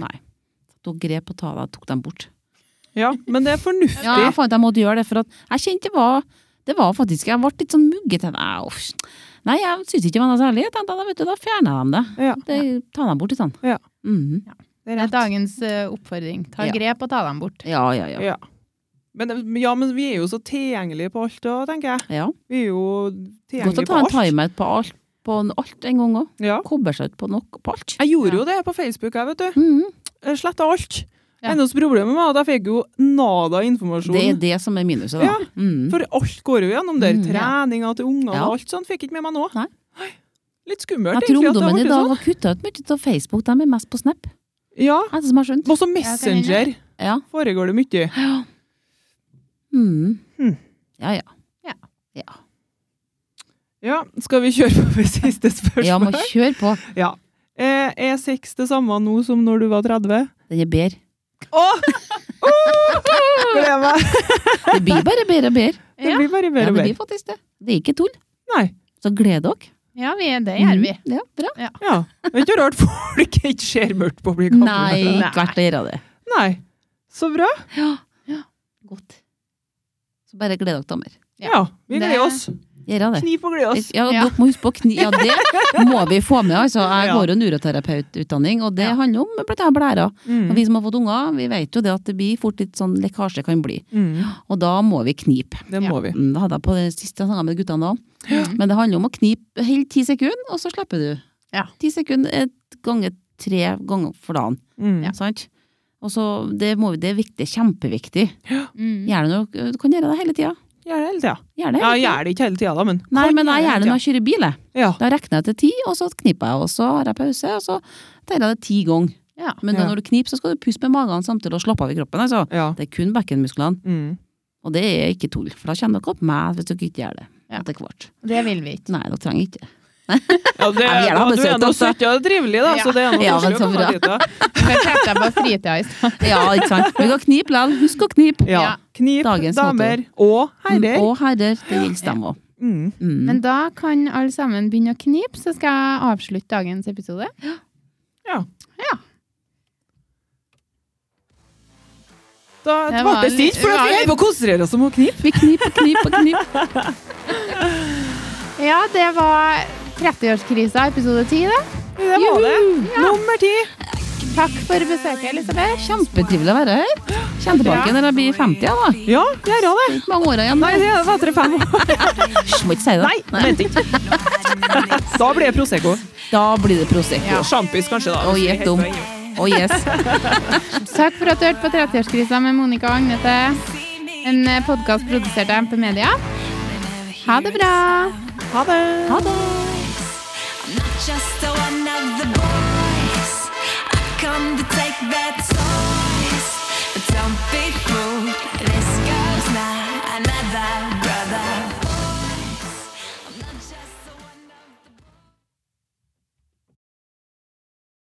S3: Tok grep og ta, tok dem bort.
S2: Ja, men det er fornuftig.
S3: Ja, jeg fant jeg måtte gjøre det, for at jeg kjente det var Det var faktisk Jeg ble litt sånn muggete. Jeg, uff. Nei, jeg syns ikke det var noe særlig. Jeg tenkte, da, vet du, da fjerner jeg dem det.
S2: Ja,
S3: det Ta dem bort i sånn.
S2: Ja.
S3: Mhm.
S2: det er
S1: Det er
S2: rett.
S1: dagens eh, oppfordring. Ta
S3: Ja.
S1: grep og ta dem bort.
S3: ja, ja, ja.
S2: Ja. Men, ja, men vi er jo så tilgjengelige på alt da, tenker jeg.
S3: ja.
S2: Vi er jo
S3: Godt
S2: tilgjengelige
S3: å ta
S2: på
S3: en
S2: alt.
S3: timeout på alt, på en- alt en gang òg.
S2: Ja.
S3: Koble seg ut på nok på alt.
S2: Jeg gjorde
S1: Ja.
S2: jo det på Facebook, jeg, vet du.
S3: Mhm.
S2: Jeg sletta alt.
S1: Ja.
S2: Eneste problemet var at jeg fikk jo nada informasjon.
S3: Det er det som er minuset, da.
S2: Ja.
S3: Mhm.
S2: For alt går jo gjennom der.
S3: Mm, ja.
S2: Treninga til ungene
S3: Ja.
S2: og alt sånt fikk ikke med meg nå.
S3: Nei.
S2: Nei. Litt skummelt,
S3: Jeg tror
S2: egentlig. at det har
S3: ungdommen i
S2: vært
S3: dag
S2: sånn.
S3: har kutta ut mye av Facebook. De er mest på Snap,
S2: Ja.
S3: er det som jeg har skjønt.
S2: Også Messenger
S3: Ja.
S2: foregår det mye.
S3: Mhm.
S2: Hmm.
S3: ja, ja.
S2: Ja, skal vi kjøre på med siste
S3: Ja, må
S2: spørsmål?
S3: kjøre på.
S2: Ja. Eh, Er sex det samme nå som når du var 30?
S3: Den er bedre.
S2: Åh!
S3: [laughs]
S2: Gleder meg!
S3: Det blir
S2: [laughs]
S3: bare bedre og bedre.
S2: Det
S1: Ja.
S2: blir bare
S3: Ja,
S2: bedre
S3: det
S2: og
S3: blir
S2: bedre.
S3: faktisk det. Det er ikke tull.
S2: Nei.
S3: Så gled dere.
S1: Ja, vi, det gjør vi.
S3: Mhm. Ja, bra.
S2: Ja. Det er ikke rart folk [laughs] ikke ser mørkt på å bli gamle.
S3: Nei, ikke verdt å gjøre det.
S2: Nei. Så bra.
S3: Godt. Så bare gled dere, damer.
S1: Ja.
S2: Ja, vi
S1: Det-
S2: gleder oss.
S3: Gjør det.
S2: Knip og gled oss.
S3: Ja,
S1: Ja.
S3: Dere må huske på kni... Ja, det må vi få med. Altså, jeg
S2: Ja.
S3: går jo neuroterapeututdanning, og det
S1: Ja.
S3: handler om blant annet blæra. Og
S2: Mm.
S3: vi som har fått unger, vi vet jo det at det blir fort litt sånn lekkasje kan bli.
S2: Mm.
S3: Og da må vi knipe.
S2: Det må vi.
S3: Mm, Det hadde jeg på det siste jeg snakket med guttene òg.
S1: Mhm.
S3: Men det handler om å knipe helt ti sekunder, og så slipper du.
S1: Ja.
S3: Ti sekunder et ganger tre ganger for dagen.
S2: Mm.
S3: Sant? Og så, det, må, vi- det er viktig, det er kjempeviktig.
S1: Mhm.
S3: Gjør det når du kan gjøre det hele tida.
S2: Gjør det hele tida.
S3: Gjør det
S2: Ja,
S3: hele tida.
S2: gjør det ikke hele tida, da, men
S3: Nei,
S2: kan
S3: men jeg
S2: gjøre
S3: gjør det når jeg kjører bil. jeg.
S2: hele tida. Ja.
S3: Da regner jeg til ti, og så kniper jeg, og så har jeg pause, og så teller jeg det ti ganger.
S1: Ja.
S3: Men da
S2: Ja.
S3: når du kniper, så skal du puste med magen samtidig og slappe av i kroppen. Altså.
S2: Ja.
S3: Det er kun bekkenmusklene.
S2: Mm.
S3: Og det er ikke tull, for da kjenner dere opp meg hvis dere ikke gjør det
S1: Ja.
S3: etter hvert.
S1: Det vil vi ikke.
S3: Nei, dere trenger ikke.
S2: Ja, det,
S3: Ja, vi er da
S2: ja, du
S3: besøkt
S2: er nå
S3: også.
S2: søtt og trivelig, da, så
S1: Ja.
S2: det er noe
S3: Ja, men så bra.
S1: Jeg treffer deg på fritida i stad.
S3: Ja, ikke sant. Vi kan knipe likevel. Husk å knipe.
S2: Ja.
S1: Ja.
S2: Knip,
S3: Dagens Mm,
S2: damer og herrer.
S3: Og herrer. Det gjelder dem òg.
S2: Mm.
S3: Mm.
S1: Men da kan alle sammen begynne å knipe, så skal jeg avslutte dagens episode.
S2: Da
S1: Det
S2: ble
S1: var
S2: det
S1: litt-
S2: stilt, for at vi er på konsentrerer oss om å knipe.
S3: Vi kniper, kniper, kniper.
S1: Ja, det var 30-årskrisa episode 10, det.
S2: Det var det. Nummer ti.
S1: Takk for besøket, Elisabeth.
S3: Kjempetrivelig å være her. Kjenner tilbake når jeg blir 50, ja, da.
S2: Ja, gjør det.
S3: Ikke mange år igjen.
S2: Nei, det er det tre fem.
S3: Hysj, må ikke si det.
S2: Nei, vent ikke. Da blir det Prosecco.
S3: Da blir det Prosecco.
S2: Og Sjampis kanskje, da.
S3: Og gjett om. Å, yes.
S1: Takk for at du hørte på 30-årskrisa med Monica og Agnete. En podkast produsert av MP Media. Ha det bra!
S2: Ha det.
S3: Ha det.
S5: I'm not just one of the boys. I come to take their toys.